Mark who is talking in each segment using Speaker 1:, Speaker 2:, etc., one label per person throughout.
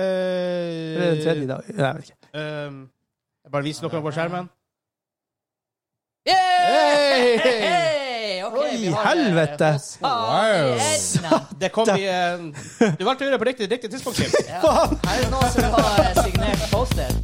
Speaker 1: Eller den tredje i
Speaker 2: Eh,
Speaker 1: dag. Nei, jeg vet ikke.
Speaker 2: ehm, jeg bare viser noe på skjermen.
Speaker 3: Hey!
Speaker 2: Hey!
Speaker 3: Ok,
Speaker 1: Oi,
Speaker 3: vi har, eh,
Speaker 1: helvete!
Speaker 3: oss av i enden.
Speaker 2: Det kom i eh, Du valgte å gjøre det på riktig, riktig tidspunkt, Kim.
Speaker 3: Ja.
Speaker 1: Faen!
Speaker 3: Her er noen som har eh, signert poster.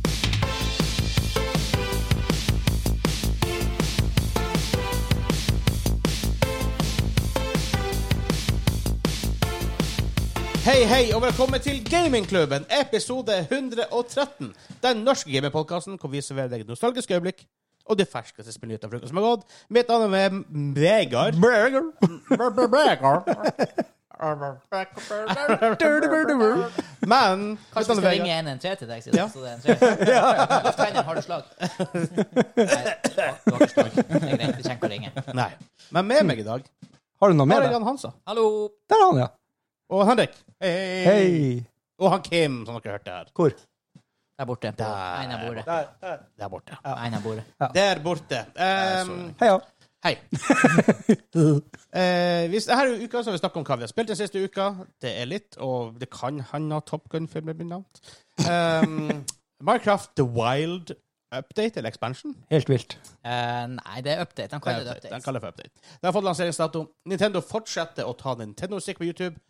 Speaker 2: Hei, hei, og velkommen til Gamingklubben, episode 113. Den norske gamingpodkasten hvor vi serverer deg nostalgiske øyeblikk og det ferskeste spillnyhetene fra uka som har gått. Mitt navn er Vegard. Men mitt navn
Speaker 3: Kanskje vi
Speaker 2: er
Speaker 3: skal
Speaker 2: Vegard.
Speaker 3: ringe 113 til deg, siden
Speaker 2: Ja.
Speaker 3: så det er en tre. Kapteinen, har du slag? Nei, du har ikke slag. Det er greit, vi trenger ikke å ringe.
Speaker 2: Nei. Men med meg i dag
Speaker 1: Har du noe
Speaker 2: har
Speaker 1: med
Speaker 2: jeg
Speaker 1: deg?
Speaker 2: han Hansa.
Speaker 3: Hallo!
Speaker 1: Der er han, ja.
Speaker 2: Og Henrik. Hei.
Speaker 1: Hei.
Speaker 2: Og han Kim, som dere hørte her.
Speaker 1: Hvor?
Speaker 3: Der borte. På
Speaker 2: Der.
Speaker 3: en av bordet.
Speaker 1: Der. der.
Speaker 2: Der borte.
Speaker 3: På en av bordet.
Speaker 2: Der borte. Ehm,
Speaker 1: Heia.
Speaker 2: hei. Eh, hvis, her er uka så har vi snakket om hva vi har spilt den siste uka. Det er litt, og det kan hende Top Gun-filmen blir nevnt. Um, Minecraft The Wild Update, eller Expansion.
Speaker 1: Helt vilt.
Speaker 3: Eh, nei, det er update. Han kaller det
Speaker 2: Update. Den
Speaker 3: update.
Speaker 2: kaller jeg for Update. Den har fått lanseringsdato. Nintendo fortsetter å ta Nintendo-musikk på YouTube,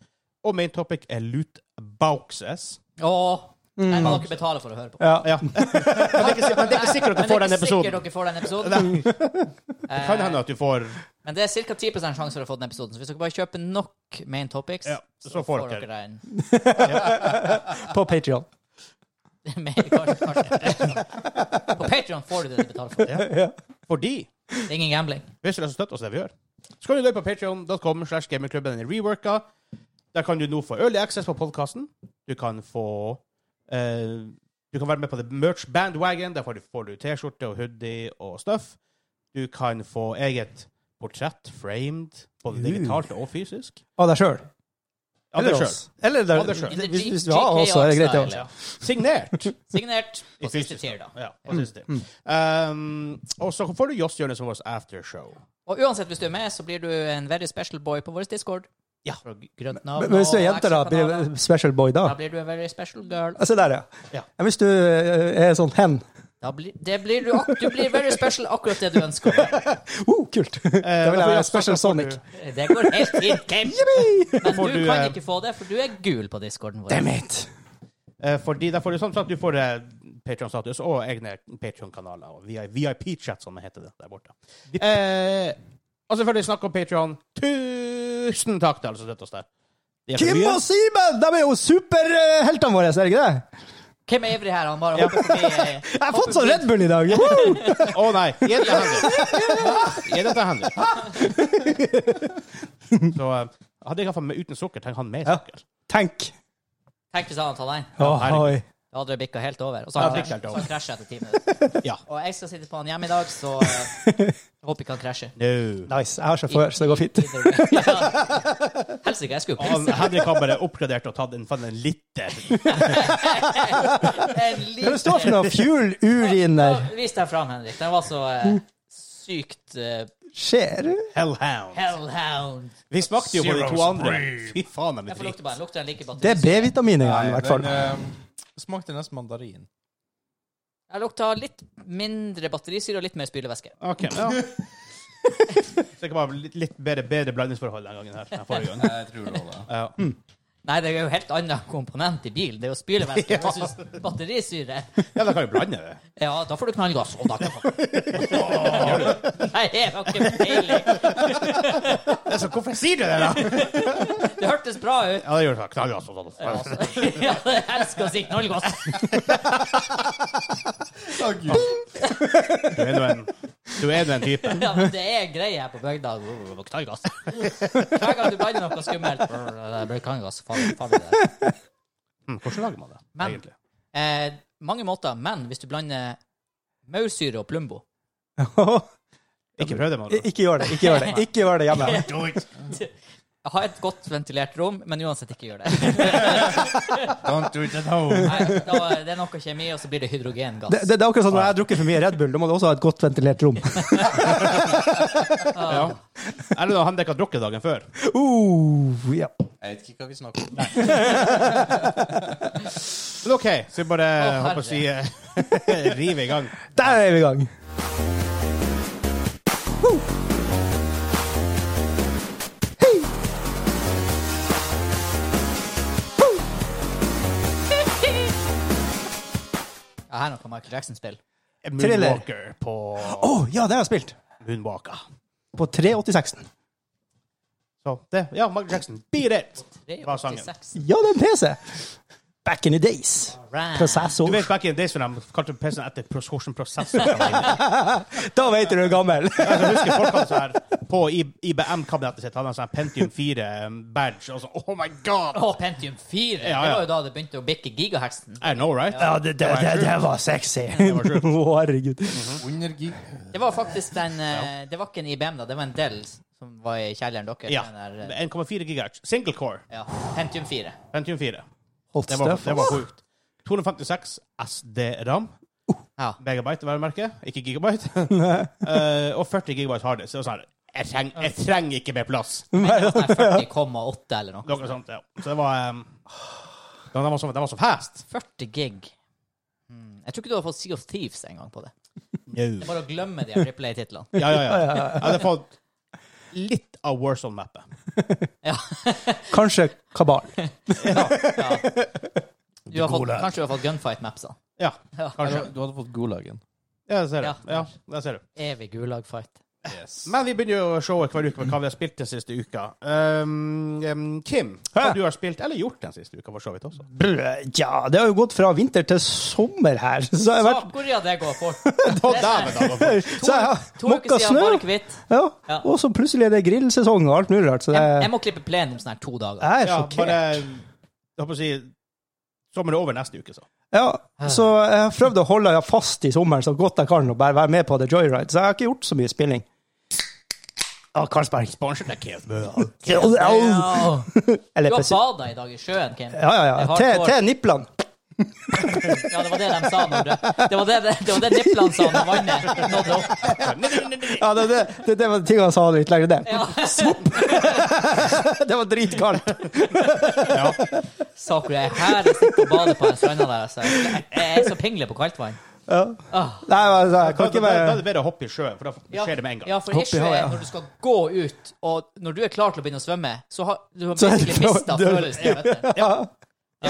Speaker 2: og main topic er loot boxes.
Speaker 3: Åh, den må dere betale for å høre på.
Speaker 1: Ja.
Speaker 2: Mm. Ja. men, det er ikke, men det er ikke sikkert at du får den episoden.
Speaker 3: Men det er ikke sikkert dere får den episoden. Eh,
Speaker 2: Det kan hende at du får
Speaker 3: Men det er ca. 10 sjanse for å få den episoden. Så hvis dere bare kjøper nok main topics,
Speaker 2: Ja, så får dere
Speaker 3: den.
Speaker 1: På Patrion.
Speaker 3: Mer, kanskje, kanskje. På Patreon får du det du betaler for.
Speaker 2: Fordi
Speaker 3: Det er ingen gambling.
Speaker 2: Hvis du har støtte oss i det vi gjør. Så kan du dø på patreon.com slash gamingklubben eller reworka. Der kan du nå få early access på podkasten. Du kan få eh, Du kan være med på The Merch Bandwagon. Der får du, får du T-skjorte og hoodie og stuff. Du kan få eget portrett framed, både
Speaker 1: Uh.
Speaker 2: digitalt og fysisk.
Speaker 1: Av deg sjøl.
Speaker 2: Av deg
Speaker 1: oss.
Speaker 2: selv.
Speaker 1: Eller der,
Speaker 2: Av deg selv.
Speaker 1: hvis, hvis du har oss, så er det greit.
Speaker 3: Ja.
Speaker 1: Ja.
Speaker 2: Signert!
Speaker 3: Signert
Speaker 2: I
Speaker 3: på siste
Speaker 2: fysisk.
Speaker 3: tier, da.
Speaker 2: Ja, hva synes du?
Speaker 1: Mm.
Speaker 2: Um, og så får du Joss Jonis som vårt aftershow.
Speaker 3: Og uansett, hvis du er med, så blir du en very special boy på vår Discord.
Speaker 2: Ja.
Speaker 3: Fra grønt navn
Speaker 1: Men hvis du
Speaker 3: og
Speaker 1: er jente, da, blir
Speaker 3: actionkanaler.
Speaker 1: du special boy da?
Speaker 3: Da blir du en very special girl.
Speaker 1: Ja, Se der,
Speaker 2: Ja.
Speaker 1: ja. ja. Hvis du eh, er sånn hen
Speaker 3: Da blir, det blir du, ak- du blir very special akkurat det du ønsker.
Speaker 1: oh, Kult! da vil jeg være special Sonic.
Speaker 3: Det går helt fint, Kim. Men
Speaker 2: Får
Speaker 3: du
Speaker 2: du,
Speaker 3: kan
Speaker 2: eh,
Speaker 3: ikke få det, for du er gul på discorden vår.
Speaker 1: Damn it!
Speaker 2: Eh, fordi der får du sånn at du får eh, Patreon-status og egne Patreon-kanaler og VI- VIP-chat, som det heter det der borte. Eh, og selvfølgelig snakk om Patreon. Tusen takk til alle som støtter oss der. De er for
Speaker 1: Kim
Speaker 2: mye.
Speaker 1: og Simen! De er jo superheltene våre, er det ikke det?
Speaker 3: Hvem er ivrig her? Han bare hopper forbi. eh,
Speaker 1: Jeg har fått sånn Red Bull i dag!
Speaker 2: Å
Speaker 1: Woo!
Speaker 2: nei! Gi det til Henrik. Gi det til Henrik. Så eh, hadde jeg hatt med uten sukker, tenk han med
Speaker 1: Ja.
Speaker 2: sukker.
Speaker 1: Tenk!
Speaker 3: Tenk hvis sånn han hadde tatt den.
Speaker 1: Åh,
Speaker 2: herregud.
Speaker 1: oi.
Speaker 3: Da hadde det bikka helt over. Og så har
Speaker 2: Ja,
Speaker 3: han
Speaker 2: bikket helt
Speaker 3: krasjet- så
Speaker 2: over.
Speaker 3: han krasjet etter ti minutter.
Speaker 2: Ja.
Speaker 3: Og jeg skal sitte på han hjemme i dag, så eh, håper ikke han krasjer.
Speaker 2: No.
Speaker 1: Nice. Jeg har sjåfør, så det går fint.
Speaker 3: Either way. Ja. Helsike, jeg skulle jo
Speaker 2: Han, Henrik har bare oppgradert og tatt en, faen en liter.
Speaker 1: Hva
Speaker 3: pisse. En liten-
Speaker 1: det står for noe? Fuel, urin der.
Speaker 3: Ja, Vis deg fram, Henrik. Den var så eh, sykt eh,
Speaker 1: Skjer?
Speaker 2: Hellhound.
Speaker 3: Hellhound.
Speaker 2: Vi smakte jo på de to andre. Fy faen, de
Speaker 3: Jeg
Speaker 2: er
Speaker 3: får lukte
Speaker 2: drit.
Speaker 3: bare. Lukter den like godt.
Speaker 1: Det er B-vitamin i den, i hvert fall.
Speaker 4: Men, eh, smakte nesten mandarin.
Speaker 3: Jeg lukta litt mindre batterisyre og litt mer spylevæske.
Speaker 2: Ok, ja. Så det kan være litt, litt bedre, bedre blandingsforhold den gangen her. Den forrige gangen.
Speaker 4: Jeg tror det var det.
Speaker 2: Ja.
Speaker 3: Nei, det er jo helt annen komponent i bil. Det er jo spylevæske versus batterisyre.
Speaker 2: ja, da kan vi blande det.
Speaker 3: Ja, da får du knallgass. Og da Nei, jeg har ikke peiling.
Speaker 2: Altså, hvorfor sier du det, da?
Speaker 3: Det hørtes bra ut.
Speaker 2: Ja, det gjør det. Knallgass og
Speaker 3: Ja,
Speaker 2: sånn.
Speaker 3: altså. Ja, jeg elsker å si knallgass.
Speaker 2: Du er nå en, du er nå en type.
Speaker 3: Ja, men det er greier her på bygda. Brr, Knallgass. Hver gang du blander noe skummelt brr, Det blir knallgass. Faen, faen i det.
Speaker 2: Hm, hvordan lager man det,
Speaker 3: Men-
Speaker 2: egentlig?
Speaker 3: Eh, mange måter, men hvis du blander maursyre og plumbo
Speaker 2: Ikke prøv det, mann.
Speaker 1: Ikke gjør det. Ikke gjør det Ikke gjør det hjemme.
Speaker 3: Ha et godt ventilert rom, men uansett ikke gjør det.
Speaker 4: Don't do it at home.
Speaker 3: Nei, da, det er noe kjemi, og så blir det hydrogengass.
Speaker 1: Det, det, det er akkurat sånn når jeg har drukket for mye Red Bull. Da må du også ha et godt ventilert rom.
Speaker 2: Ja. Eller da han dekka drukket dagen før.
Speaker 1: Uh, ja.
Speaker 4: Jeg vet ikke hva vi snakker om.
Speaker 2: Men OK, så vi bare
Speaker 3: Å,
Speaker 2: håper å si eh, rive i gang.
Speaker 1: Der er vi i gang! Woo! Hei! Woo!
Speaker 3: Ja, her er noe Michael Jackson-spill.
Speaker 1: Thriller.
Speaker 2: Moonwalker på
Speaker 1: Å, ja, det har jeg spilt!
Speaker 2: Moonwalker.
Speaker 1: På 386.
Speaker 2: Så det Ja, Michael Jackson. Beat it! Hva er sangen?
Speaker 3: 386.
Speaker 1: Ja, det er en PC! Back in the days.
Speaker 3: Right.
Speaker 2: Du
Speaker 1: Prosessor.
Speaker 2: vet back in the days når de kalte PC-en etter Prosortion Processor. Jeg
Speaker 1: Da vet du du er gammel!
Speaker 2: husker folk hadde sånn her på IBM-kabinettet sitt hadde de sånn Pentium 4-badge. Og så, oh my god!
Speaker 3: Å, Pentium 4!
Speaker 2: Ja,
Speaker 3: Det
Speaker 2: ja.
Speaker 3: var jo da det begynte å bikke gigahertzen.
Speaker 2: I know, right?
Speaker 1: Ja, det, det, det, det var sexy!
Speaker 2: var sjukt.
Speaker 1: Å, herregud.
Speaker 4: Undergi...
Speaker 3: Det var faktisk den eh, Det var ikke en IBM, da. Det var en Del som var i kjelleren deres.
Speaker 2: Ja.
Speaker 3: Den der, eh,
Speaker 2: 1,4 gigahertz. Single core.
Speaker 3: ja. Pentium 4.
Speaker 2: Pentium 4.
Speaker 1: Hot
Speaker 2: Det var,
Speaker 1: stuff.
Speaker 2: det var sjukt. 256 SD-ram.
Speaker 3: Ja.
Speaker 2: Megabyte, hva er merket? Ikke gigabyte. Eh, og 40 gigabyte harddisk. Så det var sånn her, jeg, treng, jeg trenger ikke mer plass.
Speaker 3: Men det var sånn her 40,8 eller noe.
Speaker 2: Noe sånt, ja. Så det var um, Den den var så, den var så fast.
Speaker 3: 40 gig. Hmm. Jeg tror ikke du har fått Sea of Thieves en gang på det.
Speaker 2: No.
Speaker 3: Bare å glemme de Triple A-titlene.
Speaker 2: Ja, ja, ja. Jeg hadde fått litt av Warzone-mappet.
Speaker 1: Kanskje Kabal.
Speaker 3: Du har fått,
Speaker 1: Gulag.
Speaker 3: kanskje du har fått Gunfight-mapsa.
Speaker 2: Ja,
Speaker 3: Ja.
Speaker 2: kanskje.
Speaker 4: Du hadde fått Gulagen.
Speaker 2: Ja, det ser
Speaker 3: Ja.
Speaker 2: du. Ja, det ser du.
Speaker 3: Evig gulag-fight.
Speaker 4: Yes.
Speaker 2: Men vi begynner jo å se hver uke hva vi har spilt den siste uka. Um, um, Kim, hva
Speaker 1: Hæ?
Speaker 2: du har spilt eller gjort den siste uka, for så vidt også.
Speaker 1: Brø, Ja, det har jo gått fra vinter til sommer her. Så jeg har vært
Speaker 3: Hvor er det går fort? sånn
Speaker 2: Å, dæven, da, da.
Speaker 1: så jeg har
Speaker 3: To uker
Speaker 1: mokka
Speaker 3: siden
Speaker 1: snø.
Speaker 3: bare kvitt.
Speaker 1: Ja.
Speaker 3: Ja.
Speaker 1: Og så plutselig er det grillsesong og alt mulig rart. Så det, jeg
Speaker 3: Jeg, jeg må klippe plenen om sånn her to dager.
Speaker 1: er
Speaker 2: Ja,
Speaker 1: sjokkert.
Speaker 2: bare Jeg håper å si Sommeren er over neste uke, så.
Speaker 1: Ja, så jeg har prøvd å holde fast i sommeren så godt jeg kan, og bare være med på The Joyride. Så jeg har ikke gjort så mye spilling. Ja, Karlsberg.
Speaker 2: Sponset er Kim.
Speaker 1: Au, au.
Speaker 3: Ja.
Speaker 1: Eller
Speaker 3: Du har
Speaker 1: pes-
Speaker 3: bada i dag i sjøen, Kim.
Speaker 1: Ja, ja,
Speaker 3: Jeg
Speaker 1: ja.
Speaker 3: har
Speaker 1: Til,
Speaker 3: tår.
Speaker 1: til nipplene.
Speaker 3: Ja, det var det de sa når det Det var det, det, var det Nippland sa når vannet nådde opp.
Speaker 1: Ja, det, det, det, det var ting han sa litt lenger ned.
Speaker 3: Ja.
Speaker 1: Det var dritkaldt.
Speaker 3: Sa hvor jeg er her jeg sitter og bader på den stranda der. Så jeg, jeg er så pingle på kaldt vann.
Speaker 1: Ja.
Speaker 3: Ah.
Speaker 1: Nei, men altså, jeg
Speaker 2: Da
Speaker 1: kan
Speaker 2: da-
Speaker 1: ikke
Speaker 2: da er
Speaker 1: være
Speaker 2: det bedre å hoppe i sjøen, for da skjer det med en gang.
Speaker 3: Ja, for
Speaker 1: Hopp i
Speaker 3: issue
Speaker 1: havet,
Speaker 3: er
Speaker 1: ja.
Speaker 3: når du skal gå ut, og når du er klar til å begynne å svømme, så har du har
Speaker 1: Så er det
Speaker 3: virkelig
Speaker 1: klar-
Speaker 3: mista
Speaker 1: du-
Speaker 3: følelsen. av dette.
Speaker 1: ja,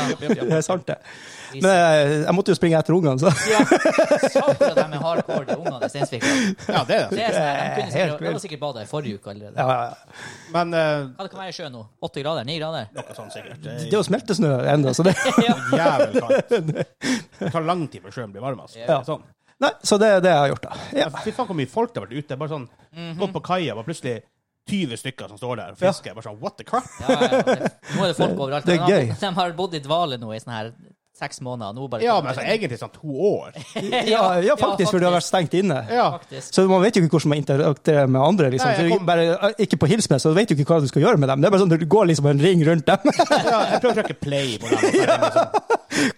Speaker 2: Jep, jep, jep.
Speaker 1: det er sant, det. Men eh, jeg, jeg måtte jo springe etter ungene, så
Speaker 3: Ja, sa hvor de er hardcore, de ungene i Steinsvik.
Speaker 2: Ja, det er
Speaker 3: Det
Speaker 2: det.
Speaker 3: er sånn, de,
Speaker 1: Helt
Speaker 3: kunne sikkert, de
Speaker 1: vilt.
Speaker 3: var sikkert bada i forrige uke allerede.
Speaker 1: ja, ja, ja.
Speaker 2: Men eh,
Speaker 3: Hva det kan være i sjø nå? 80 grader? 9 grader?
Speaker 2: noe sånt sånn sikkert.
Speaker 1: Det er jo smeltesnø ennå, så det
Speaker 2: Jævlig kaldt. Det tar lang tid før sjøen blir varm. altså.
Speaker 1: Ja.
Speaker 2: Sånn.
Speaker 1: Nei, så det er det jeg har gjort, da. Ja. Mhm.
Speaker 2: Fy faen, hvor mye folk det har vært ute. Bare sånn, Gått på kaia, var plutselig 20 stykker som står der og fisker. Bare sånn, what the crap?
Speaker 3: Ja, ja, ja. Det- Nå er det folk overalt.
Speaker 1: Det er
Speaker 3: De har-
Speaker 1: gøy.
Speaker 3: De har bodd i dvale nå i sånn her seks måneder. Nå bare
Speaker 2: Ja, men altså, egentlig sånn to år.
Speaker 1: Ja, ja, faktisk, for du har vært stengt inne.
Speaker 2: Ja.
Speaker 3: Faktisk.
Speaker 1: Så man vet jo ikke hvordan man interakterer med andre. liksom.
Speaker 2: Nei, jeg
Speaker 1: Så
Speaker 2: kom-
Speaker 1: bare, ikke på hils med, så vet du ikke hva du skal gjøre med dem. Det er bare sånn, Du går liksom en ring rundt dem.
Speaker 2: ja jeg prøver å trykke play på den. Liksom.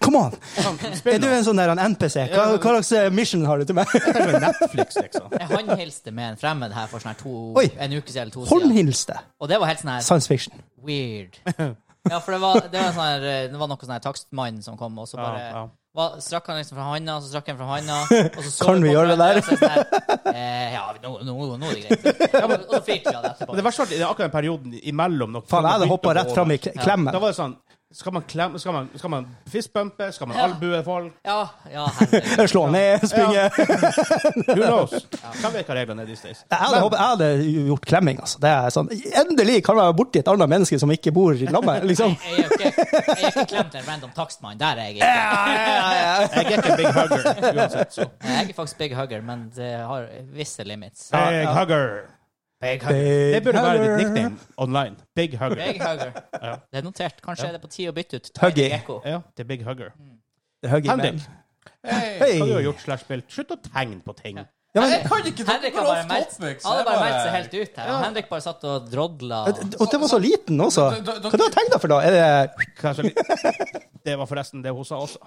Speaker 1: Come on!
Speaker 2: Sånn,
Speaker 1: Er
Speaker 2: spill
Speaker 1: du
Speaker 2: nå.
Speaker 1: en sånn der en NPC? Hva, hva slags eh, mission har du til meg?
Speaker 2: Det er jo Netflix, liksom.
Speaker 3: Jeg håndhilste med en fremmed her for sånn her to,
Speaker 1: Oi.
Speaker 3: en uke siden eller to siden.
Speaker 1: Håndhilste.
Speaker 3: Og det var helt sånn her
Speaker 1: Science fiction.
Speaker 3: weird. Ja, for det var, det var, sånn her, eh, det var noe sånn her takstmann som kom, og så bare
Speaker 2: Ja, ja.
Speaker 3: Hva, strakk han liksom fra handa, så strakk han fra handa og så så
Speaker 1: Kan vi
Speaker 3: på
Speaker 1: gjøre det
Speaker 3: hverandre,
Speaker 1: der?
Speaker 3: og så sånn her, eh, ja, nå, nå, nå er det greit. Ja, men- og så flirte vi av det etterpå.
Speaker 2: Men det verste var at det er akkurat den perioden imellom når
Speaker 1: Faen, jeg hadde
Speaker 2: begynte
Speaker 1: hoppa
Speaker 2: å gå
Speaker 1: rett fram i
Speaker 2: over.
Speaker 1: k-
Speaker 2: Da
Speaker 1: klemmen.
Speaker 2: var det sånn Skal man klemme Skal man, skal man fistbumpe? Skal man
Speaker 3: Ja.
Speaker 2: albue folk?
Speaker 3: Ja, ja, herregud.
Speaker 1: Slå ned, springe.
Speaker 2: Who knows? Hvem vet hva reglene er these days?
Speaker 1: Jeg hadde, hoppet, jeg hadde gjort klemming, altså. Det er sånn, Endelig kan jeg være borti et annet menneske som ikke bor i lag med meg, liksom.
Speaker 3: Jeg er jo ikke, jeg er ikke klemt til en random takstmann. Der er jeg ikke.
Speaker 2: Jeg er ikke en big hugger uansett, så.
Speaker 3: Jeg er faktisk big hugger, men det har visse limits.
Speaker 2: Big hugger.
Speaker 3: Big
Speaker 2: Det burde være ditt nickname online. Big hugger.
Speaker 3: Big hugger.
Speaker 2: Ja.
Speaker 3: Det er notert. Kanskje er det på tide å bytte ut
Speaker 1: Huggy.
Speaker 3: Tiny Gecko.
Speaker 2: Ja, det er big hugger.
Speaker 1: Huggy man.
Speaker 2: Henrik,
Speaker 1: Hei.
Speaker 2: hva du har gjort slash spilt? Slutt å tegne på ting.
Speaker 1: Ja, men,
Speaker 4: Jeg kan ikke ta
Speaker 3: Henrik har bare meldt alle bare meldt seg helt ut her. Og Henrik bare satt og drodla. og-
Speaker 1: og det var så liten også. Hva du har du tenkt deg for, da? Er det
Speaker 2: Kanskje litt. Det var forresten det hun sa også.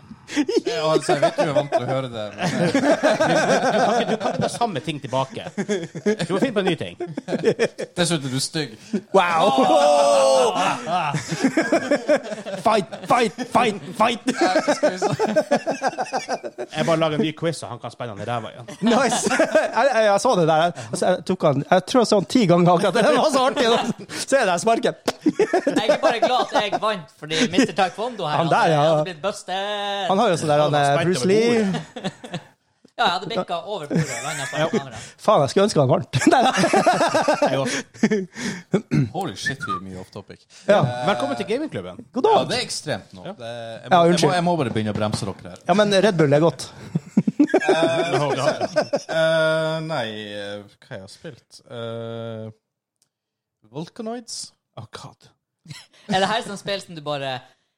Speaker 4: Ja, altså, jeg vet du er vant til å høre det. Men
Speaker 2: Du kan ikke ta samme ting tilbake. Du må finne på en ny ting.
Speaker 4: dessuten er du stygg.
Speaker 1: Wow! fight, fight, fight, fight!
Speaker 4: Skal vi se.
Speaker 2: Jeg bare lager en ny quiz, så han kan spenne han i ræva igjen.
Speaker 1: Nice! Jeg, jeg, jeg så det der. Jeg, altså, jeg, tok han, jeg tror jeg så han ti ganger akkurat. Det var så artig! da. Se der sparket.
Speaker 3: Jeg er bare glad at jeg vant, fordi Mr. Taekwondo her
Speaker 1: Han der, ja.
Speaker 3: hadde blitt busted.
Speaker 1: Han har jo sånn der han, eh,
Speaker 2: sparket
Speaker 1: Bruce
Speaker 2: over
Speaker 1: Lee.
Speaker 3: Ja, jeg hadde bikka over bordet og landa på den andre.
Speaker 1: Faen, jeg skulle ønske han vant. Nei, nei.
Speaker 2: Jeg også.
Speaker 4: Holy shit, vi er mye off topic.
Speaker 1: Ja.
Speaker 2: Velkommen til gamingklubben.
Speaker 1: God
Speaker 4: Ja,
Speaker 1: dag!
Speaker 4: det er ekstremt nå. Det, jeg, må,
Speaker 1: Ja,
Speaker 4: jeg,
Speaker 1: unnskyld.
Speaker 4: må, jeg må bare begynne å bremse dere her.
Speaker 1: Ja, men Red Bull er godt.
Speaker 4: Eh, nei, eh, hva jeg har spilt? Eh, Vulcanoids?
Speaker 2: Oh, God.
Speaker 3: Er det her sånn spill som du bare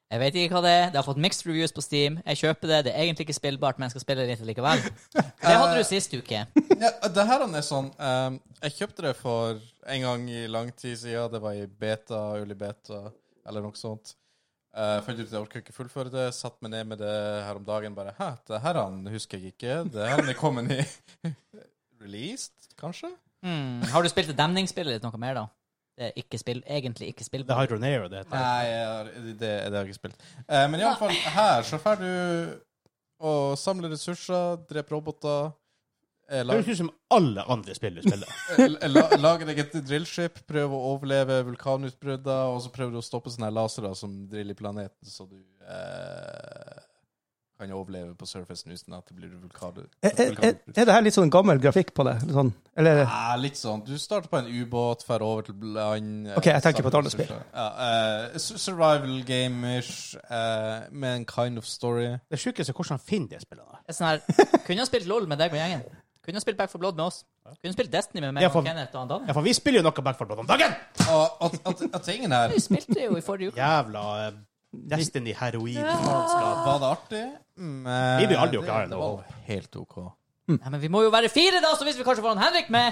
Speaker 3: Jeg vet ikke hva det er. Det har fått mixed reviews på Steam. Jeg kjøper det. Det er egentlig ikke spillbart, men jeg skal spille litt likevel. Det hadde du sist uke.
Speaker 4: Ja, det her er sånn ehm, Jeg kjøpte det for en gang i lang tid siden. Det var i beta, Uli beta, eller noe sånt. Uh, fant ut at jeg orka ikke fullføre det. Satt meg ned med det her om dagen. Bare Hæ, det her han husker jeg ikke. Det her han er kommet i Released, kanskje?
Speaker 3: Hmm. Har du spilt det demningsspillet ditt noe mer, da? Det er ikke spill, egentlig ikke
Speaker 2: Det er
Speaker 3: spillbart.
Speaker 2: Hydronero det heter.
Speaker 4: Nei, jeg har- det, det har jeg ikke spilt. Eh, men iallfall her så får du å samle ressurser, drepe roboter eh,
Speaker 2: Det
Speaker 4: lag-
Speaker 2: høres ut som alle andre spill du spiller.
Speaker 4: L- la- Lager deg et drillskip, prøver å overleve vulkanutbrudder, og så prøver du å stoppe sånne her lasere som driller planeten, så du eh, kan overleve på surfacen uten at det blir vulkan,
Speaker 1: Er, er, er,
Speaker 4: vulkanutbrudd.
Speaker 1: er det her litt sånn gammel grafikk på det? Sånn, eller
Speaker 4: Ja, litt sånn. Du starter på en ubåt, drar over til land eh,
Speaker 1: Ok, jeg tenker på et annet
Speaker 4: samler ressurser. Ja, eh, su- survival game-ish, eh, med en kind of story.
Speaker 2: Det sjukeste er hvordan han finner de spillene.
Speaker 3: Det er sånn her Kunne ha spilt LOL med deg og gjengen. Kunne ha spilt Back for Blood med oss. Kunne ha spilt Destiny med meg
Speaker 2: Ja, for-
Speaker 3: og Kenneth og han Daniel.
Speaker 2: Ja, for vi spiller jo noe Back 4 Blood om dagen!
Speaker 4: Og at, at, at tingen her
Speaker 3: Du spilte jo i forrige uke.
Speaker 2: Jævla eh, Destiny-heroin. faenskap.
Speaker 4: Var det artig? Men
Speaker 2: Vi blir aldri å klare det.
Speaker 4: det var helt OK.
Speaker 3: Nei, men vi må jo være fire, da, så hvis vi kanskje får han Henrik med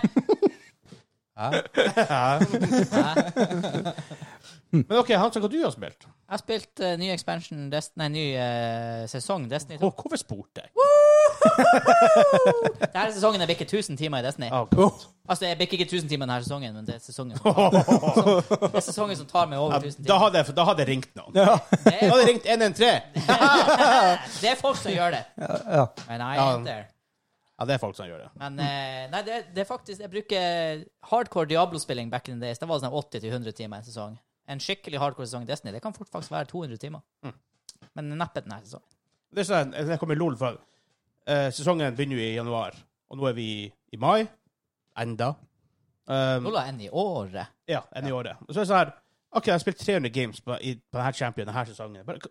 Speaker 2: Men OK, Hansa, hva du har spilt?
Speaker 3: Jeg har spilt eh, ny expansion, Dest nei, ny eh, sesong Destiny 2.
Speaker 2: Og hvorfor spurte jeg?
Speaker 3: Denne sesongen jeg bikker 1000 timer i Destiny.
Speaker 2: Oh, God.
Speaker 3: Altså, jeg bikker ikke 1000 timer denne sesongen, men det er sesongen,
Speaker 2: Ja,
Speaker 3: det er sesongen som tar meg over
Speaker 2: da,
Speaker 3: 1000 timer.
Speaker 2: hadde jeg, da hadde jeg ringt noen.
Speaker 1: Ja.
Speaker 3: Det
Speaker 2: Da
Speaker 3: er,
Speaker 2: hadde jeg ringt 113.
Speaker 3: det er folk som gjør det.
Speaker 1: ja.
Speaker 2: Ja.
Speaker 3: Men jeg er ikke der.
Speaker 2: Ja, det er folk som gjør det.
Speaker 3: Men eh, nei, det, er- det er faktisk Jeg bruker hardcore Diablo-spilling back in the days. Det var sånn 80-100 timer i en sesong. En skikkelig hardcore sesong i Destiny, det kan fort faktisk være 200 timer.
Speaker 2: Mm.
Speaker 3: Men neppe denne sesongen.
Speaker 2: Det er sånn, jeg kommer i LOL for eh, Sesongen begynner jo i januar, og nå er vi i mai. Enda. Um,
Speaker 3: Nå la jeg en i året.
Speaker 2: ja, enn i året. Og så er det sånn her OK, jeg har spilt 300 games på, i, på denne champion denne sesongen. Bare,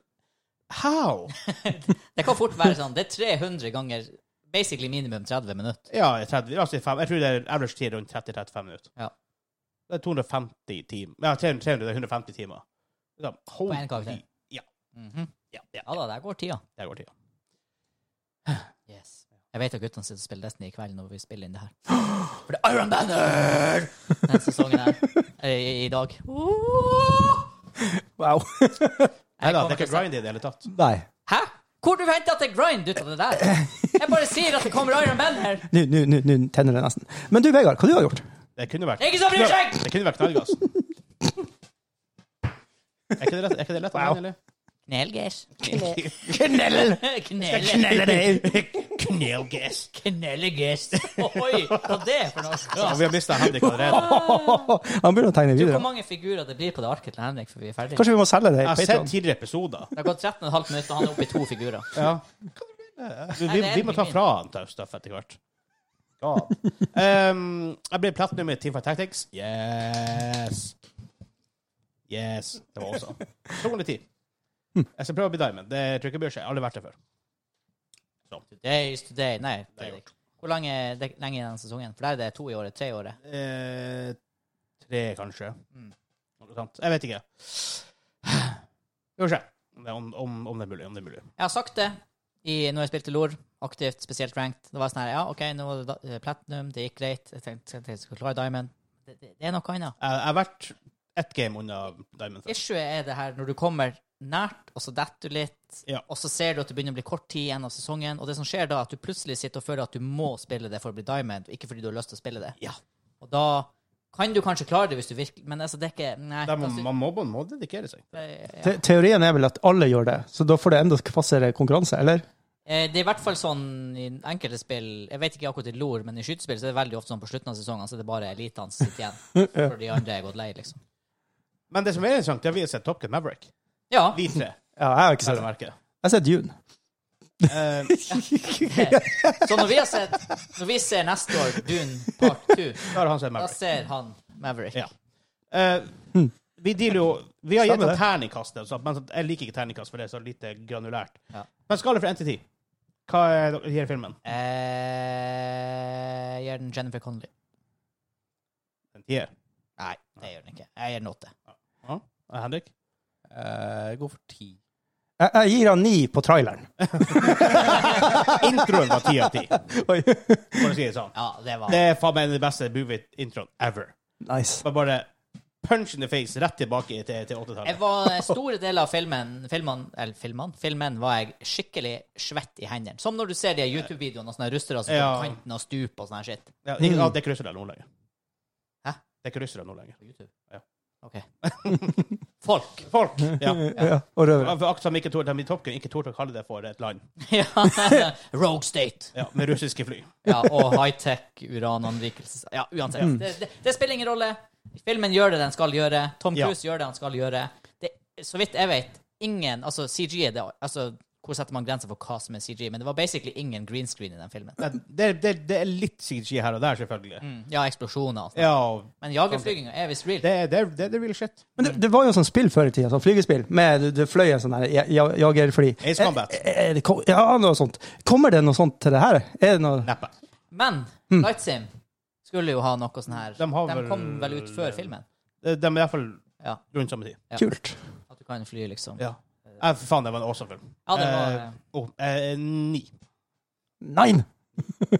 Speaker 2: how?
Speaker 3: Det kan fort være sånn. Det er 300 ganger basically minimum 30 minutter.
Speaker 2: Ja, i 30, altså i fem- jeg tror det er average tid rundt 30-35 minutter.
Speaker 3: Ja.
Speaker 2: Det er 250 timer. Ja, 300, 300 det er 150 timer. Det er, sånn,
Speaker 3: På en karakter.
Speaker 2: Ja.
Speaker 3: Mhm.
Speaker 2: Ja, ja,
Speaker 3: Ja da, der går tida.
Speaker 2: det går tida.
Speaker 3: Yes. Jeg vet at guttene sitter og spiller Destiny i kveld når vi spiller inn det her. For det er Iron Banner! Den sesongen her. Eh, I, i dag.
Speaker 2: Nei da,
Speaker 1: Wow.
Speaker 3: kommer
Speaker 2: det er
Speaker 3: til
Speaker 2: ikke
Speaker 3: å se-
Speaker 2: grind i det hele tatt.
Speaker 1: Nei.
Speaker 3: Hæ? Hvor du henter at jeg grind ut av det der? Jeg bare sier at det kommer Iron Banner!
Speaker 1: Nå- Nå nå- nå tenner det nesten. Men du, Vegard, hva du har du gjort?
Speaker 2: Det kunne vært
Speaker 3: Ikke så bryr seg!
Speaker 2: Det kunne vært knallgass. Er ikke det lett? Er ikke det lett
Speaker 1: Wow.
Speaker 2: eller?
Speaker 3: Knelgeir.
Speaker 1: Knell!
Speaker 3: Knelle...
Speaker 1: Knell deg!
Speaker 2: Knelgass.
Speaker 3: Knellegeist. Oi, hva er det for
Speaker 2: Ja,
Speaker 3: noe?
Speaker 2: vi har mista Henrik allerede.
Speaker 1: Han begynner å tegne
Speaker 3: Hvor
Speaker 1: videre.
Speaker 3: mange figurer det blir på det arket til Henrik før vi er ferdige?
Speaker 1: Kanskje vi må selge det?
Speaker 2: Jeg
Speaker 1: i
Speaker 2: har sett
Speaker 1: Patreon?
Speaker 2: tidligere episoder.
Speaker 3: Det har gått 13,5 minutter, og han er oppe i to figurer.
Speaker 2: Ja. Vi, vi, vi må ta fra han Taustaff etter hvert. God. Um, jeg ble platinum i Team Fight Tactics. Yes! Yes. Det var også. 210.
Speaker 1: Hm.
Speaker 2: Jeg skal prøve å bli diamond. Det tror jeg ikke bryr seg. Jeg har aldri vært det før.
Speaker 3: Days to day. Nei,
Speaker 2: Det er
Speaker 3: Fredrik. Hvor lenge, det, lenge er den sesongen? For der er det to i året, tre i året.
Speaker 2: Eh, tre, kanskje.
Speaker 3: Mm.
Speaker 2: Noe sånt. Jeg vet ikke. Vi får se om, det- om, om, om det er mulig. Om det er mulig.
Speaker 3: Jeg har sagt det i, når jeg spilte LOR, aktivt, spesielt ranked. Det var sånn her, ja, OK, nå var det da- eh, platinum, det gikk greit. Jeg tenkte tenkte jeg skulle klare diamond. Det, det, det er noe annet.
Speaker 2: Jeg jeg har vært ett game unna Diamond. Fest.
Speaker 3: Issue er det her når du kommer nært, og så detter du litt,
Speaker 2: Ja.
Speaker 3: og så ser du at det begynner å bli kort tid igjen av sesongen, og det som skjer da, er at du plutselig sitter og føler at du må spille det for å bli diamond, og ikke fordi du har lyst til å spille det.
Speaker 2: Ja.
Speaker 3: Og da kan du kanskje klare det hvis du virkelig Men altså, det er ikke Nei.
Speaker 2: Der må,
Speaker 3: altså,
Speaker 2: man må, man må dedikere seg.
Speaker 3: det- ja.
Speaker 1: Te teorien er vel at alle gjør det, så da får det enda kvassere konkurranse, eller?
Speaker 3: Eh, Det er i hvert fall sånn i enkelte spill Jeg vet ikke akkurat i LOR, men i skytespill så er det veldig ofte sånn på slutten av sesongen så er det bare elitene som sitter igjen. For de andre er gått lei, liksom.
Speaker 2: Men det som er interessant, det er at vi har sett Top Gun Maverick.
Speaker 3: Ja.
Speaker 2: Vi tre.
Speaker 1: Ja, jeg har ikke
Speaker 2: vel
Speaker 1: sett
Speaker 2: å
Speaker 1: det.
Speaker 2: merke.
Speaker 1: Jeg har sett Dune.
Speaker 2: Eh,
Speaker 3: Så når vi har sett Når vi ser neste år Dune part 2,
Speaker 2: da har han sett
Speaker 3: da
Speaker 2: Maverick.
Speaker 3: ser han Maverick.
Speaker 2: Ja. Eh, vi dealer jo Vi har gitt
Speaker 1: Stemmer
Speaker 2: han
Speaker 1: det.
Speaker 2: terningkast, altså, men jeg liker ikke terningkast, for det er så lite granulært.
Speaker 3: Ja.
Speaker 2: Men skala fra 1 til 10. Hva er dere gir filmen?
Speaker 3: Eh, jeg gir den Jennifer Connolly.
Speaker 2: En tier.
Speaker 3: Nei, det gjør den ikke. Jeg gir den åtte.
Speaker 2: Ja. Og Henrik?
Speaker 4: Eh, jeg går for ti.
Speaker 1: Jeg, jeg gir han ni på traileren.
Speaker 2: Introen var 10 av 10,
Speaker 1: Oi.
Speaker 2: for å si det sånn.
Speaker 3: Ja, det var
Speaker 2: Det er faen meg den beste movie-introen ever.
Speaker 1: Nice.
Speaker 2: Men bare punch in the face rett tilbake til, til
Speaker 3: Jeg
Speaker 2: 80-tallet.
Speaker 3: var Store deler av filmen filmen, eller filmen, filmen var jeg skikkelig svett i hendene. Som når du ser de YouTube-videoene av sånne russere som går
Speaker 2: Ja.
Speaker 3: på kanten og stuper og sånn her shit.
Speaker 2: Ja, ikke- ja, det er ikke russere nå lenger.
Speaker 3: Hæ?
Speaker 2: Det er ikke russere nå lenger.
Speaker 3: På YouTube?
Speaker 2: Ja.
Speaker 3: OK. Folk.
Speaker 2: Folk! Ja.
Speaker 1: Ja, og røvere.
Speaker 2: For akkurat som ikke torde, de i Top Gun ikke torde å kalle det for et land
Speaker 3: ja. Rogue State.
Speaker 2: ja, med russiske fly.
Speaker 3: Ja, og high-tech urananrikelse. Ja, uansett.
Speaker 2: Mm.
Speaker 3: Det, det, det spiller ingen rolle. Filmen gjør det den skal gjøre. Tom
Speaker 2: Ja.
Speaker 3: Cruise gjør det han skal gjøre. Det, så vidt jeg vet, ingen Altså, CG er det Altså, hvor setter man grenser for hva som er CG? Men det var basically ingen green screen i den filmen.
Speaker 2: Nei, Det, det, det er litt CG her og der, selvfølgelig.
Speaker 3: Mm, Ja, eksplosjoner. og sånt.
Speaker 2: Ja,
Speaker 3: Men jagerflyginga er visst real.
Speaker 2: det, det, det, det er real shit.
Speaker 1: Men det, det var jo sånn spill før i tida, sånn flygespill, med du, du fløy en sånn her ja- ja- jagerfly.
Speaker 2: Ace Combat.
Speaker 1: Er, er det, ko- ja, noe sånt. Kommer det noe sånt til det her? Er det noe
Speaker 2: Neppe.
Speaker 3: Men Lightsim skulle jo ha noe sånn her.
Speaker 2: Mm. De har
Speaker 3: De
Speaker 2: vel-
Speaker 3: kom vel ut før filmen?
Speaker 2: De de er iallfall
Speaker 3: Ja.
Speaker 2: rundt samme tid.
Speaker 3: Ja.
Speaker 1: kult?
Speaker 3: At du kan fly, liksom.
Speaker 2: Ja. Eh, for faen, det var en awesome film.
Speaker 3: Ja, det var-
Speaker 2: eh, oh, eh, ni.
Speaker 1: Nei!
Speaker 3: 9,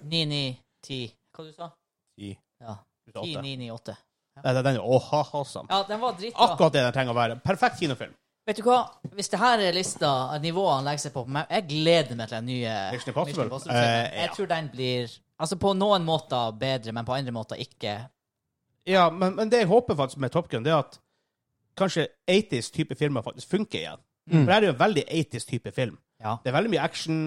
Speaker 3: 9, 10 Hva du sa
Speaker 4: Ti.
Speaker 3: Ja.
Speaker 2: Ut av
Speaker 3: 10,
Speaker 2: åtte.
Speaker 3: 9, 9, 8.
Speaker 2: Nei, Den er jo åh, awesome.
Speaker 3: Ja, den var dritbra.
Speaker 2: Akkurat det den trenger å være. Perfekt kinofilm.
Speaker 3: Vet du hva? Hvis det her er lista nivåene legger seg på men Jeg gleder meg til den nye
Speaker 2: Mission Impossible.
Speaker 3: filmen
Speaker 2: Eh, ja.
Speaker 3: Jeg tror den blir Altså, på noen måter bedre, men på andre måter ikke.
Speaker 2: Ja, men, men det jeg håper faktisk med Top Gun, det er at kanskje 80s-type filmer faktisk funker igjen. For det er jo en veldig 80s-type film.
Speaker 3: Ja.
Speaker 2: Det er veldig mye action.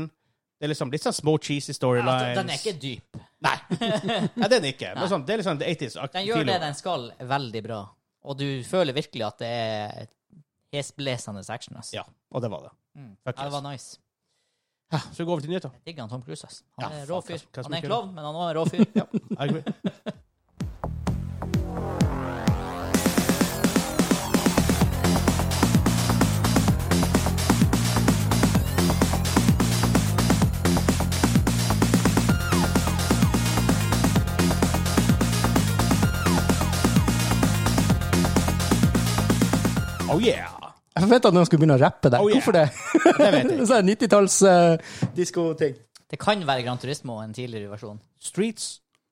Speaker 2: Det er liksom litt sånn små cheesy storylines.
Speaker 3: Altså, den er ikke dyp.
Speaker 2: Nei, Nei den er ikke. Men sånn, det er liksom 80s-aktig.
Speaker 3: Den gjør det den skal, veldig bra. Og du føler virkelig at det er hesblesende action. ass.
Speaker 2: Ja, og det var det.
Speaker 3: Mm.
Speaker 2: Fuck
Speaker 3: ja, det
Speaker 2: yes.
Speaker 3: var nice.
Speaker 2: Ja, Så går vi over til nyheter.
Speaker 3: Digger han Tom Cruise, ass. Han
Speaker 2: Ja, faen,
Speaker 3: er en rå
Speaker 2: hva-
Speaker 3: fyr.
Speaker 2: hva som
Speaker 3: Han er
Speaker 2: ikke er
Speaker 3: en klovn, men han er en rå fyr.
Speaker 2: Ja, I agree. Oh yeah!
Speaker 1: Jeg forventa at noen skulle begynne å rappe der.
Speaker 2: Oh, yeah.
Speaker 1: Hvorfor det?
Speaker 2: Det vet jeg.
Speaker 1: sånn 90-talls uh, diskoting.
Speaker 3: Det kan være Gran Turismo, en tidligere versjon.
Speaker 2: Streets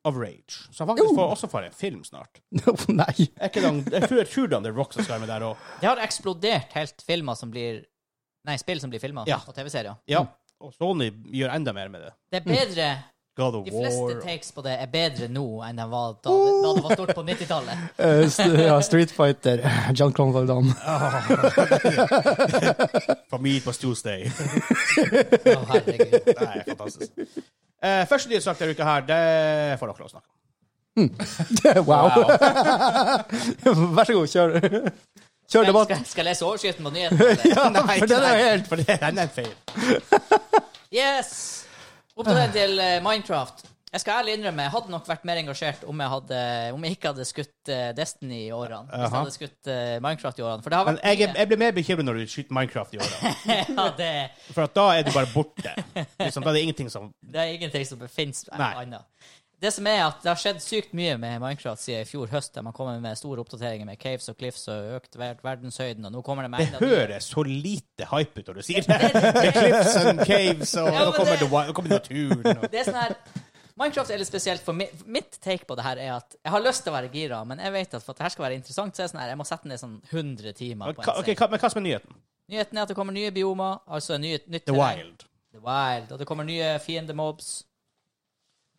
Speaker 2: of Rage. Som faktisk får, også får en film snart.
Speaker 1: Nei.
Speaker 2: Er ikke den, jeg tror jeg tror den The Rock som skal med der òg.
Speaker 3: Det har eksplodert helt filmer som blir Nei, spill som blir filma,
Speaker 2: Ja.
Speaker 3: og TV-serier.
Speaker 2: Ja. Og Sony gjør enda mer med det.
Speaker 3: Det er bedre
Speaker 2: God of
Speaker 3: De
Speaker 2: War
Speaker 3: fleste takes på det er bedre nå enn de var da, da det var stort på 90-tallet.
Speaker 1: Eh, st- ja, Street Fighter. John Clonvald Damme.
Speaker 2: For me it was Tuesday.
Speaker 3: Å, herregud.
Speaker 2: Nei, fantastisk. Eh, første nyhetssak denne uka her, det får dere lov å snakke om.
Speaker 1: wow. Vær så god, kjør. Kjør
Speaker 3: Skal,
Speaker 1: debatt.
Speaker 3: skal, skal jeg lese overskriften på nyhetene?
Speaker 1: Ja, for den er jo helt
Speaker 2: For det den er en feil.
Speaker 3: Yes! Oppdatering til eh, Minecraft. Jeg skal ærlig innrømme, jeg hadde nok vært mer engasjert om jeg, hadde, om jeg ikke hadde skutt eh, Destiny i årene. Hvis jeg
Speaker 2: Aha.
Speaker 3: hadde skutt eh, Minecraft i årene. For det har
Speaker 2: Men
Speaker 3: vært
Speaker 2: jeg, jeg blir mer bekymret når du skyter Minecraft i åra.
Speaker 3: ja, det,
Speaker 2: For at da er du bare borte. Liksom, da er det ingenting som
Speaker 3: det er ingenting som befinnes
Speaker 2: Nei.
Speaker 3: annet. Det som er at det har skjedd sykt mye med Minecraft siden i fjor høst, der man kommer med store oppdateringer med caves og cliffs og økt ver verdenshøyden, og nå kommer det med
Speaker 2: Det
Speaker 3: enda nye-
Speaker 2: høres så lite hype ut når du sier det. Med cliffs and caves, og
Speaker 3: Ja,
Speaker 2: nå
Speaker 3: men
Speaker 2: kommer,
Speaker 3: det-
Speaker 2: the wi- nå kommer naturen. Og...
Speaker 3: Det er sånn her Minecraft er litt spesielt, for mi, mitt take på det her er at jeg har lyst til å være gira, men jeg vet at for at det her skal være interessant, så er det sånn her, jeg må sette ned sånn 100 timer
Speaker 2: Men
Speaker 3: på
Speaker 2: hva-
Speaker 3: en
Speaker 2: ok,
Speaker 3: seng.
Speaker 2: hva- men hva som er nyheten?
Speaker 3: Nyheten er at det kommer nye biomer, altså nye, nytt
Speaker 2: The
Speaker 3: terreng.
Speaker 2: Wild.
Speaker 3: The Wild. Og det kommer nye fiendemobs.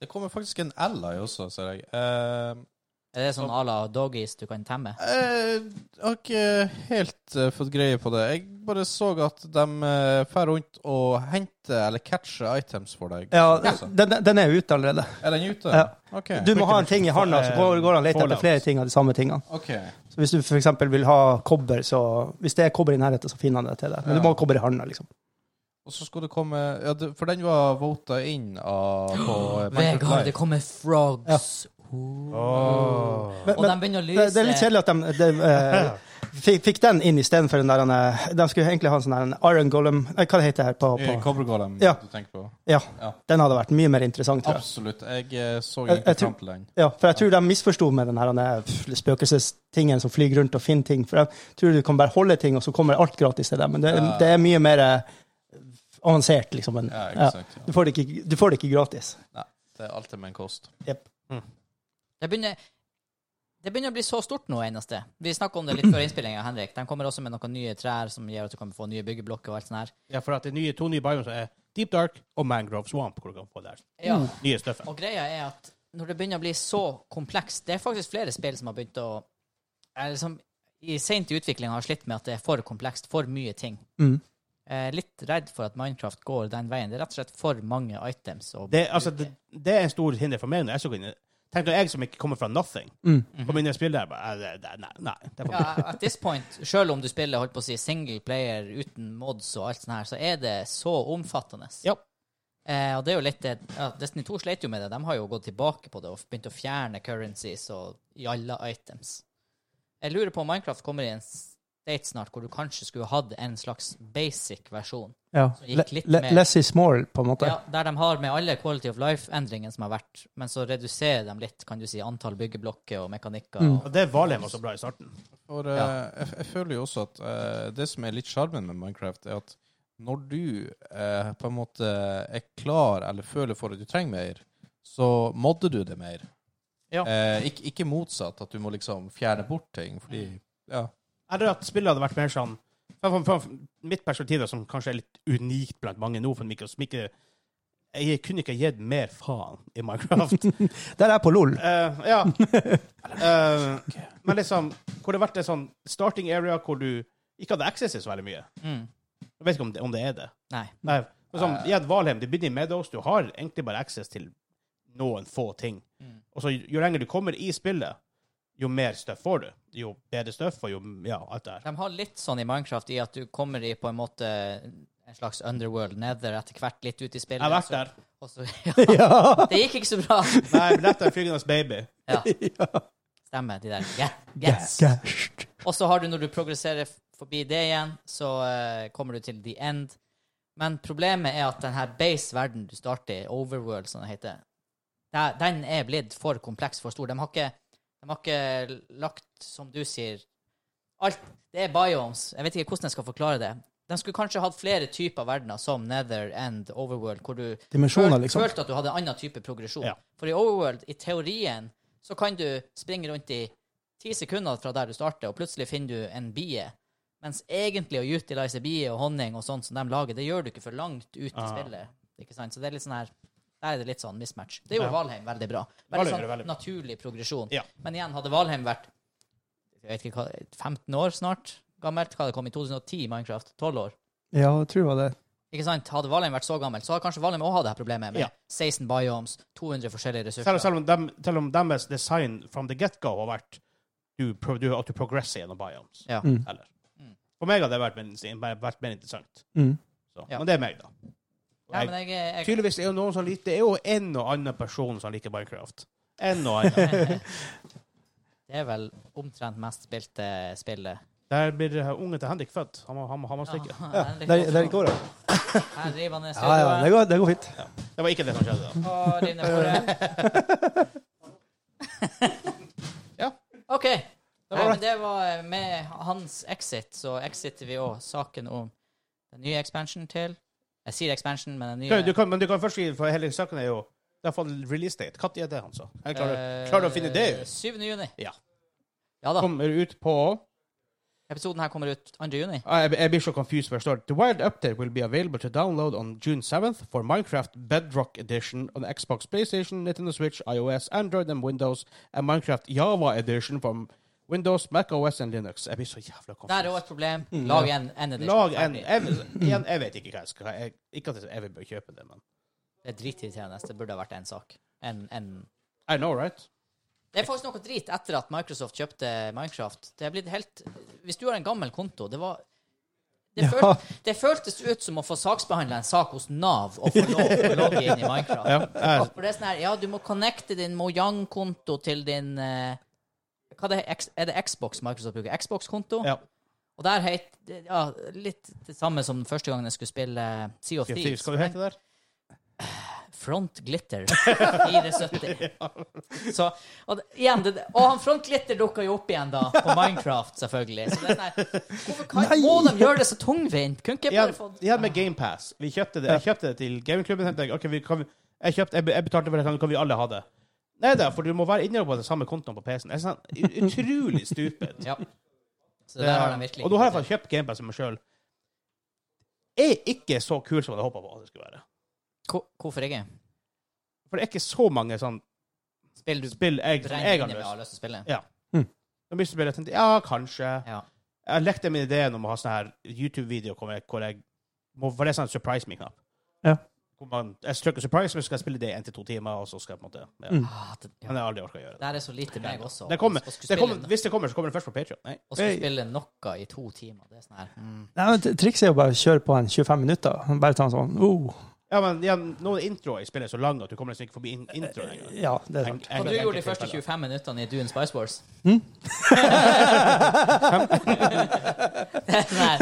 Speaker 4: Det kommer faktisk en Ally også, ser jeg. Eh,
Speaker 3: Er det sånn à la doggies du kan temme?
Speaker 4: eh, jeg har ikke helt eh, fått greie på det. Jeg bare så at de eh, fer rundt og henter eller catcher items for deg.
Speaker 1: Ja,
Speaker 4: Altså.
Speaker 1: den, den- den er jo ute allerede.
Speaker 4: Er den ute?
Speaker 1: Ja.
Speaker 4: OK.
Speaker 1: Du må ha en ting i handa, så går går han og leter
Speaker 2: Fallout.
Speaker 1: etter flere ting av de samme tingene.
Speaker 4: OK.
Speaker 1: Så hvis du f.eks. vil ha kobber, så Hvis det er kobber i nærheten, så finner han det til deg. Men du må ha kobber i handa, liksom.
Speaker 4: Og så skulle det komme ja, det, For den var vota inn av på eh, Minecraft
Speaker 3: Vegard,
Speaker 4: Live.
Speaker 3: det kommer frogs.
Speaker 2: Åh.
Speaker 1: Men,
Speaker 3: Og
Speaker 1: men
Speaker 3: de begynner å
Speaker 1: det,
Speaker 3: lyse.
Speaker 1: det er litt kjedelig at de, de eh, fikk, fikk den inn istedenfor den der han, eh, De skulle egentlig ha en sånn der en Iron Golem Nei, hva det heter det her på,
Speaker 4: Eh,
Speaker 1: på
Speaker 4: Cobra Golem
Speaker 1: Ja.
Speaker 4: du tenker på?
Speaker 1: Ja.
Speaker 4: Ja.
Speaker 1: Den hadde vært mye mer interessant, tror jeg.
Speaker 4: Absolutt. Jeg eh, så
Speaker 1: Jeg- jeg
Speaker 4: ikke
Speaker 1: tror-
Speaker 4: fram til den.
Speaker 1: Ja, for jeg tror de misforsto med den her han er, pff, spøkelsestingen som flyr rundt og finner ting. For jeg tror du kan bare holde ting, og så kommer alt gratis til deg. Men det,
Speaker 4: Ja.
Speaker 1: det er mye mer eh, avansert, liksom. enn-
Speaker 4: Ja,
Speaker 1: ja.
Speaker 4: ikke sant.
Speaker 1: Du
Speaker 4: Ja.
Speaker 1: får det ikke, du får det ikke gratis.
Speaker 4: Det er alltid med en kost.
Speaker 1: Jep.
Speaker 3: Det begynner, det begynner å bli så stort nå eneste. Vi snakka om det litt før innspillinga, Henrik. De kommer også med noen nye trær som gjør at du kan få nye byggeblokker og alt sånt her.
Speaker 2: Ja, for at det er nye, to nye biomes er Deep Dark og Mangrove Swamp. Hvor du kan få det her.
Speaker 1: Mm.
Speaker 3: Ja.
Speaker 2: Nye støffet.
Speaker 3: Og greia er at når det begynner å bli så komplekst Det er faktisk flere spill som har begynt å er liksom, i Sent i utviklinga har slitt med at det er for komplekst, for mye ting.
Speaker 1: Mm.
Speaker 3: Jeg er litt redd for at Minecraft går den veien. Det er rett og slett for mange items. å
Speaker 2: Det, altså,
Speaker 3: bruke.
Speaker 2: det, det er en stor hinder for meg. når jeg så inn i- Tenk når jeg som ikke kommer fra nothing,
Speaker 1: Mm.
Speaker 2: kommer inn i spillet der bare, eh, det- det- Nei. nei det er for
Speaker 3: Ja, at this point, sjøl om du spiller holdt på å si single player uten mods og alt sånt her, så er det så omfattende.
Speaker 2: Ja.
Speaker 3: Eh, og det er jo litt det ja, Destiny 2 sleit jo med det. De har jo gått tilbake på det og begynt å fjerne currencies og i alle items. Jeg lurer på om Minecraft kommer i en state snart hvor du kanskje skulle hatt en slags basic versjon.
Speaker 1: Ja.
Speaker 3: gikk
Speaker 1: Le,
Speaker 3: litt
Speaker 1: le,
Speaker 3: mer-
Speaker 1: less is more, på en måte.
Speaker 3: Ja, der de har med alle quality of life-endringene som har vært, men så reduserer de litt, kan du si, antall byggeblokker og mekanikker.
Speaker 2: Og
Speaker 3: Og,
Speaker 2: det Valheim var så bra i starten.
Speaker 4: For eh, jeg, jeg føler jo også at eh, det som er litt sjarmen med Minecraft, er at når du eh, på en måte er klar eller føler for at du trenger mer, så modder du det mer.
Speaker 3: Ja.
Speaker 4: Eh, ikke, ikke motsatt, at du må liksom fjerne bort ting, fordi ja.
Speaker 2: Eller at spillet hadde vært mer sånn fra, fra, fra mitt perspektiv, da, som kanskje er litt unikt blant mange nå, for de ikke, som ikke Jeg kunne ikke gitt mer faen i Minecraft.
Speaker 1: Der er jeg på LOL.
Speaker 2: Eh, ja. Eh, men liksom, hvor det har vært en sånn starting area hvor du ikke hadde access til så veldig mye.
Speaker 3: mm,
Speaker 2: Jeg vet ikke om det, om det er det.
Speaker 3: nei.
Speaker 2: Nei, men sånn,
Speaker 3: Eh.
Speaker 2: I et Valheim, du begynner i Meadows, du har egentlig bare access til noen få ting.
Speaker 3: Mm.
Speaker 2: Og så jo lenger du kommer i spillet, jo mer støff får du. Jo bedre støff, og jo Ja, alt det der.
Speaker 3: De har litt sånn i Minecraft i at du kommer i på en måte en slags underworld nether etter hvert litt ut i spillet.
Speaker 2: Jeg har vært der.
Speaker 3: Og så, og så, ja. Det gikk ikke så bra.
Speaker 2: Nei, men dette er Flygendes baby.
Speaker 3: Ja. Stemmer, de der. Yeah. Yes.
Speaker 1: Gashed.
Speaker 3: Og så har du, når du progresserer f- forbi det igjen, så eh, kommer du til the end. Men problemet er at den her base-verden du starter i, overworld, som det heter, der, den er blitt for kompleks, for stor. De har ikke, de har ikke lagt, som du sier Alt Det er biomes. Jeg vet ikke hvordan jeg skal forklare det. De skulle kanskje hatt flere typer verdener, som Nether and Overworld, hvor du
Speaker 1: Dimensjoner,
Speaker 3: føl-
Speaker 1: liksom.
Speaker 3: følte at du hadde en annen type progresjon.
Speaker 2: Ja.
Speaker 3: For i Overworld, i teorien, så kan du springe rundt i ti sekunder fra der du starter, og plutselig finner du en bie. Mens egentlig å utilize bie og honning og sånt som de lager, det gjør du ikke for langt ut i
Speaker 2: Ah.
Speaker 3: spillet. Ikke sant? Så det er litt sånn her der er det litt sånn mismatch. Det gjorde
Speaker 2: Ja.
Speaker 3: Valheim veldig bra. Veldig
Speaker 2: Valheim
Speaker 3: sånn
Speaker 2: gjorde veldig bra.
Speaker 3: naturlig progresjon.
Speaker 2: Ja.
Speaker 3: Men igjen, hadde Valheim vært jeg vet ikke hva, 15 år snart gammelt, hva det kom i 2010 Minecraft, 12 år,
Speaker 1: Ja, jeg tror det var det.
Speaker 3: ikke sant? Hadde Valheim vært så gammelt, så hadde kanskje Valheim også hatt det her problemet med
Speaker 2: Ja.
Speaker 3: 16 biomes, 200 forskjellige
Speaker 2: Selv,
Speaker 3: ressurser.
Speaker 2: selv, om dem, selv om deres design from the get-go har vært du, pro- du, at du progresser gjennom biomes.
Speaker 3: Ja.
Speaker 1: Mm.
Speaker 2: Eller.
Speaker 3: Mm.
Speaker 2: For meg hadde det vært mer, vært mer interessant.
Speaker 1: Mm.
Speaker 2: Så.
Speaker 3: Ja.
Speaker 2: Men det er meg, da. Og
Speaker 3: Ja,
Speaker 2: jeg-
Speaker 3: men jeg, jeg,
Speaker 2: Tydeligvis er jo noen som liker Det er jo en og annen person som liker Minecraft. En og annen.
Speaker 3: Det er vel omtrent mest spilte spillet
Speaker 2: Der blir eh, ungen til Henrik født. Han må, han må, han må stikke.
Speaker 3: Ja,
Speaker 1: Ja,
Speaker 3: Henrik
Speaker 1: der, der
Speaker 3: Hofstad.
Speaker 1: går det.
Speaker 3: Her river han ned
Speaker 1: Ja, ja, det
Speaker 3: studioet
Speaker 1: går, det går fint.
Speaker 2: Det var ikke det som skjedde. da.
Speaker 3: og river ned bordet.
Speaker 2: Ja.
Speaker 3: OK.
Speaker 2: Det
Speaker 3: Nei,
Speaker 2: var
Speaker 3: men det var eh, med hans exit, så exiter vi òg saken om den nye expansion til Jeg sier expansion, men den nye
Speaker 2: Du kan, men du kan først si, for hele saken er jo Det er faen release date. Når er det, han sa? Jeg klarer,
Speaker 3: eh,
Speaker 2: klarer du å finne det ut?
Speaker 3: 7. juni.
Speaker 2: Ja.
Speaker 3: Ja da.
Speaker 2: Kommer ut på
Speaker 3: Episoden her kommer ut 2. juni.
Speaker 2: Ah, Jeg jeg blir så confused. for jeg står. The Wild Update will be available to download on June 7th for Minecraft Bedrock Edition on Xbox, PlayStation, Nintendo Switch, iOS, Android and Windows, and Minecraft Java Edition from Windows, Mac OS and Linux. Jeg blir så jævla
Speaker 3: Der er
Speaker 2: confused.
Speaker 3: òg et problem. Lag en, en edition.
Speaker 2: Mm, Lag en jeg, igjen, jeg vet ikke hva jeg skal jeg, Ikke at jeg vil kjøpe det, men
Speaker 3: Det er dritirriterende. Det burde ha vært én sak. En, en.
Speaker 2: I know, right?
Speaker 3: Det er faktisk noe drit etter at Microsoft kjøpte Minecraft. Det er blitt helt Hvis du har en gammel konto Det var det,
Speaker 1: Ja.
Speaker 3: følt, det føltes ut som å få saksbehandla en sak hos Nav og få lov til å logge inn i Minecraft.
Speaker 2: Ja, jeg,
Speaker 3: For det er sånn her, ja, du må connecte din Mojang-konto til din eh, hva det, er, X- er det Xbox Microsoft bruker? Xbox-konto?
Speaker 2: ja.
Speaker 3: Og der het ja, litt det samme som den første gangen jeg skulle spille eh, Sea of Thieves.
Speaker 2: Skal du hete der?
Speaker 3: Front Glitter 470. Så, og, det- igjen, det, og han Front Glitter dukka jo opp igjen da, på Minecraft, selvfølgelig. Så det er sånn her, hvorfor kan, må de gjøre det så tungvint? Kunne ikke jeg
Speaker 2: Igjen,
Speaker 3: bare fått
Speaker 2: igjen med GamePass. Vi kjøpte det. Jeg kjøpte det til gamingklubben. tenkte Jeg, ok, vi kan, jeg, kjøpte, jeg, be- jeg betalte for det, sånn, kan, kan vi alle ha det? Nei da, for du må være inne på den samme kontoen på PC-en. Det er sånn ut- utrolig stupid.
Speaker 3: Ja. Så der har de virkelig
Speaker 2: og nå har jeg faktisk kjøpt GamePass til meg sjøl. Er ikke så kul som jeg hadde håpa på at det skulle være.
Speaker 3: Hvor- Hvorfor ikke?
Speaker 2: For det er ikke så mange sånn
Speaker 3: Spill du
Speaker 2: spill jeg, som jeg
Speaker 3: brenner
Speaker 2: har
Speaker 3: inne med
Speaker 2: lyst
Speaker 3: har lyst til å spille?
Speaker 2: Når jeg spiller, jeg tenkte ja, kanskje.
Speaker 3: Ja.
Speaker 2: Jeg lekte med ideen om å ha sånn her YouTube-video hvor jeg, hvor jeg må, For det er sånn surprise me-knapp.
Speaker 1: Ja.
Speaker 2: Hvor man, jeg trykker surprise, men så skal jeg spille det i én til to timer, og så skal jeg på en måte ja.
Speaker 1: Mm.
Speaker 3: Ah, det, ja.
Speaker 2: Men jeg har aldri orka å gjøre det.
Speaker 3: Der er så lite meg også.
Speaker 2: Det kommer-
Speaker 3: Å skulle
Speaker 2: det kommer,
Speaker 3: spille,
Speaker 2: hvis det kommer, så kommer det først på Patreon Nei.
Speaker 3: å skulle spille noe i to timer, det er sånn her mm.
Speaker 1: Nei, men t- Trikset er jo bare å kjøre på en 25 minutter. Bare ta en sånn oh.
Speaker 2: Ja, men igjen, noen introer i spillet er så lange at du kommer nesten ikke forbi in introen engang.
Speaker 1: Ja, det er
Speaker 2: Eng-
Speaker 1: sant.
Speaker 3: Og
Speaker 2: eng-
Speaker 3: du gjorde de
Speaker 2: enkelte
Speaker 3: første
Speaker 2: tilfeller.
Speaker 3: 25 minuttene i Dune Spice Wars.
Speaker 1: Mm.
Speaker 3: Det er sånn her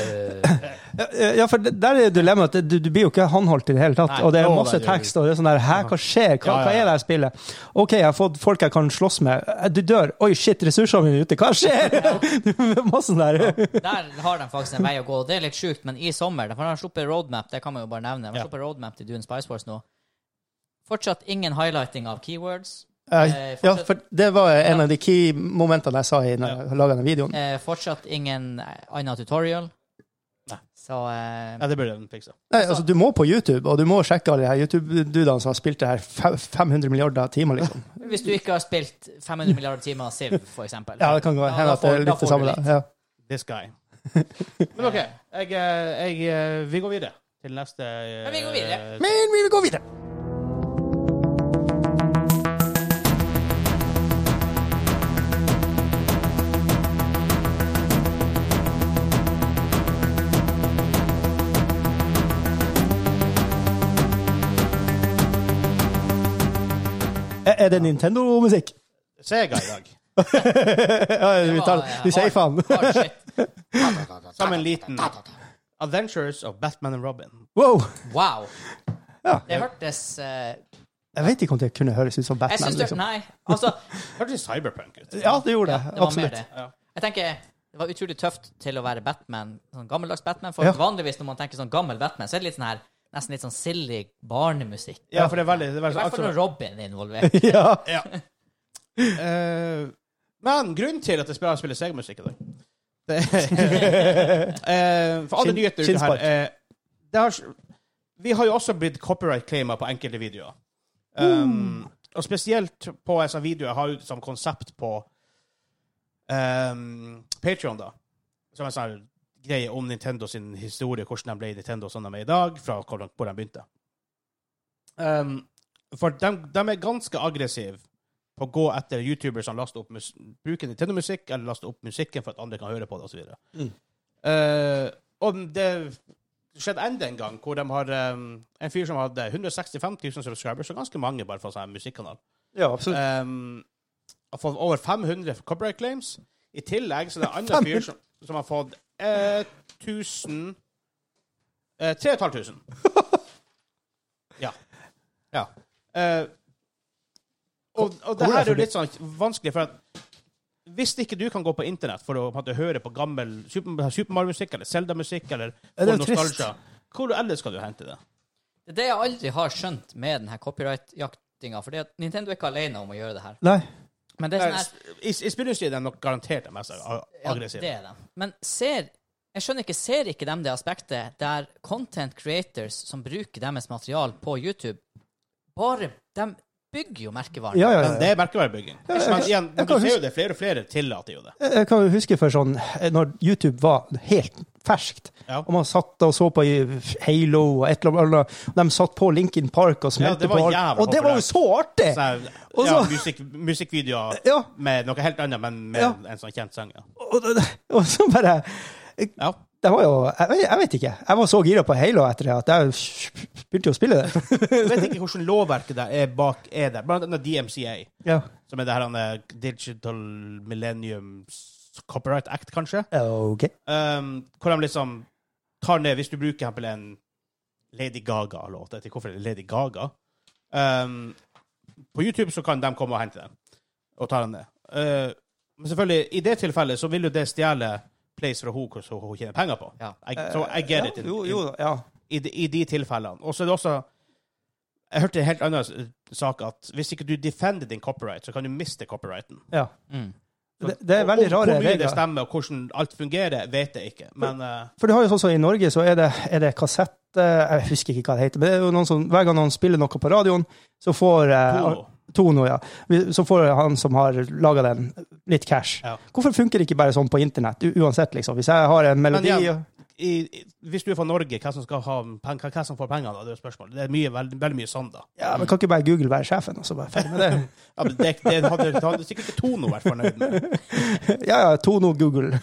Speaker 3: eh,
Speaker 1: Ja, for det- der er dilemmaet at du, du blir jo ikke håndholdt i det hele tatt.
Speaker 2: Nei.
Speaker 1: og det er
Speaker 2: Å,
Speaker 1: masse
Speaker 2: det er jo-
Speaker 1: tekst, og det er sånn der Hæ, hva skjer? Hva,
Speaker 2: Ja, ja,
Speaker 1: hva er det her spillet? OK, jeg har fått folk jeg kan slåss med. Eh, Du dør. Oi, shit, ressursene mine er ute. Hva skjer? masse sånn der.
Speaker 3: Der har de faktisk en vei å gå. Det er litt sjukt, men i sommer For de har sluppet roadmap, det kan man jo bare nevne. De
Speaker 2: Ja.
Speaker 3: har sluppet roadmap til Dune Spice Wars nå. Fortsatt ingen highlighting av keywords.
Speaker 1: Eh, Ja, for det var en av de key momentene jeg sa i når jeg laget den videoen.
Speaker 3: Eh, fortsatt ingen eh, annen tutorial.
Speaker 2: Nei.
Speaker 3: Så eh,
Speaker 2: Ja, det burde de fikse.
Speaker 1: Nei, altså Du må på YouTube, og du må sjekke alle de her YouTube-dudene som har spilt det her fe- 500 milliarder timer, liksom.
Speaker 3: Hvis du ikke har spilt 500 milliarder timer av Siv, for eksempel.
Speaker 1: Ja, det kan gå
Speaker 3: Ja,
Speaker 1: hende
Speaker 3: da
Speaker 1: at det
Speaker 3: får-
Speaker 1: er
Speaker 3: da
Speaker 1: litt det
Speaker 3: får du
Speaker 1: samme.
Speaker 3: litt.
Speaker 1: Da. Ja.
Speaker 2: This guy. Men OK, jeg, eh, jeg, eh, vi går videre til neste eh,
Speaker 3: Ja, vi går videre.
Speaker 1: Men vi vil gå videre. Er- Er det Nintendo-musikk?
Speaker 2: Sega i dag.
Speaker 1: ja, vi, tar, vi sier faen.
Speaker 3: Hard shit.
Speaker 2: Som en liten Adventures of Batman and Robin.
Speaker 1: Wow!
Speaker 3: Wow.
Speaker 1: Ja.
Speaker 3: Det hørtes eh,
Speaker 1: Jeg vet ikke om det kunne høres ut som
Speaker 3: Jeg
Speaker 1: Batman.
Speaker 3: syns det
Speaker 1: Liksom.
Speaker 3: Nei, altså.
Speaker 2: Hørtes litt cyberpunk ut.
Speaker 1: Ja, det gjorde det.
Speaker 3: Det var mer
Speaker 1: Absolutt.
Speaker 3: det.
Speaker 2: Ja.
Speaker 3: Jeg tenker det var utrolig tøft til å være Batman, sånn gammeldags Batman. For
Speaker 1: Ja.
Speaker 3: vanligvis når man tenker sånn gammel Batman, så er det litt sånn her nesten litt sånn silly barnemusikk.
Speaker 2: Ja, for det er veldig, det er
Speaker 3: I
Speaker 2: veldig
Speaker 3: hvert fall når Robin er involvert.
Speaker 1: Ja.
Speaker 2: Ja. Eh, men grunnen til at jeg spiller, spiller Sega-musikk i dag det, Eh, For alle
Speaker 1: Skinn-
Speaker 2: nyheter ute her
Speaker 1: skinnspark.
Speaker 2: eh, det har, Vi har jo også blitt copyright-claima på enkelte videoer. Um, Og spesielt på en sånn video jeg har ut som konsept på um, Patreon, da. Som en sånn greie om Nintendo sin historie, hvordan de ble Nintendo sånn de er i dag, fra hvor de, hvor de begynte. Um, for de, de er ganske aggressive på å gå etter youtubere som laster opp mus bruker Nintendo-musikk, eller laster opp musikken for at andre kan høre på det, osv.
Speaker 1: Mm.
Speaker 2: Eh, og det skjedde enda en gang, hvor de har um, en fyr som hadde 165 000 subscribers, så ganske mange bare fra sånn her musikkanal.
Speaker 1: ja, absolutt.
Speaker 2: Um, har fått over 500 copyright claims. I tillegg så er det en annen fyr som, som har fått eh, 1000 eh, 3500. Ja. Ja. Eh, og, og det
Speaker 1: Hvor er
Speaker 2: her er jo
Speaker 1: det?
Speaker 2: litt sånn vanskelig, for at hvis ikke du kan gå på internett for å på en måte, høre på gammel Super, Super Mario-musikk eller Zelda-musikk eller
Speaker 1: Ja, det er
Speaker 2: få
Speaker 1: jo
Speaker 2: nostalgia, hvor ellers skal du hente det?
Speaker 3: Det er det jeg aldri har skjønt med denne copyright-jaktinga, for Nintendo er ikke alene om å gjøre det her.
Speaker 1: Nei.
Speaker 3: Men det er sånn her
Speaker 2: I, i spillindustrien er de nok garantert de mest ag-
Speaker 3: Ja,
Speaker 2: aggressive.
Speaker 3: det er de. Men ser jeg skjønner ikke, ser ikke de det aspektet der content creators som bruker deres materiale på YouTube, bare De bygger jo merkevaren.
Speaker 1: Ja, ja,
Speaker 2: Men
Speaker 1: ja.
Speaker 2: det er merkevarebygging.
Speaker 1: jeg
Speaker 2: Men
Speaker 1: kan-
Speaker 2: igjen, du
Speaker 1: jeg kan
Speaker 2: ser jo
Speaker 1: huske-
Speaker 2: det, flere og flere tillater jo det.
Speaker 1: Jeg Eh, kan jo huske for sånn Når YouTube var helt ferskt,
Speaker 2: Ja.
Speaker 1: og man satt og så på i Halo og et eller annet, og de satt på Linkin Park og
Speaker 2: Ja, det
Speaker 1: smelte
Speaker 2: var
Speaker 1: på
Speaker 2: jævla
Speaker 1: Og det var jo så artig!
Speaker 2: Sånn,
Speaker 1: Og
Speaker 2: ja,
Speaker 1: så-
Speaker 2: musikk, musikkvideoer
Speaker 1: Ja.
Speaker 2: med noe helt annet, men med
Speaker 1: Ja.
Speaker 2: en sånn kjent sang. Ja.
Speaker 1: Og, og så bare
Speaker 2: Ja.
Speaker 1: Det var jo Jeg, vet- jeg vet ikke. Jeg var så gira på Halo etter det at jeg begynte jo å spille det.
Speaker 2: Jeg vet ikke hvordan lovverket der er bak er der. Blant annet DMCA,
Speaker 1: Ja.
Speaker 2: som er det her han er Digital Millennium Copyright Act, kanskje.
Speaker 1: OK.
Speaker 2: Um, hvor de liksom tar ned Hvis du bruker for eksempel en Lady Gaga-låt Jeg vet ikke hvorfor det er Lady Gaga. Um, på YouTube så kan de komme og hente den og ta den ned. Uh, men selvfølgelig, i det tilfellet så vil jo det stjele Place fra henne som hun tjener penger på.
Speaker 3: Ja.
Speaker 2: I, so I get it. in-
Speaker 1: Eh, Jo,
Speaker 2: in-
Speaker 1: jo, ja.
Speaker 2: i, de- I de tilfellene. Og så er det også Jeg hørte en helt annen s- sak at hvis ikke du defender din copyright, så kan du miste copyrighten.
Speaker 1: ja.
Speaker 3: Mm.
Speaker 1: Det, det er veldig
Speaker 2: Og
Speaker 1: rare
Speaker 2: Hvor mye det
Speaker 1: regler.
Speaker 2: stemmer, og hvordan alt fungerer, vet jeg ikke. Men eh,
Speaker 1: For du har jo sånn som i Norge, så er det, er det kassett eh, Jeg husker ikke hva det heter, men det er jo noen som, hver gang noen spiller noe på radioen, så får eh,
Speaker 2: Tono.
Speaker 1: Tono, ja. Vi- Så får han som har laga den, litt cash.
Speaker 2: Ja.
Speaker 1: Hvorfor funker det ikke bare sånn på internett? u- Uansett, liksom. Hvis jeg har en melodi
Speaker 2: igjen, i, i, hvis du er fra Norge, hvem som, skal ha pen, hvem som får pengene? da? Det er jo spørsmålet. Det er mye, veldig, veldig mye sånn, da.
Speaker 1: ja, men Kan ikke bare Google være sjefen, og så bare ferdig med det?
Speaker 2: Ja, men det, det hadde, det hadde sikkert ikke Tono vært fornøyd med.
Speaker 1: Ja, ja, Tono, Google.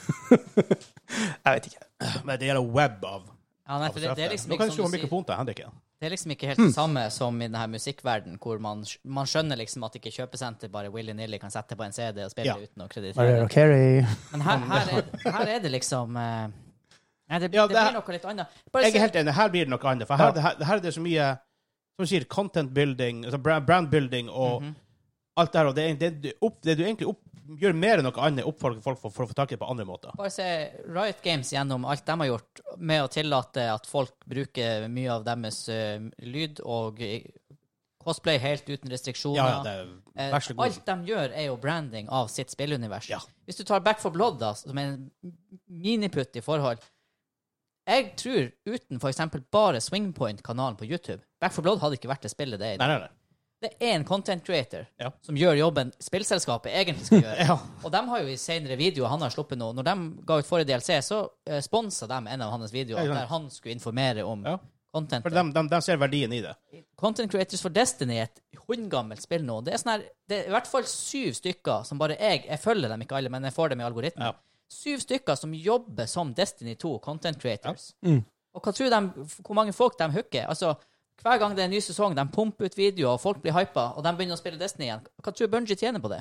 Speaker 1: jeg vet ikke.
Speaker 2: Men det gjelder web av
Speaker 3: Ja, nei,
Speaker 2: av
Speaker 3: for det, det, er liksom
Speaker 2: Nå kan
Speaker 3: ikke,
Speaker 2: du skru på
Speaker 3: som du sier,
Speaker 2: mikrofonen til Henrik. Ja.
Speaker 3: det er liksom ikke
Speaker 2: Hmm.
Speaker 3: helt det samme som i denne musikkverdenen, hvor man, sk- man skjønner liksom at ikke kjøpesenter bare willy-nilly kan sette på en CD og spille
Speaker 2: Ja.
Speaker 3: uten å kreditere.
Speaker 1: Mariah Carey.
Speaker 3: Men her, her, er, her er det liksom eh, Nei, det,
Speaker 2: Ja,
Speaker 3: det,
Speaker 2: det-
Speaker 3: blir noe litt annet. Bare
Speaker 2: Jeg
Speaker 3: se-
Speaker 2: er helt enig. Her blir det noe annet. For her,
Speaker 1: Ja.
Speaker 2: her, her er det så mye som du sier, content building, altså brand, brand building og
Speaker 3: Mhm.
Speaker 2: alt det her. Og det, er- det, du opp, det du egentlig opp, gjør mer enn noe annet, oppfordrer folk for, for å få tak i det på andre måter.
Speaker 3: Bare se Riot Games gjennom alt de har gjort med å tillate at folk bruker mye av deres eh, lyd og eh, cosplay helt uten restriksjoner.
Speaker 2: Ja, ja, det er,
Speaker 3: Eh,
Speaker 2: vær så god.
Speaker 3: Alt de gjør, er jo branding av sitt spillunivers.
Speaker 2: Ja.
Speaker 3: Hvis du tar Back for Blood, da, som er en miniputt i forhold Jeg tror uten f.eks. bare Swingpoint-kanalen på YouTube Back for Blood hadde ikke vært det spillet det er i dag.
Speaker 2: Nei, nei, nei.
Speaker 3: Det er en content creator
Speaker 2: Ja.
Speaker 3: som gjør jobben spillselskapet egentlig skal gjøre.
Speaker 2: Ja.
Speaker 3: Og de har jo i senere videoer han har sluppet nå, når de ga ut forrige DLC, så uh, sponsa de en av hans videoer
Speaker 2: Ja, ja.
Speaker 3: der han skulle informere om
Speaker 2: Ja.
Speaker 3: content.
Speaker 2: For de, de, de ser verdien i det.
Speaker 3: Content Creators for Destiny er et hundgammelt spill nå. Det er, sånn her, det er i hvert fall syv stykker som bare jeg Jeg følger dem ikke alle, men jeg får dem i algoritmen.
Speaker 2: Ja.
Speaker 3: Syv stykker som jobber som Destiny 2 Content Creators.
Speaker 2: Mm.
Speaker 3: Og hva tror de, hvor mange folk de hooker? Altså, hver gang det er en ny sesong, de pumper ut videoer, og folk blir hypa, og de begynner å spille Destiny igjen. Hva tror Bungie tjener på det?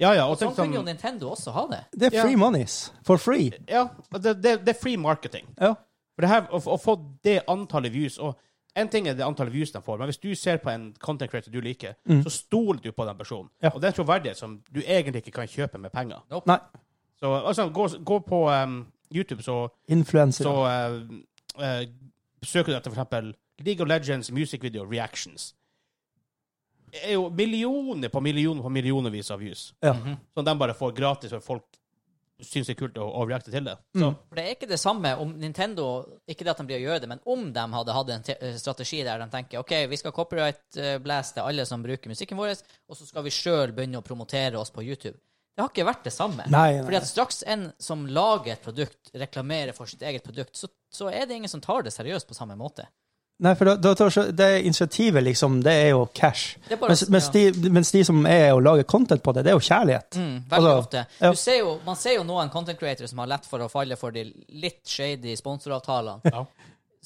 Speaker 2: Ja, ja, og
Speaker 3: Sånn
Speaker 2: tenk
Speaker 3: kunne jo
Speaker 2: sånn,
Speaker 3: Nintendo også ha det.
Speaker 1: Det er
Speaker 2: Ja.
Speaker 1: free monies. For free.
Speaker 2: ja, det, det, det er free marketing.
Speaker 1: Ja.
Speaker 2: For det her, å, å få det antallet views og En ting er det antallet views de får, men hvis du ser på en content creator du liker, så stoler du på den personen.
Speaker 1: Ja.
Speaker 2: Og det er troverdighet som du egentlig ikke kan kjøpe med penger.
Speaker 1: Nei.
Speaker 2: Så altså, gå, gå på um, YouTube, så,
Speaker 1: Influencer.
Speaker 2: så eh, eh, søker du etter for eksempel League of Legends music video reactions. Det er jo millioner på millioner på millionervis av views.
Speaker 1: Ja.
Speaker 2: Som de bare får gratis, og folk syns det er kult å, å reacte til det.
Speaker 1: Mm.
Speaker 2: Så,
Speaker 3: For det er ikke det samme om Nintendo Ikke det at de blir å gjøre det, men om de hadde hatt en te- eh, strategi der de tenker OK, vi skal copyright-blaste alle som bruker musikken vår, og så skal vi sjøl begynne å promotere oss på YouTube. Det har ikke vært det samme.
Speaker 1: Nei, nei.
Speaker 3: Fordi at straks en som lager et produkt, reklamerer for sitt eget produkt, så, så er det ingen som tar det seriøst på samme måte.
Speaker 1: Nei, for da, da tar, så- det initiativet, liksom, det er jo cash.
Speaker 3: Det er bare-
Speaker 1: mens, mens, de, mens de som er og lager content på det, det er jo kjærlighet.
Speaker 2: Mm.
Speaker 3: Veldig
Speaker 1: Altså,
Speaker 3: ofte.
Speaker 1: ja.
Speaker 3: Du ser jo, man ser jo noen content creators som har lett for å falle for de litt shady sponsoravtalene.
Speaker 2: ja.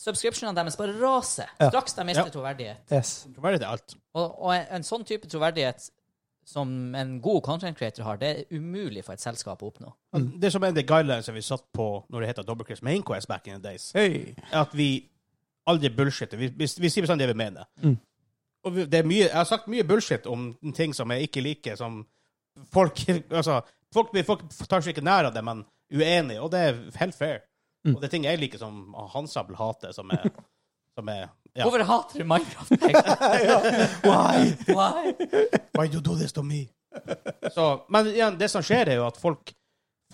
Speaker 3: Subscriptionene deres bare raser
Speaker 1: Ja.
Speaker 3: straks de
Speaker 2: Ja.
Speaker 3: mister troverdighet.
Speaker 1: Yes.
Speaker 2: Troverdighet er alt.
Speaker 3: Og, og en, en sånn type troverdighet som en god content creator har, det er umulig for et selskap å oppnå.
Speaker 1: Mm.
Speaker 2: Det som er en av de guidelinesene vi satt på når det heter Double Crisp Main Quest back in the days,
Speaker 1: Hei!
Speaker 2: er at vi aldri bullshitter. Vi, vi, vi sier bestandig det vi mener.
Speaker 1: Mm.
Speaker 2: Og vi, det er mye, jeg har sagt mye bullshit om ting som jeg ikke liker, som folk Altså, folk, blir- folk tar seg ikke nær av det, men uenige, og det er helt fair.
Speaker 1: Mm.
Speaker 2: Og det er ting jeg liker som Hansabel hater, som er, som er ja.
Speaker 3: Hvorfor hater du Minecraft?
Speaker 1: Why?
Speaker 3: Why?
Speaker 2: Why you do this to me? Så, men igjen, det som skjer, er jo at folk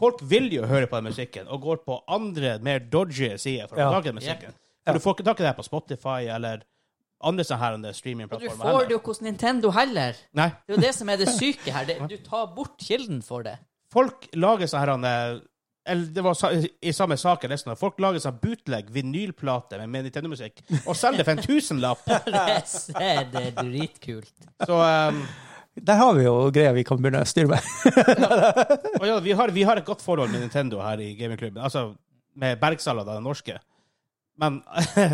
Speaker 2: Folk vil jo høre på den musikken, og går på andre, mer dodgy sider for å
Speaker 1: Ja.
Speaker 2: få tak i den musikken. For Du får ikke tak i det her på Spotify eller andre sånne her under
Speaker 3: Og du
Speaker 2: streamingplattformer.
Speaker 3: får
Speaker 2: heller.
Speaker 3: det jo hos Nintendo heller.
Speaker 2: Nei.
Speaker 3: Det er jo det som er det syke her. Det, du tar bort kilden for det.
Speaker 2: Folk lager sånne her han, eh, Eller det var sa- i samme sak jeg leste nå. Folk lager sånn bootleg vinylplate med- med Nintendo-musikk og selger det for en tusenlapp.
Speaker 3: Det ser det er dritkult.
Speaker 2: Så um,
Speaker 1: Der har vi jo greier vi kan begynne å styre med.
Speaker 2: Og ja, vi har, vi har et godt forhold med Nintendo her i gamingklubben. Altså med Bergsala, da, den norske. Men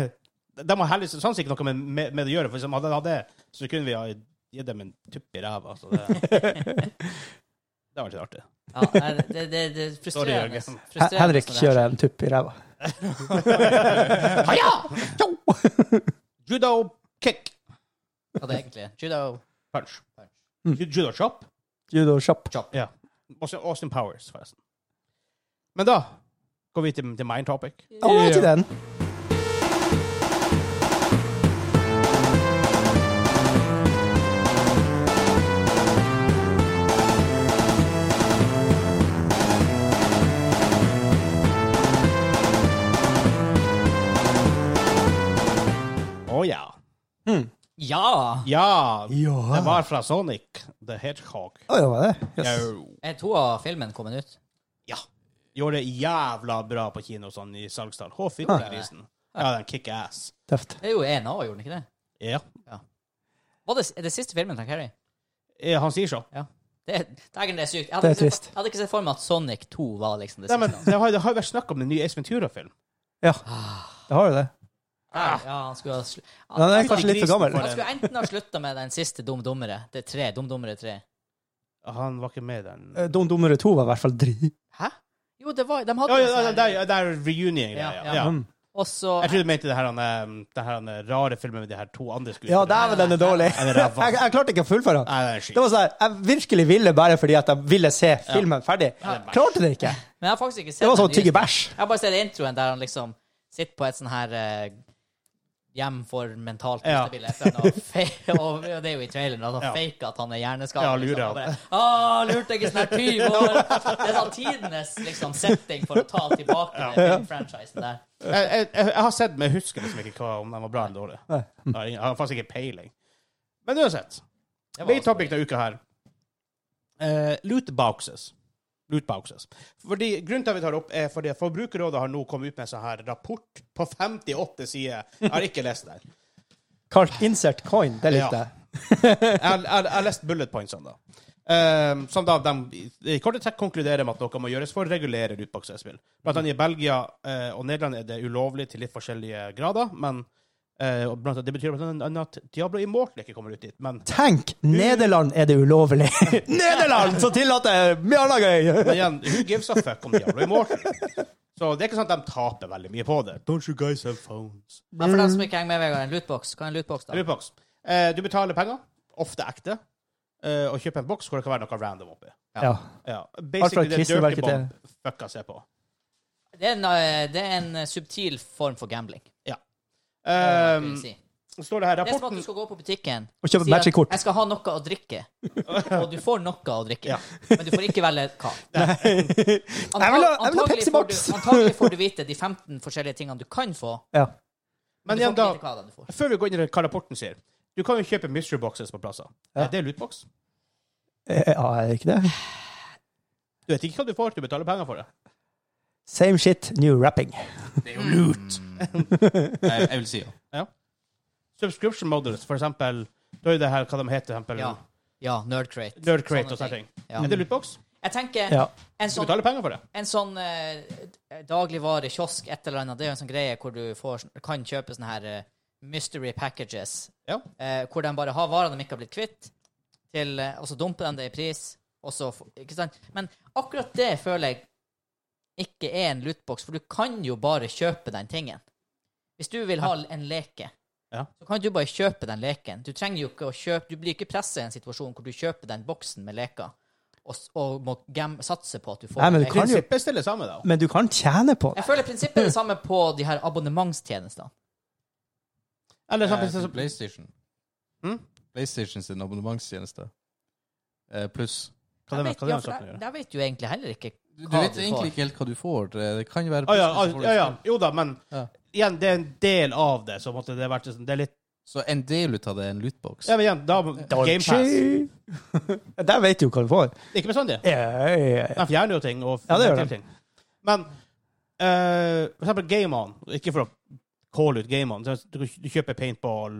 Speaker 2: de har heldigvis sannsynligvis ikke sånn noe med, med, med det å gjøre, for hvis de hadde hatt det, så kunne vi ha gitt dem en tupp i ræva. Så det, det var litt artig.
Speaker 3: Ja, nei, det, det, det er frustrerende.
Speaker 2: Jørgen.
Speaker 1: Hen-
Speaker 3: frustrerende
Speaker 1: Henrik
Speaker 3: sånn her.
Speaker 1: kjører en tupp i ræva.
Speaker 3: Haja!
Speaker 2: Judo kick
Speaker 3: Ja, det er egentlig judo.
Speaker 2: punch.
Speaker 3: Punch.
Speaker 2: Ju- Judo chop.
Speaker 1: Judo kjapp.
Speaker 2: Ja. Austin, Austin Powers, forresten. Men da går vi til, til main topic.
Speaker 1: Å, er ikke den?
Speaker 2: Å ja.
Speaker 3: Ja!
Speaker 2: Ja,
Speaker 1: Ja.
Speaker 2: det var fra Sonic the Hedgehog.
Speaker 1: Å, det var det? Yes.
Speaker 2: Yo.
Speaker 3: Er to av filmen kommet ut?
Speaker 2: Ja. Gjorde det jævla bra på kino sånn i salgstall. Å, fytti grisen. Ja, den kick ass.
Speaker 1: Tøft.
Speaker 3: Det er jo en av, gjorde den ikke det?
Speaker 2: Ja.
Speaker 3: Var det, er det siste filmen til Carrie?
Speaker 2: Eh, Han sier så.
Speaker 3: Ja. Det, er- dægen, det er sykt. Jeg
Speaker 1: Det
Speaker 3: hadde,
Speaker 1: er
Speaker 3: ikke sett,
Speaker 1: trist.
Speaker 3: jeg hadde ikke sett for meg at Sonic 2 var liksom det
Speaker 2: Nei, men
Speaker 3: siste.
Speaker 2: det har, det har jo vært snakk om en ny Ace Ventura-film.
Speaker 1: Ja, det har jo det.
Speaker 3: Der, ja, han skulle ha slu-
Speaker 1: Men den er
Speaker 3: han,
Speaker 1: kanskje litt for gammel.
Speaker 3: han skulle enten ha slutta med den siste Dum Dummere. Det er tre. Dum Dummere tre.
Speaker 2: Han var ikke med i den.
Speaker 1: Eh, Dum Dummere 2 var i hvert fall drit.
Speaker 3: Hæ? Jo, det var De
Speaker 2: Ja,
Speaker 3: hadde
Speaker 2: ja,
Speaker 3: en sånn
Speaker 2: ja,
Speaker 3: her-
Speaker 2: det er- det er reunion-greia.
Speaker 3: Ja,
Speaker 2: Ja,
Speaker 3: ja.
Speaker 2: ja.
Speaker 1: Mm.
Speaker 3: Og så
Speaker 2: Jeg trodde du mente det her, han, eh, det her han, eh, rare filmen med de her to andre
Speaker 1: Ja,
Speaker 2: skuespillerne.
Speaker 1: dæven, den er dårlig.
Speaker 2: Ja, det er ræva.
Speaker 1: Jeg, jeg klarte ikke å fullføre den.
Speaker 2: Nei, det er skit.
Speaker 1: Det var sånn, her, Jeg virkelig ville bare fordi at jeg ville se filmen ferdig. Klarte det ikke.
Speaker 3: Men jeg har faktisk ikke sett
Speaker 1: Det var
Speaker 3: den
Speaker 1: sånn tygge
Speaker 3: nyeste.
Speaker 1: bæsj.
Speaker 3: Jeg har bare sett introen der han liksom sitter på et sånn her eh, hjem for mentalt
Speaker 2: Ja.
Speaker 3: ustabile FN, og, fe- og og det er jo i traileren, at han
Speaker 2: Ja.
Speaker 3: faker at han er hjerneskadet.
Speaker 2: Ja, lurer
Speaker 3: liksom, og bare, Å, lurte jeg i sånn her 20 år! Det er sånn tidenes liksom, setting for å ta tilbake den filmfranchisen der.
Speaker 2: jeg, jeg, jeg jeg har sett, men jeg husker liksom ikke hva, om den var bra eller dårlig. Jeg har ingen- jeg har faktisk ikke peiling. Men uansett.
Speaker 3: Det var
Speaker 2: Main
Speaker 3: også
Speaker 2: topic denne uka her. Eh, loot boxes. Loot boxes. Fordi, grunnen til at vi tar det opp, er fordi Forbrukerrådet har nå kommet ut med en sånn her rapport på 58 sider. Jeg har ikke lest den.
Speaker 1: Kalt insert coin. Det likte
Speaker 2: Ja.
Speaker 1: jeg.
Speaker 2: Jeg har- jeg har jeg har lest bullet pointsene, da. Eh, som da de i korte trekk konkluderer med at noe må gjøres for å regulere lootbox-spill. Blant annet i Belgia eh, og Nederland er det ulovlig til litt forskjellige grader, men eh, og blant annet, Det betyr blant annet at Diablo Immortal ikke kommer ut dit, men
Speaker 1: Tenk! Nederland er det ulovlig. Nederland som tillater mye gøy!
Speaker 2: Men igjen, who gives a fuck om Diablo Immortal? Så det er ikke sånn at de taper veldig mye på det. Don't you guys have phones?
Speaker 3: Men for dem som ikke henger med, Vegard, en lootbox. Hva er en lootbox, da?
Speaker 2: Lootbox. Eh, du betaler penger, ofte ekte, eh, og kjøper en boks hvor det kan være noe random oppi.
Speaker 1: Ja.
Speaker 2: Ja.
Speaker 1: Alt fra
Speaker 2: Basically, det er
Speaker 1: klistermerke
Speaker 2: Dirty
Speaker 1: til-
Speaker 2: Bomb fucka seg på.
Speaker 3: Det er en, eh, det er en subtil form for gambling.
Speaker 2: Eh,
Speaker 3: vil jeg si.
Speaker 2: står det her
Speaker 3: Det er som at
Speaker 2: rapporten
Speaker 3: du skal gå på butikken
Speaker 1: Og kjøpe
Speaker 3: si at
Speaker 1: matchekort.
Speaker 3: 'Jeg skal ha noe å drikke', og du får noe å drikke,
Speaker 2: Ja.
Speaker 3: men du får ikke velge hva.
Speaker 1: Jeg vil ha- jeg vil ha
Speaker 3: Antagelig
Speaker 1: Pepsi
Speaker 3: får du-
Speaker 1: Max.
Speaker 3: Antagelig får du vite de 15 forskjellige tingene du kan få,
Speaker 1: Ja.
Speaker 3: men
Speaker 2: Men
Speaker 3: du får
Speaker 2: igjen,
Speaker 3: ikke
Speaker 2: da,
Speaker 3: vite hva da du får.
Speaker 2: før vi går inn i hva rapporten sier Du kan jo kjøpe mystery boxes på plasser.
Speaker 1: Ja.
Speaker 2: Er det lootbox?
Speaker 1: Eh, ja, er det ikke det?
Speaker 2: Du vet ikke hva du får, du betaler penger for det.
Speaker 1: Same shit, new rapping.
Speaker 4: Det er jo lurt. jeg, jeg vil si ja.
Speaker 2: Subscription models, for eksempel. Da er det her hva de heter, for eksempel.
Speaker 3: Ja. ja Nerdcrate.
Speaker 2: Nerd Crate
Speaker 3: Sånne
Speaker 2: og sånne ting.
Speaker 3: Ja.
Speaker 2: Er det lootbox?
Speaker 3: Jeg tenker
Speaker 1: Ja.
Speaker 3: en
Speaker 2: Du
Speaker 3: sånn,
Speaker 2: betaler penger for det.
Speaker 3: en sånn eh, dagligvarekiosk, et eller annet, det er jo en sånn greie hvor du får, sånn- kan kjøpe sånne her eh, mystery packages,
Speaker 2: Ja.
Speaker 3: eh, hvor de bare har varer de ikke har blitt kvitt, til eh, Og så dumper de det i pris, og så f- Ikke sant? Men akkurat det føler jeg ikke er en lootbox, for du kan jo bare kjøpe den tingen. Hvis du vil ha en leke,
Speaker 2: Ja.
Speaker 3: så kan du bare kjøpe den leken. Du trenger jo ikke å kjøpe Du blir ikke pressa i en situasjon hvor du kjøper den boksen med leker, og, s- og må gam, satse på at du får
Speaker 1: Nei, men
Speaker 3: den
Speaker 1: du
Speaker 3: leken.
Speaker 1: Kan jo-
Speaker 2: Prinsippet er det samme, da.
Speaker 1: Men du kan tjene på det.
Speaker 3: Jeg føler prinsippet er det samme på de her abonnementstjenestene.
Speaker 2: Eller
Speaker 4: Eh,
Speaker 2: sånn,
Speaker 4: til
Speaker 2: prinsippet-
Speaker 4: PlayStation.
Speaker 2: Hm?
Speaker 4: PlayStation sin abonnementstjeneste. Eh, Pluss.
Speaker 2: Hva det
Speaker 3: Jeg
Speaker 2: med-
Speaker 3: vet-
Speaker 2: hva det
Speaker 3: ja,
Speaker 2: med
Speaker 3: for
Speaker 2: saken å
Speaker 3: der-
Speaker 2: gjøre?
Speaker 3: Der vet du jo egentlig heller ikke
Speaker 4: Du,
Speaker 3: Hva
Speaker 4: vet
Speaker 3: du får.
Speaker 4: egentlig ikke helt hva du får. Det, det kan jo være
Speaker 2: Å Ah, ja,
Speaker 4: plutselig så får du
Speaker 2: ja, ja.
Speaker 4: et spill.
Speaker 2: Jo da, men
Speaker 4: Ja.
Speaker 2: igjen, det er en del av det. Så måtte det vært sånn, det er litt
Speaker 4: Så en del ut av det er en lootbox.
Speaker 2: Ja, men igjen, da GamePass.
Speaker 1: Der vet du hva du får.
Speaker 2: Ikke bestandig.
Speaker 1: Ja, ja, ja.
Speaker 2: De fjerner jo ting. Og
Speaker 1: Ja, det gjør de.
Speaker 2: ting. Men eh, for eksempel GameOn, ikke for å calle ut GameOn, så du, du kjøper paintball,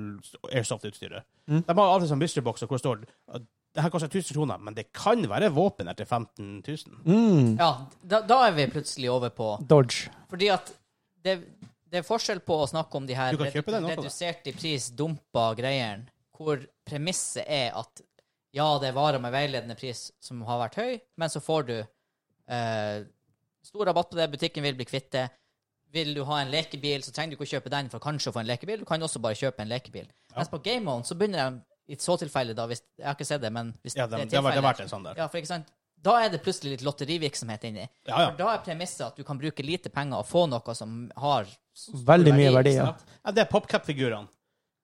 Speaker 2: airsoft-utstyret.
Speaker 1: Mm.
Speaker 2: De har alltid sånn mysteryboxer hvor det står at det her koster 1000 kroner, men det kan være våpen her til 15 000.
Speaker 1: Mm.
Speaker 3: Ja, da, da er vi plutselig over på
Speaker 1: Dodge.
Speaker 3: Fordi at det, det er forskjell på å snakke om de her
Speaker 2: Du kan kjøpe den også, da.
Speaker 3: redusert i pris, dumpa greiene, hvor premisset er at ja, det er varer med veiledende pris som har vært høy, men så får du eh, stor rabatt på det, butikken vil bli kvitt det. Vil du ha en lekebil, så trenger du ikke å kjøpe den for kanskje å få en lekebil. Du kan også bare kjøpe en lekebil. Mens på GameOn så begynner de i så tilfelle, da, hvis Jeg har ikke sett det, men hvis
Speaker 2: Ja,
Speaker 3: det
Speaker 2: de,
Speaker 3: er
Speaker 2: det har vært- det har
Speaker 3: tilfelle
Speaker 2: vært en sånn der.
Speaker 3: Ja, for ikke sant? Da er det plutselig litt lotterivirksomhet inni.
Speaker 2: Ja, ja.
Speaker 3: For da er premisset at du kan bruke lite penger og få noe som har s- stor
Speaker 1: Veldig mye
Speaker 3: ikke
Speaker 1: verdi, ja.
Speaker 3: sant?
Speaker 2: Ja, det er PopCap-figurene.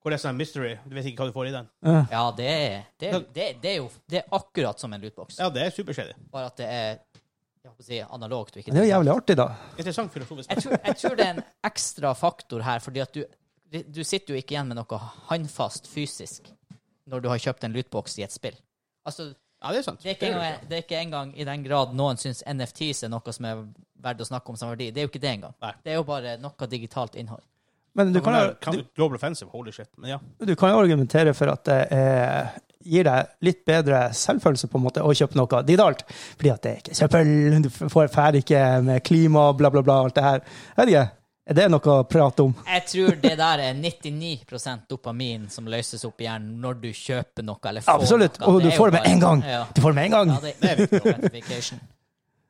Speaker 2: Hvor det er sånn mystery. Du vet ikke hva du får i den.
Speaker 3: Ja, det er, det, er- det, er- det er jo det er akkurat som en lootbox,
Speaker 2: Ja, det er superskjedig.
Speaker 3: bare at det er jeg holdt på å si, analogt. Og ikke
Speaker 1: Men det er jo jævlig artig, da.
Speaker 2: Interessant filosofisk.
Speaker 3: jeg, tror, jeg tror det er en ekstra faktor her, fordi at du, du sitter jo ikke igjen med noe håndfast fysisk når du har kjøpt en lootbox i et spill. Altså,
Speaker 2: Ja, det er sant.
Speaker 3: det er ikke
Speaker 2: Det er det
Speaker 3: engang, det er ikke engang i den grad noen syns NFTs er noe som er verdt å snakke om som verdi. Det er jo ikke det engang.
Speaker 2: Nei.
Speaker 3: Det er jo bare noe digitalt innhold.
Speaker 1: Men du
Speaker 2: ikke.
Speaker 1: kan,
Speaker 2: Men
Speaker 1: jo-
Speaker 2: Sånn kan- Global offensive, holy shit. Men ja.
Speaker 1: du, du kan jo argumentere for at det eh, gir deg litt bedre selvfølelse på en måte å kjøpe noe digitalt. Fordi at det er ikke søppel, du får fær ikke med klima, bla, bla, bla, alt det her. Jeg vet ikke. Er det noe å prate om?
Speaker 3: Jeg tror det der er 99 dopamin som løses opp i hjernen når du kjøper noe eller får
Speaker 1: Absolutt.
Speaker 3: noe.
Speaker 1: Og du
Speaker 3: er jo
Speaker 1: får det med
Speaker 3: bare-
Speaker 1: en gang.
Speaker 3: Ja,
Speaker 1: Du får det med en gang.
Speaker 3: ja det, det er viktig. gratification.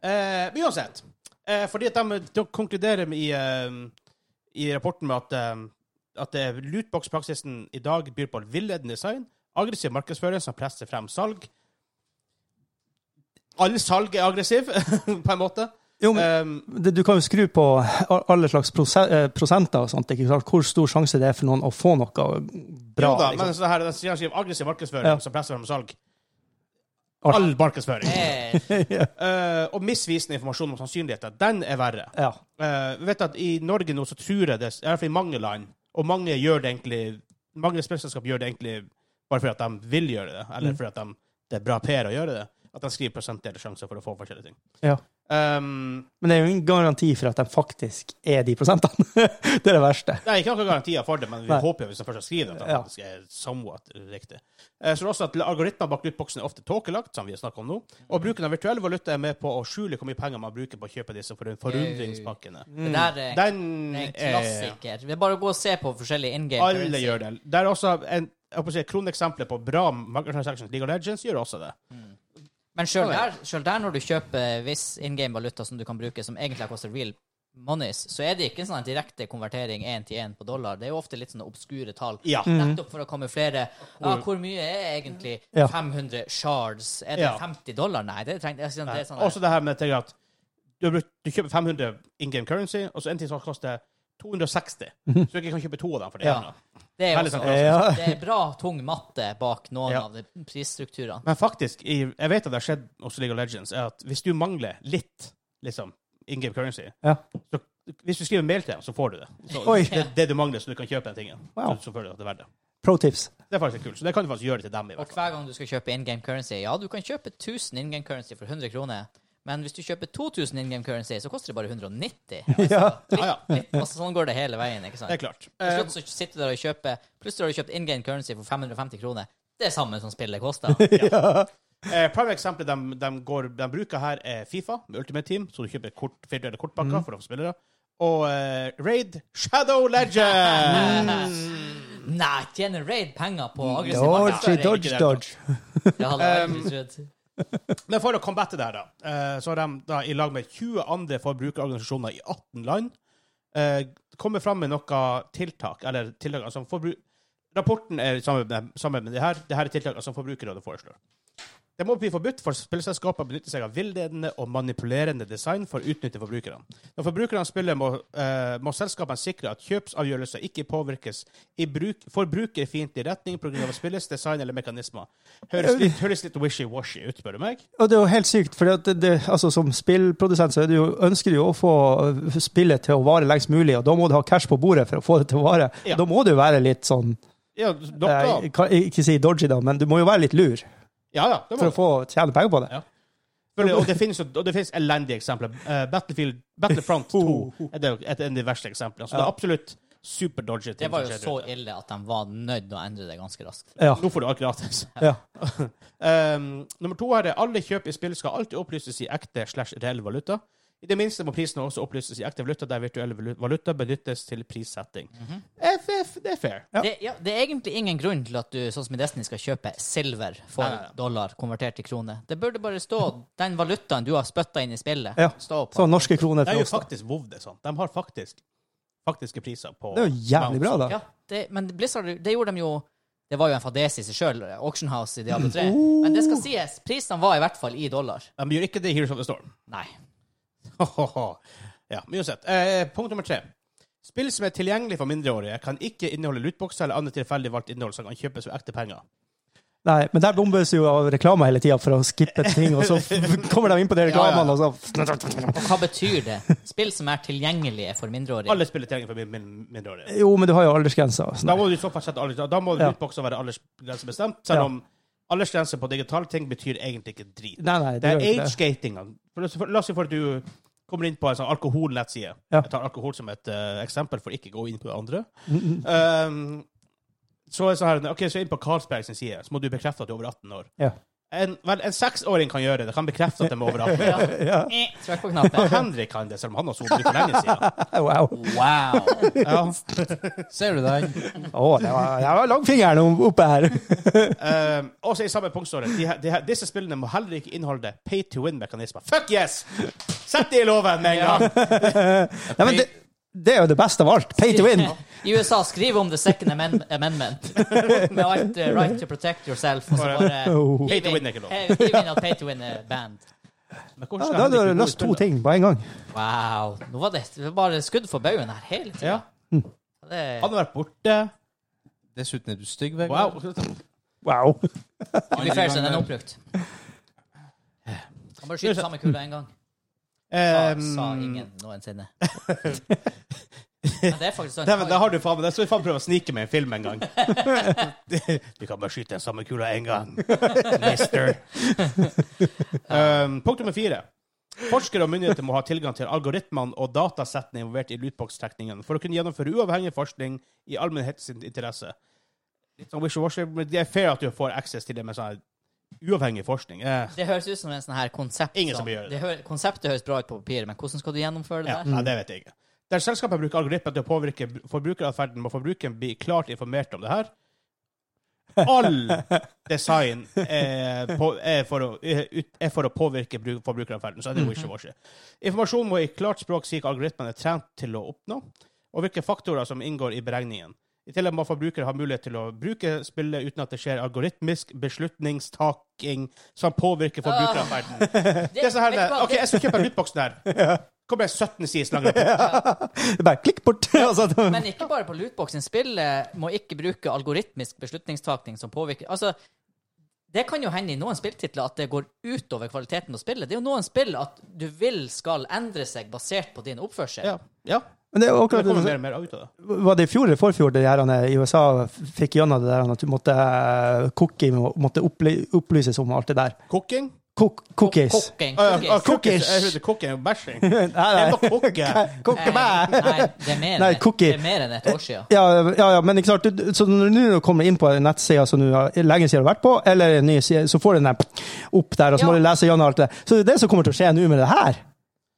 Speaker 2: Eh, men uansett. Eh, fordi at de, de konkluderer med i, eh, i rapporten med at, eh, at det er lootbox-praksisen i dag byr på villedende design, aggressiv markedsføring som presser frem salg. All salg er aggressiv, på en måte.
Speaker 1: Jo, men
Speaker 2: Um,
Speaker 1: det, du kan jo skru på alle slags prose- eh, prosenter og sånt. Ikke sant? Hvor stor sjanse det er for noen å få noe bra.
Speaker 2: jo da,
Speaker 1: liksom.
Speaker 2: men så her, den sier skriver aggressiv markedsføring
Speaker 1: Ja.
Speaker 2: som presser frem salg.
Speaker 1: Alt.
Speaker 2: All markedsføring.
Speaker 3: Eh,
Speaker 2: Eh, og misvisende informasjon om sannsynligheter. Den er verre.
Speaker 1: ja.
Speaker 2: Eh, vi vet at I Norge nå så tror jeg det, i hvert fall i mange land, og mange gjør det egentlig mange spillselskap gjør det egentlig bare fordi at de vil gjøre det, eller
Speaker 1: Mm.
Speaker 2: fordi at de, det er bra PR å gjøre det, at de skriver prosentdel sjanser for å få forskjellige ting.
Speaker 1: Ja.
Speaker 2: Um,
Speaker 1: Men det er jo ingen garanti for at de faktisk er de prosentene. det er det verste.
Speaker 2: det er ikke noen garantier for det, men vi
Speaker 1: Nei.
Speaker 2: håper jo hvis de først har skrevet det, at de
Speaker 1: Ja.
Speaker 2: faktisk er somewhat riktig. Eh, så er det også at algoritmer bak lootboxen er ofte tåkelagt, som vi har snakket om nå, og bruken av virtuell valuta er med på å skjule hvor mye penger man bruker på å kjøpe disse forund- forundringspakkene.
Speaker 3: det der er det
Speaker 2: Den
Speaker 3: er en
Speaker 2: er
Speaker 3: klassiker. Det er bare å gå og se på forskjellige in game.
Speaker 2: eh, Alle gjør det. Det er også en, jeg på å si, kroneksempler på bra microtransactions. League of Legends gjør også det.
Speaker 3: Men sjøl der, selv der, når du kjøper viss in game valuta som du kan bruke, som egentlig koster real monies, så er det ikke en sånn direkte konvertering én til én på dollar. Det er jo ofte litt sånne obskure tall.
Speaker 2: Ja.
Speaker 3: Nettopp for å kamuflere ja, hvor mye er egentlig
Speaker 1: Ja.
Speaker 3: 500 shards? Er det
Speaker 2: Ja.
Speaker 3: 50 dollar? Nei, det trenger jeg synes det er sånn
Speaker 2: Også det her med ting at du, har brukt, du kjøper 500 in game currency, og så en ting som koster 260. Så du ikke kan kjøpe to av dem for det.
Speaker 3: Ja.
Speaker 2: ene.
Speaker 3: Det er,
Speaker 2: Veldig
Speaker 3: også,
Speaker 2: sant.
Speaker 1: Ja.
Speaker 3: det er bra tung matte bak noen
Speaker 2: Ja.
Speaker 3: av de prisstrukturene.
Speaker 2: Men faktisk, i, jeg vet at det har skjedd hos League of Legends, er at hvis du mangler litt liksom, in game currency,
Speaker 1: Ja.
Speaker 2: så hvis du skriver mail til dem, så får du det. Så,
Speaker 1: Oi.
Speaker 2: det, det du mangler, så du kan kjøpe den tingen.
Speaker 1: Wow.
Speaker 2: Så, så føler du at det er verdt det.
Speaker 1: Pro tips.
Speaker 2: Det er faktisk kult. Så det kan du faktisk gjøre til dem. i
Speaker 3: Og
Speaker 2: hvert fall.
Speaker 3: hver gang du skal kjøpe in game currency Ja, du kan kjøpe 1000 in game currency for 100 kroner, men hvis du kjøper 2000 in game currency, så koster det bare 190.
Speaker 1: Ja.
Speaker 2: Ja, ja.
Speaker 3: Litt, altså, sånn går det hele veien. ikke
Speaker 2: Det er
Speaker 3: sant?
Speaker 2: klart. Eh,
Speaker 3: Til slutt så sitter du der og kjøper Plutselig har du kjøpt in game currency for 550 kroner. Det er samme som spillet koster.
Speaker 2: Eh, prime eksempelet de, de, går, de bruker her, er Fifa med Ultimate Team, så du kjøper kort, firdelte
Speaker 1: Mm.
Speaker 2: kortpakker for å få spillere. Og eh, Raid Shadow Legends!
Speaker 3: Nei, tjener Raid penger
Speaker 2: Mm.
Speaker 3: på aggressiv
Speaker 1: Dodge,
Speaker 3: markedsføring?
Speaker 1: dodge, dodge.
Speaker 3: Det hadde jeg
Speaker 2: Um,
Speaker 3: aldri trodd.
Speaker 2: Men for å combatte det her, da, eh, så har de da, i lag med 20 andre forbrukerorganisasjoner i 18 land eh, kommet fram med noe tiltak, eller tiltak altså forbru- Rapporten er sammen med, sammen med det her. Det her er tiltakene som Forbrukerrådet foreslår. Det må bli forbudt for spillselskaper å benytte seg av villedende og manipulerende design for å utnytte forbrukerne. Når forbrukerne spiller, må, eh, må selskapene sikre at kjøpsavgjørelser ikke påvirkes i bruk, forbrukerfiendtlig retning pga. spillets design eller mekanismer. Høres litt, høres litt wishy-washy ut, spør du meg.
Speaker 1: Og det er jo helt sykt, for det, det, altså, som spillprodusent så er det jo, ønsker du jo å få øh, spillet til å vare lengst mulig, og da må du ha cash på bordet for å få det til å vare.
Speaker 2: Ja.
Speaker 1: Da må du jo være litt sånn
Speaker 2: Ja, dere
Speaker 1: eh, kan, Ikke si dodgy, da, men du må jo være litt lur
Speaker 2: Ja, ja. Det
Speaker 1: for
Speaker 2: må
Speaker 1: å få tjene penger på det.
Speaker 2: Ja. Selvfølgelig, og det finnes, jo- og det finnes elendige eksempler. Eh, Battlefield, Battlefront 2 er det- et av de verste eksemplene. Så det er absolutt superdodgy. ting
Speaker 3: Det var
Speaker 2: som
Speaker 3: jo
Speaker 2: skjer
Speaker 3: så
Speaker 2: ute.
Speaker 3: ille at de var nødt til å endre det ganske raskt.
Speaker 1: Ja.
Speaker 2: Nå får du alt gratis.
Speaker 1: ja.
Speaker 2: Um, nummer to her er alle kjøp i spill skal alltid opplyses i ekte slash reell valuta. I det minste må prisene også opplyses i ekte valuta, der virtuell valu- valuta benyttes til prissetting.
Speaker 3: Mhm.
Speaker 2: Eh, f- f- Det er fair.
Speaker 1: Ja.
Speaker 3: Det, ja, det er egentlig ingen grunn til at du, sånn som i Destiny, skal kjøpe silver for
Speaker 2: Nei, nei, nei.
Speaker 3: dollar konvertert til krone. Det burde bare stå den valutaen du har spytta inn i spillet.
Speaker 1: Ja.
Speaker 3: Stå på.
Speaker 1: Så
Speaker 2: sånn.
Speaker 1: norske
Speaker 2: Det
Speaker 1: kroner
Speaker 2: er
Speaker 1: til
Speaker 2: jo
Speaker 1: oss. da.
Speaker 2: faktisk WoW, det er sånn. De har faktisk faktiske priser på
Speaker 1: Det er jo jævlig bra, da.
Speaker 3: Ja, det, men Blizzard, det gjorde de jo Det var jo en fadese i seg sjøl, Auction House i Diablo 3.
Speaker 2: Uh.
Speaker 3: Men det skal sies, prisene var i hvert fall i dollar.
Speaker 2: De gjør ikke det i Heroes of the Storm.
Speaker 3: Nei.
Speaker 2: ja, men uansett. Eh, punkt nummer tre. Spill som er tilgjengelig for mindreårige, kan ikke inneholde lootboxer eller annet tilfeldig valgt innhold som kan kjøpes for ekte penger.
Speaker 1: Nei, men der bombes jo av reklame hele tida for å skippe ting, og så kommer de inn på de
Speaker 2: Ja, ja.
Speaker 1: reklamene, og så
Speaker 3: Og hva betyr det? Spill som er tilgjengelige for mindreårige.
Speaker 2: Alle spill er tilgjengelig for min- min- mindreårige.
Speaker 1: Jo, men du har jo aldersgrensa. og sånn.
Speaker 2: Da må du i så fall sette alders, da må
Speaker 1: Ja.
Speaker 2: lootboxer være aldersgrensebestemt, selv
Speaker 1: Ja.
Speaker 2: om aldersgrense på digitale ting betyr egentlig ikke drit.
Speaker 1: Nei, nei,
Speaker 2: Det er
Speaker 1: gjør ikke
Speaker 2: age-gatinga. For- for- La oss si for at du kommer inn på en sånn alkoholnettside.
Speaker 1: Ja. Mm,
Speaker 2: Jeg tar alkohol som et eh, eksempel for ikke å gå inn på det andre. Um, så er det sånn her, ok, så inn på Carlsberg sin side, så må du bekrefte at du er over 18 år.
Speaker 1: Ja.
Speaker 2: En, vel, en seksåring kan gjøre det. Kan bekrefte at de er over 18 år.
Speaker 1: Ja.
Speaker 3: Eh, Trykk på knappen.
Speaker 2: Henrik kan det, selv om han har sonet for lenge siden.
Speaker 1: Wow.
Speaker 3: Wow.
Speaker 2: Ja.
Speaker 4: Ser du den?
Speaker 1: Å, det var, det var langfingeren om- oppe her.
Speaker 2: Um, også i samme punkt står det de, her- de, her- disse spillene må heller ikke inneholde pay to win-mekanismer. Fuck yes! Sett det i loven med en gang!
Speaker 1: Nei, men det, det er jo det beste av alt. Pay to win.
Speaker 3: I USA skriv om the second amend- amendment. Med alt eh, right to protect yourself, og så bare
Speaker 1: Oh.
Speaker 2: Pay to win er ikke lov.
Speaker 3: eh, hiv inn at pay to win er banned.
Speaker 2: Men hvordan
Speaker 1: Ja,
Speaker 2: skal Henrik
Speaker 1: da hadde
Speaker 2: bli
Speaker 1: du
Speaker 2: god i
Speaker 1: løst to
Speaker 2: spillet?
Speaker 1: ting på en gang.
Speaker 3: Wow. Nå var det, det var bare skudd for baugen her hele tida.
Speaker 2: Ja. Han
Speaker 3: Det
Speaker 2: har vært borte.
Speaker 4: Dessuten er du stygg, Vegard.
Speaker 2: Wow.
Speaker 1: Wow.
Speaker 3: det blir fair siden den er oppbrukt. Han bare skyter samme kula en gang. Sa,
Speaker 2: Um,
Speaker 3: sa ingen noensinne. Men det er faktisk
Speaker 2: Dæven, der
Speaker 3: sånn.
Speaker 2: har du faen meg Der skal vi faen prøve å snike med en film en gang. Vi kan bare skyte den samme kula en gang, mister. Um, punkt nummer fire. Forskere og myndigheter må ha tilgang til algoritmene og datasettene involvert i lootbox-trekningen for å kunne gjennomføre uavhengig forskning i allmennhetens interesse. Litt sånn wishy-washy, men det er fair at du får access til det med sånn her uavhengig forskning. Eh,
Speaker 3: Det høres ut som en sånn her konsept.
Speaker 2: Ingen som gjør det.
Speaker 3: hø- konseptet høres bra ut på papiret, men hvordan skal du gjennomføre det
Speaker 2: ja,
Speaker 3: der?
Speaker 2: nei, det vet jeg ikke. Der selskapet bruker algoritmer til å påvirke forbrukeratferden, må forbrukeren bli klart informert om det her. All design er, på, er, for, å, er ut- er for å påvirke bruk- forbrukeratferden, så er det wishy-washy. Informasjon må i klart språk si hva algoritmene er trent til å oppnå, og hvilke faktorer som inngår i beregningen. I tillegg må forbrukere ha mulighet til å bruke spillet uten at det skjer algoritmisk beslutningstaking som
Speaker 3: Ah.
Speaker 2: påvirker forbrukeratferden. Det er sånn her,
Speaker 3: vet du hva,
Speaker 2: OK, jeg skal kjøpe en lootbox der. Kommer en 17 sides lang rapport.
Speaker 1: Det er bare klikk bort. Altså,
Speaker 3: det,
Speaker 1: det-
Speaker 3: men ikke bare på lootboxen. Spillet må ikke bruke algoritmisk beslutningstaking som påvirker Altså, det kan jo hende i noen spilltitler at det går utover kvaliteten på spillet. Det er jo noen spill at du vil skal endre seg basert på din oppførsel.
Speaker 2: Ja. ja.
Speaker 1: men det er jo
Speaker 2: Det
Speaker 1: akkurat
Speaker 2: kommer
Speaker 1: det.
Speaker 2: mer og mer ut av det.
Speaker 1: Var det i fjor eller forfjor det her han i USA fikk gjennom det der at du måtte eh, cookie må- måtte opply- opplyses om alt det der?
Speaker 2: Cooking?
Speaker 1: Cook, cookies.
Speaker 3: Cooking.
Speaker 2: Ah, ja, ah,
Speaker 3: Cookies.
Speaker 2: cookies.
Speaker 1: Cookies.
Speaker 2: Jeg hørte cooking og bashing.
Speaker 1: Nei,
Speaker 2: Det
Speaker 1: nei.
Speaker 2: var cookie.
Speaker 1: Cookie
Speaker 3: Nei,
Speaker 1: bæ.
Speaker 3: Eh, nei, det er mer,
Speaker 1: Nei,
Speaker 3: enn-
Speaker 1: cookie.
Speaker 3: Det er mer enn et år siden.
Speaker 1: Ja, ja, ja, men ikke sant, du- så når du nå kommer inn på en nettside som du har lenge siden har vært på, eller en ny side, så får du den der opp der, og så må
Speaker 3: Ja.
Speaker 1: du lese gjennom alt det. Så det er det som kommer til å skje nå med det her.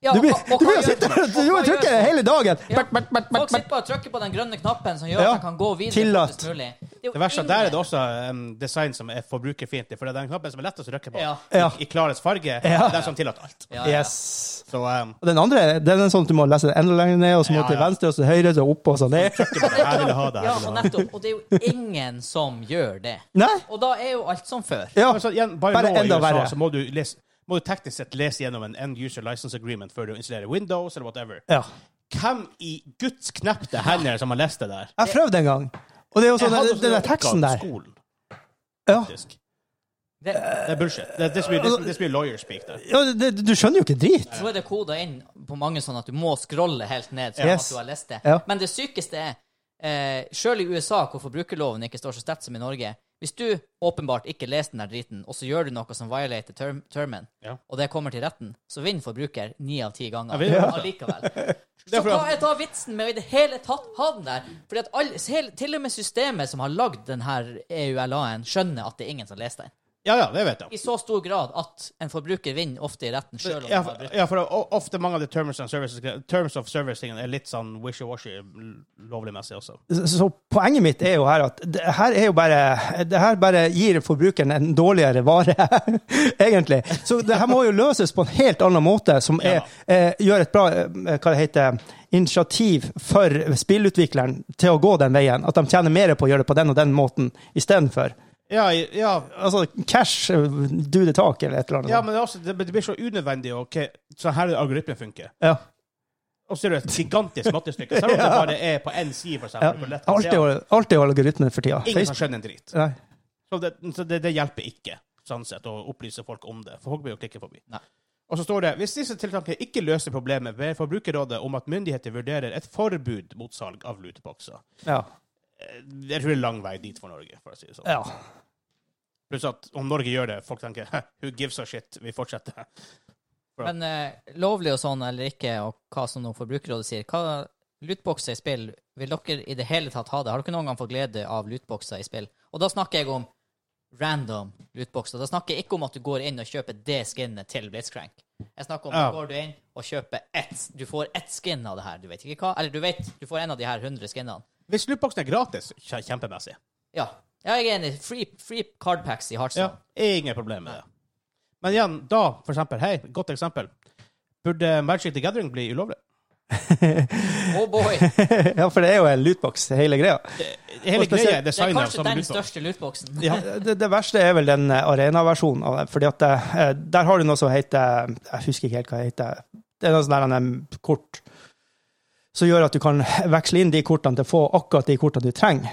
Speaker 3: Ja,
Speaker 1: Du blir,
Speaker 3: og- og
Speaker 1: du
Speaker 3: hva
Speaker 1: blir
Speaker 3: gjør
Speaker 1: sitte
Speaker 3: folk?
Speaker 1: og
Speaker 3: Og hva gjør
Speaker 1: trykke
Speaker 3: folk?
Speaker 1: hele dagen!
Speaker 3: Ja.
Speaker 1: Bak, bak, bak, bak,
Speaker 3: Folk
Speaker 1: bak.
Speaker 3: sitter bare og trykker på den grønne knappen som gjør
Speaker 1: Ja.
Speaker 3: at de kan gå videre.
Speaker 1: Tillatt.
Speaker 3: fortest mulig. er jo
Speaker 2: Det verste er at
Speaker 3: ingen-
Speaker 2: der er det også em, design som er forbrukerfiendtlig, for det er den knappen som er lettest å trykke på,
Speaker 3: Ja.
Speaker 1: Ja.
Speaker 2: i klarest farge,
Speaker 1: Ja.
Speaker 2: den som tillater alt.
Speaker 3: Ja, ja.
Speaker 1: Yes.
Speaker 2: Så um, em,
Speaker 1: Og den andre det er den sånn at du må lese det enda lenger ned, og så må
Speaker 2: Ja,
Speaker 1: til
Speaker 2: ja.
Speaker 1: venstre, og så høyre, så opp og så ned.
Speaker 2: jeg ville ha det. Jeg
Speaker 3: Ja, og
Speaker 2: ville ha det.
Speaker 3: nettopp. Og det er jo ingen som gjør det.
Speaker 1: Nei?
Speaker 3: Og da er jo alt som før.
Speaker 1: Ja.
Speaker 2: Men så igjen, bare,
Speaker 1: Bare
Speaker 2: nå i
Speaker 1: enda
Speaker 2: USA
Speaker 1: verre.
Speaker 2: så må du, lese, må du teknisk sett lese gjennom en end user license agreement før du installerer Windows eller whatever.
Speaker 1: ja.
Speaker 2: Hvem i guds knepte hender som har lest det der?
Speaker 1: Jeg prøvde en gang, og det er jo
Speaker 2: Jeg
Speaker 1: sånn
Speaker 2: hadde
Speaker 1: den,
Speaker 2: sånn
Speaker 1: den der
Speaker 2: oppgave på
Speaker 1: teksten der.
Speaker 2: Skolen,
Speaker 1: Ja.
Speaker 2: faktisk.
Speaker 3: Det,
Speaker 2: Det er bullshit. Det, det, er så mye- det,
Speaker 1: Altså-
Speaker 2: er så- det er så mye lawyer speak der.
Speaker 1: ja det, du skjønner jo ikke drit.
Speaker 3: nå er det koda inn på mange sånn at du må scrolle helt ned. Sånn
Speaker 1: Yes.
Speaker 3: at du har lest det.
Speaker 1: Ja.
Speaker 3: Men det sykeste er, eh, sjøl i USA, hvor forbrukerloven ikke står så sterkt som i Norge Hvis du åpenbart ikke leser den der driten, og så gjør du noe som violater term termen,
Speaker 2: Ja.
Speaker 3: og det kommer til retten, så vinner forbruker ni av ti ganger
Speaker 2: Jeg vet det.
Speaker 3: allikevel.
Speaker 2: Det
Speaker 3: Så
Speaker 2: er for
Speaker 3: hva
Speaker 2: at-
Speaker 3: er da vitsen med å i det hele tatt ha den der? Fordi at alle, hele, Til og med systemet som har lagd den her E EULA-en, skjønner at det er ingen som leser den.
Speaker 2: Ja, ja, det vet jeg.
Speaker 3: I så stor grad at en forbruker vinner ofte i retten sjøl
Speaker 2: Ja,
Speaker 3: om de har
Speaker 2: for,
Speaker 3: brutt
Speaker 2: ja, for o- ofte mange av de terms, and services, terms of service-tingene er litt sånn wishy-washy l- lovlig-messig også.
Speaker 1: Så så poenget mitt er jo her at det her er jo bare Det her bare gir forbrukeren en dårligere vare, egentlig. Så det her må jo løses på en helt annen måte, som er, eh, gjør et bra eh, hva det heter, initiativ for spillutvikleren til å gå den veien. At de tjener mer på å gjøre det på den og den måten istedenfor.
Speaker 2: Ja, i- ja,
Speaker 1: Altså cash, eh, do the talk, eller et eller annet.
Speaker 2: ja men det, er også, det blir så unødvendig. og ok, så her er det algoritmen funker.
Speaker 1: Ja.
Speaker 2: Og så er det et gigantisk mattestykke. Selv om det bare er på én side, for eksempel. På lett,
Speaker 1: Alt er jo- alt er jo algoritmen for tida.
Speaker 2: ingen som skjønner en drit.
Speaker 1: Nei.
Speaker 2: Så det, så det, det hjelper ikke sånn sett, å opplyse folk om det, for folk blir jo klikke forbi.
Speaker 3: Nei.
Speaker 2: Og så står det hvis disse tiltakene ikke løser problemet, ber Forbrukerrådet om at myndigheter vurderer et forbud mot salg av lutebokser.
Speaker 1: Ja.
Speaker 2: Eh, Jeg tror det er lang vei dit for Norge, for å si det sånn.
Speaker 1: ja.
Speaker 2: Pluss at om Norge gjør det, folk tenker «Hæ, who gives a shit, vi fortsetter.
Speaker 3: Men eh, lovlig og sånn eller ikke, og hva som nå Forbrukerrådet sier Hva lootboxer i spill vil dere i det hele tatt ha det? Har dere noen gang fått glede av lootboxer i spill? Og da snakker jeg om random lootboxer. Da snakker jeg ikke om at du går inn og kjøper det skinnet til Blitzcrank. Jeg snakker om
Speaker 2: Ja.
Speaker 3: går du inn og kjøper ett Du får ett skinn av det her, du vet ikke hva? Eller du vet, du får en av de her 100 skinnene.
Speaker 2: Hvis lootboxen er gratis, kje- kjempemessig.
Speaker 3: Ja. ja, jeg er enig. Free, free card packs i
Speaker 2: Ja,
Speaker 3: Heartstone.
Speaker 2: ingen problem med det. Men igjen, da, for eksempel, hei, godt eksempel. Burde Magic the Gathering bli ulovlig?
Speaker 3: Oh boy! Det
Speaker 1: ja, for det er jo en lootbox, hele greia.
Speaker 2: Hele
Speaker 1: Og spesielt-
Speaker 2: greia er
Speaker 3: er
Speaker 2: designet
Speaker 3: kanskje
Speaker 2: som
Speaker 3: den
Speaker 2: lootbox.
Speaker 3: største lootboxen.
Speaker 2: Ja.
Speaker 1: Det, det verste er vel den eh, arenaversjonen av det. fordi at eh, der har du noe som heter Jeg husker ikke helt hva det heter. Det er noe sånn der, eh, kort som gjør at du kan veksle inn de kortene til å få akkurat de kortene du trenger.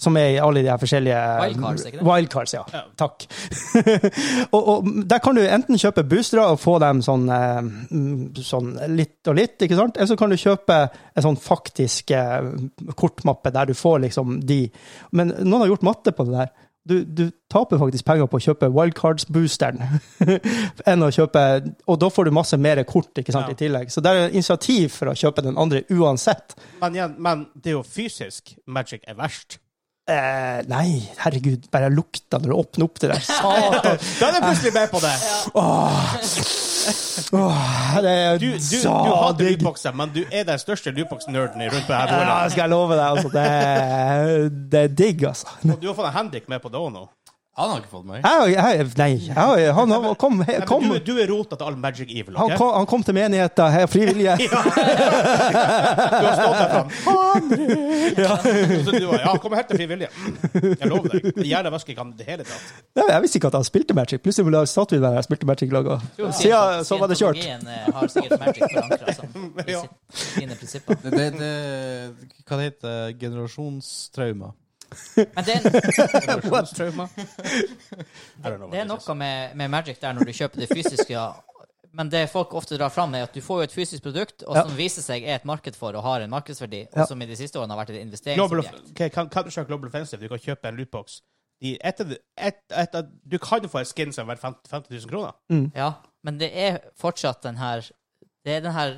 Speaker 1: Som er i alle de her forskjellige
Speaker 3: Wildcards, ikke det?
Speaker 1: Wildcards, ja.
Speaker 2: Ja.
Speaker 1: Takk. og, og der kan du enten kjøpe boostere og få dem sånn, eh, mm, sånn litt og litt, ikke sant? Eller så kan du kjøpe en sånn faktisk eh, kortmappe der du får liksom de. Men noen har gjort matte på det der. Du, du taper faktisk penger på å kjøpe wildcards-boosteren enn å kjøpe Og da får du masse mer kort ikke sant,
Speaker 2: Ja.
Speaker 1: i tillegg. Så det er initiativ for å kjøpe den andre uansett.
Speaker 2: Men igjen, men det er jo fysisk Magic er verst.
Speaker 1: Eh, nei, herregud, bare lukta når du åpner opp det der. Satan!
Speaker 2: Da er det plutselig med på det!
Speaker 1: Åh, det er
Speaker 2: Du, du, du hater
Speaker 1: sadig.
Speaker 2: lootboxer, men du er den største lootbox-nerden rundt på her
Speaker 1: Ja,
Speaker 2: bordet.
Speaker 1: skal jeg love deg, altså. Det er, det er digg, altså.
Speaker 2: Og du har fått en Henrik med på det òg nå.
Speaker 4: Han har ikke fått meg.
Speaker 1: Jeg, jeg, nei, jeg, han han kom,
Speaker 2: Nei, men
Speaker 1: kom,
Speaker 2: Du, du er rota til all Magic Evil.
Speaker 1: han
Speaker 2: ok?
Speaker 1: kom, han kom til menigheten her, frivillige.
Speaker 2: Du har stått der fram. Ja. Så du var, ja, kom helt til frivillig. Jeg lover deg. Gjerne vasker ikke han i det hele tatt.
Speaker 1: Nei, jeg visste ikke at han spilte Magic. Plutselig satt vi der og spilte Magic i lag. og Siden så var det kjørt.
Speaker 3: Scientologien, eh, har sikkert Magic forankra som i
Speaker 2: Ja.
Speaker 3: sitt- sine prinsipper.
Speaker 4: Det, det, det, hva det heter det? Generasjonstrauma.
Speaker 3: Men det er,
Speaker 2: Generasjonstrauma. I don't know what
Speaker 3: det er
Speaker 2: this is.
Speaker 3: noe med, med Magic der når du kjøper det fysiske. Ja. Men det folk ofte drar fram, er at du får jo et fysisk produkt, og
Speaker 1: Ja.
Speaker 3: som viser seg er et marked for og har en markedsverdi,
Speaker 1: Ja.
Speaker 3: og som i de siste årene har vært et
Speaker 2: Global,
Speaker 3: investeringsobjekt.
Speaker 2: okay, kan, kan Global Offensive, du kan kjøpe en lootbox. De, etter, et, et, du kan få en skin som er verdt 50 000 kroner.
Speaker 3: Ja, men det er fortsatt den her Det er den her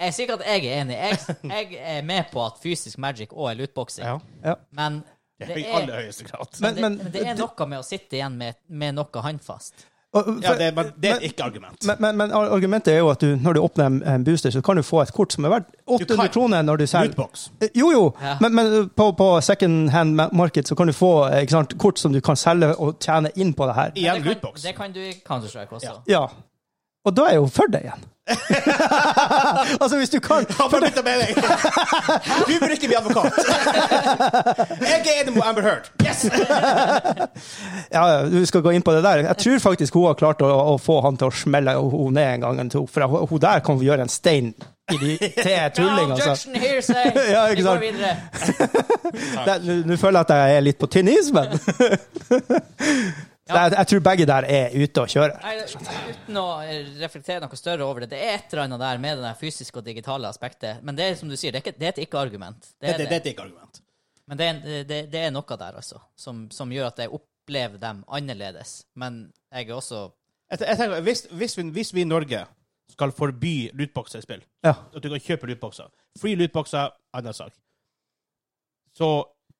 Speaker 3: Jeg er sikker at jeg er enig. Jeg, jeg er med på at fysisk Magic og er lootboxing,
Speaker 2: Ja.
Speaker 1: Ja.
Speaker 3: men det
Speaker 2: I
Speaker 3: er
Speaker 2: aller høyeste grad.
Speaker 1: Men,
Speaker 3: det,
Speaker 1: men
Speaker 3: men det er noe med å sitte igjen med, med noe håndfast.
Speaker 1: Og-
Speaker 2: Ja, det, men det er
Speaker 1: men-
Speaker 2: et ikke-argument.
Speaker 1: men, men, men ar- argumentet er jo at du, når du åpner en- en booster, så kan du få et kort som er verdt 800
Speaker 2: kan.
Speaker 1: kroner når du selger.
Speaker 2: Lootbox.
Speaker 1: Eh, Jo, jo,
Speaker 3: Ja.
Speaker 1: men, men på, på second hand ma- market så kan du få eh, ikke sant, kort som du kan selge og tjene inn på det her.
Speaker 2: Igjen
Speaker 3: det, kan,
Speaker 2: lootbox.
Speaker 3: det kan du i Counter-Strike også.
Speaker 1: Ja. Og da er jeg jo for deg igjen. altså, hvis du kan
Speaker 2: Han får bytte mening! Du burde ikke bli advokat. Jeg er enig med Amber Heard. Yes!
Speaker 1: ja, du skal gå inn på det der. Jeg tror faktisk hun har klart å, å få han til å smelle henne ned en gang eller to, for hun, hun der kan gjøre en stein i de til
Speaker 3: No
Speaker 1: tulling, altså.
Speaker 3: objection here, say!
Speaker 1: Ja, ikke
Speaker 3: Vi går
Speaker 1: sant.
Speaker 3: videre.
Speaker 1: Det- Nå nå føler jeg at jeg er litt på tynn is, men jeg, jeg tror begge der er ute og kjører.
Speaker 3: Nei, uten å eh, reflektere noe større over det, det er et eller annet der med det der fysiske og digitale aspektet. Men det er som du sier, det er, ikke, det er et ikke-argument. Det
Speaker 2: Det,
Speaker 3: er
Speaker 2: det, det
Speaker 3: det.
Speaker 2: er et ikke-argument.
Speaker 3: Men det er, en- eh, det, det er noe der, altså, som, som gjør at jeg opplever dem annerledes. Men jeg er også
Speaker 2: Jeg, jeg tenker, hvis, hvis, vi, hvis vi i Norge skal forby lootboxer i spill,
Speaker 1: Ja.
Speaker 2: at du kan kjøpe lootboxer Free lootboxer, annen sak. Så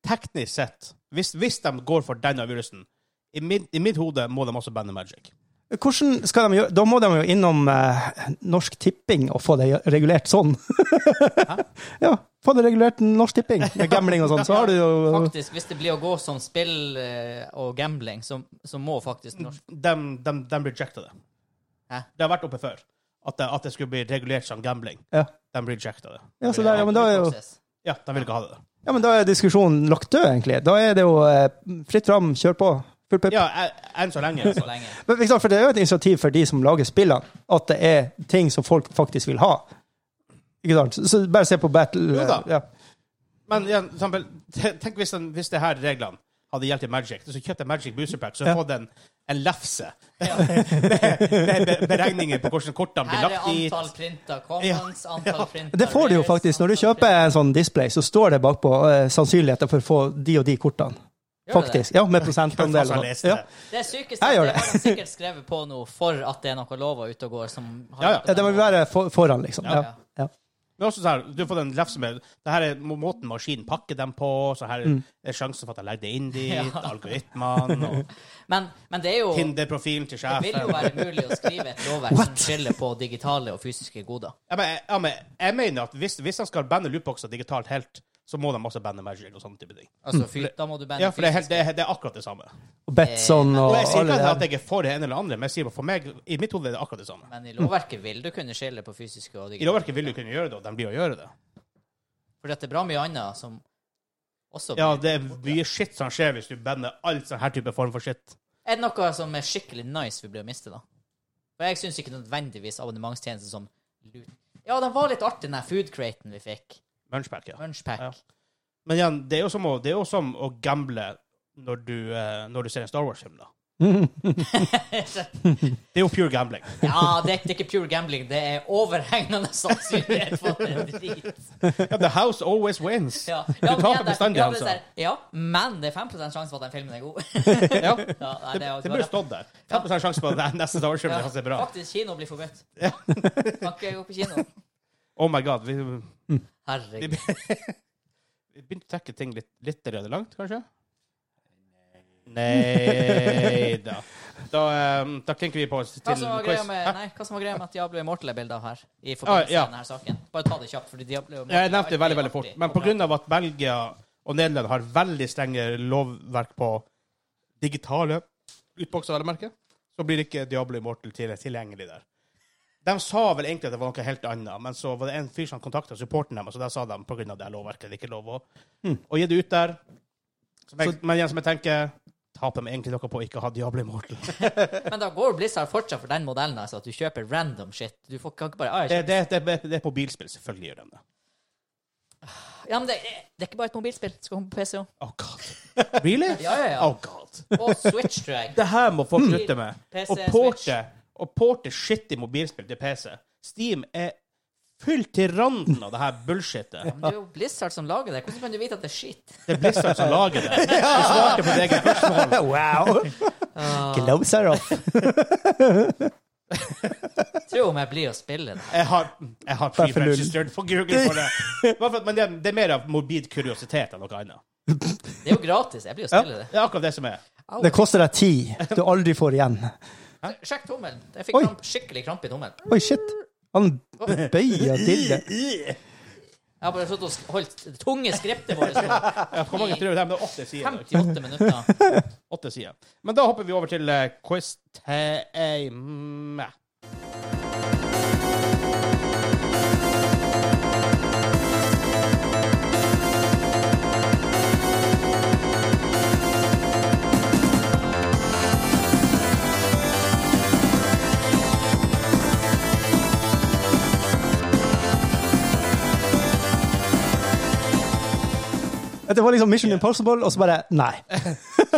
Speaker 2: teknisk sett, hvis, hvis de går for den avgjørelsen i, min, I mitt hode må de også bande Magic.
Speaker 1: Hvordan skal de gjøre Da må de jo innom eh, Norsk Tipping og få det gjø- regulert sånn. ja, få det regulert Norsk Tipping med gambling og sånn, så har du jo
Speaker 3: Faktisk, hvis det blir å gå som spill eh, og gambling, så, så må faktisk norsk
Speaker 2: De, de, de rejecta det.
Speaker 3: Hæ?
Speaker 2: Det har vært oppe før. At det, at det skulle bli regulert som gambling.
Speaker 1: Ja.
Speaker 2: De rejecta det.
Speaker 1: Ja, så der, ja, men da er jo
Speaker 3: process.
Speaker 2: Ja, de ville ikke ha det.
Speaker 1: Ja, men da er diskusjonen lagt død, egentlig. Da er det jo eh, fritt fram, kjør på. Full pupp.
Speaker 2: Ja, e- enn så lenge.
Speaker 3: så
Speaker 2: Altså.
Speaker 3: lenge.
Speaker 1: Men ikke sant, for det er jo et initiativ for de som lager spillene, at det er ting som folk faktisk vil ha. Ikke sant? Så- Så bare se på Battle
Speaker 2: Jo da.
Speaker 1: eh, Ja.
Speaker 2: Men ja, for eksempel, te- tenk hvis, den, hvis det her reglene hadde gjeldt i Magic. Så kjøpte jeg Magic Booster Pack, så
Speaker 1: Ja.
Speaker 2: får den en lefse. med, med beregninger på hvordan kortene blir
Speaker 3: Her er
Speaker 2: lagt dit.
Speaker 3: antall printa commons, antall printa
Speaker 1: Det får du jo
Speaker 3: rares,
Speaker 1: faktisk. Når du
Speaker 3: antall
Speaker 1: kjøper en sånn display, så står det bakpå eh, sannsynligheten for å få de og de kortene.
Speaker 3: Gjør det det?
Speaker 1: Faktisk. Ja, med
Speaker 2: Hvem faen
Speaker 1: prosentandel.
Speaker 2: har
Speaker 1: og
Speaker 2: lest
Speaker 1: sånn. Ja.
Speaker 2: det?
Speaker 3: Det sykeste
Speaker 1: Jeg
Speaker 3: er
Speaker 1: gjør
Speaker 3: at det
Speaker 1: det.
Speaker 3: har de sikkert skrevet på noe for at det er noe lover ute og går som har
Speaker 2: Ja, ja.
Speaker 3: på
Speaker 1: Ja, det må
Speaker 3: den
Speaker 1: være for, foran, liksom.
Speaker 3: måten.
Speaker 1: Ja. Ja.
Speaker 2: Men også sånn her, du får den lefse med Det her er må- måten maskinen pakker dem på, så her
Speaker 1: Mm.
Speaker 2: er sjansen for at jeg legger det inn dit,
Speaker 3: Ja.
Speaker 2: algoritmene og
Speaker 3: Men, men det er jo Det
Speaker 2: Tinder-profilen til
Speaker 3: vil jo
Speaker 2: sjefen.
Speaker 3: være mulig å skrive et lovverk som skiller på digitale og fysiske goder.
Speaker 2: Ja, men, ja, men jeg mener at hvis, hvis de skal bande lootboxer digitalt helt, så må de også bande Magic og sånne type ting.
Speaker 3: Altså, fy, da må du bande
Speaker 2: Ja, for det er, helt,
Speaker 3: fysiske.
Speaker 2: det, er, det er akkurat det samme.
Speaker 1: Og Betson og
Speaker 2: Og Eh, jeg sier ikke
Speaker 1: alle de
Speaker 2: at
Speaker 1: her.
Speaker 2: jeg er for det ene eller andre, men jeg sier bare for meg, i mitt hode er det akkurat det samme.
Speaker 3: Men i lovverket vil du kunne skille på fysiske og
Speaker 2: I
Speaker 3: digitale.
Speaker 2: lovverket vil du kunne gjøre det, og de blir å gjøre det.
Speaker 3: For det er bra mye annet som også
Speaker 2: Ja,
Speaker 3: blir-
Speaker 2: det er mye shit som skjer hvis du banner alt sånn her type form for shit.
Speaker 3: Er det noe som er skikkelig nice vi blir å miste, da? For jeg syns ikke nødvendigvis abonnementstjenester som lut... Ja, den var litt artig, den der foodcraten vi fikk.
Speaker 2: Munchback, ja.
Speaker 3: Munchpack.
Speaker 2: Ja. Men igjen, det er jo som å, det er jo som å gamble når du, eh, når du ser en Star Wars-film, da. det er jo pure gambling.
Speaker 3: Ja, det er, det er ikke pure gambling. Det er overhengende sannsynlighet for en drit.
Speaker 2: Ja, the house always wins.
Speaker 3: Ja.
Speaker 2: Du
Speaker 3: Ja, men
Speaker 2: taper
Speaker 3: det er-
Speaker 2: bestandig,
Speaker 3: ja, det er
Speaker 2: altså.
Speaker 3: sånn, Ja, men det er 5 sjanse for at den filmen er god.
Speaker 2: Ja.
Speaker 3: Ja, nei,
Speaker 2: Det,
Speaker 3: er-
Speaker 2: det burde stått der. 5 sjanse på at neste Star Wars-film
Speaker 3: Ja,
Speaker 2: kan se bra.
Speaker 3: Faktisk, kino blir forbudt. Kan ikke gå på kino.
Speaker 2: Oh my god. Vi,
Speaker 3: Herregud.
Speaker 2: vi begynte å trekke ting litt, litt allerede langt, kanskje? Nei da. Da, um, da klinker vi på oss til
Speaker 3: Hva som var
Speaker 2: quiz.
Speaker 3: greia med,
Speaker 2: Hæ?
Speaker 3: nei, hva som var greia med at Diablo Immortal er bilde av her? I forbindelse
Speaker 2: Ah, ja.
Speaker 3: med denne saken. Bare ta det kjapt, fordi Diablo Immortal
Speaker 2: Jeg nevnte det veldig
Speaker 3: er
Speaker 2: veldig fort.
Speaker 3: artig
Speaker 2: Men
Speaker 3: og bra.
Speaker 2: pga. at Belgia og Nederland har veldig strenge lovverk på digitale utbokser, vel å merke, så blir ikke Diablo Immortal til- tilgjengelig der. De sa vel egentlig at det var noe helt annet, men så var det en fyr som kontakta supporten deres, og der sa de pga. det her lovverket det er ikke lov å, å gi det ut der. Som jeg, men igjen, som jeg tenker Taper de egentlig noe på å ikke ha Diablo Immortal?
Speaker 3: Men da går Blizzard fortsatt for den modellen, altså, at du kjøper random shit. Du får kan ikke bare ah, jeg
Speaker 2: Det, det, det, det er på bilspill, selvfølgelig gjør de det.
Speaker 3: kjøper- Ja, men det, det er ikke bare et mobilspill. Det skal komme på PC òg.
Speaker 2: Oh god. Really?
Speaker 3: Ja, ja, ja.
Speaker 2: Oh god.
Speaker 3: Og Switch, tror jeg.
Speaker 2: Det her må folk slutte med.
Speaker 3: PC,
Speaker 2: Å porte, å porte shitty mobilspill til PC. Steam er fylt til randen av det her bullshitet.
Speaker 3: Men det er jo Blizzard som lager det. Hvordan kan du vite at det er skitt?
Speaker 2: Det er Blizzard som lager det. Du svarte på ditt eget spørsmål.
Speaker 1: Wow! Gloser off.
Speaker 3: Tro om jeg blir å spille det.
Speaker 2: Jeg har, jeg har
Speaker 1: Bare for null.
Speaker 2: pre-registered for Google for det. Bare for at- Men det, det er mer av morbid kuriositet enn noe annet.
Speaker 3: Det er jo gratis. Jeg blir å spille det.
Speaker 2: Det er akkurat det som er.
Speaker 1: Det koster deg ti. Du aldri får igjen.
Speaker 2: Hæ?
Speaker 3: Sjekk tommelen. Jeg fikk
Speaker 1: Oi.
Speaker 3: kramp, skikkelig krampe i tommelen.
Speaker 1: Oi, shit. Han bøyer til det.
Speaker 3: Jeg har bare stått og sk- holdt det tunge skriptet vårt på
Speaker 2: Ja, Hvor mange prøver det her? Det er åtte sider. da.
Speaker 3: 58 minutter.
Speaker 2: Åtte sider. Men da hopper vi over til eh, quiz time.
Speaker 1: Det var liksom Mission Impossible, og så bare Nei.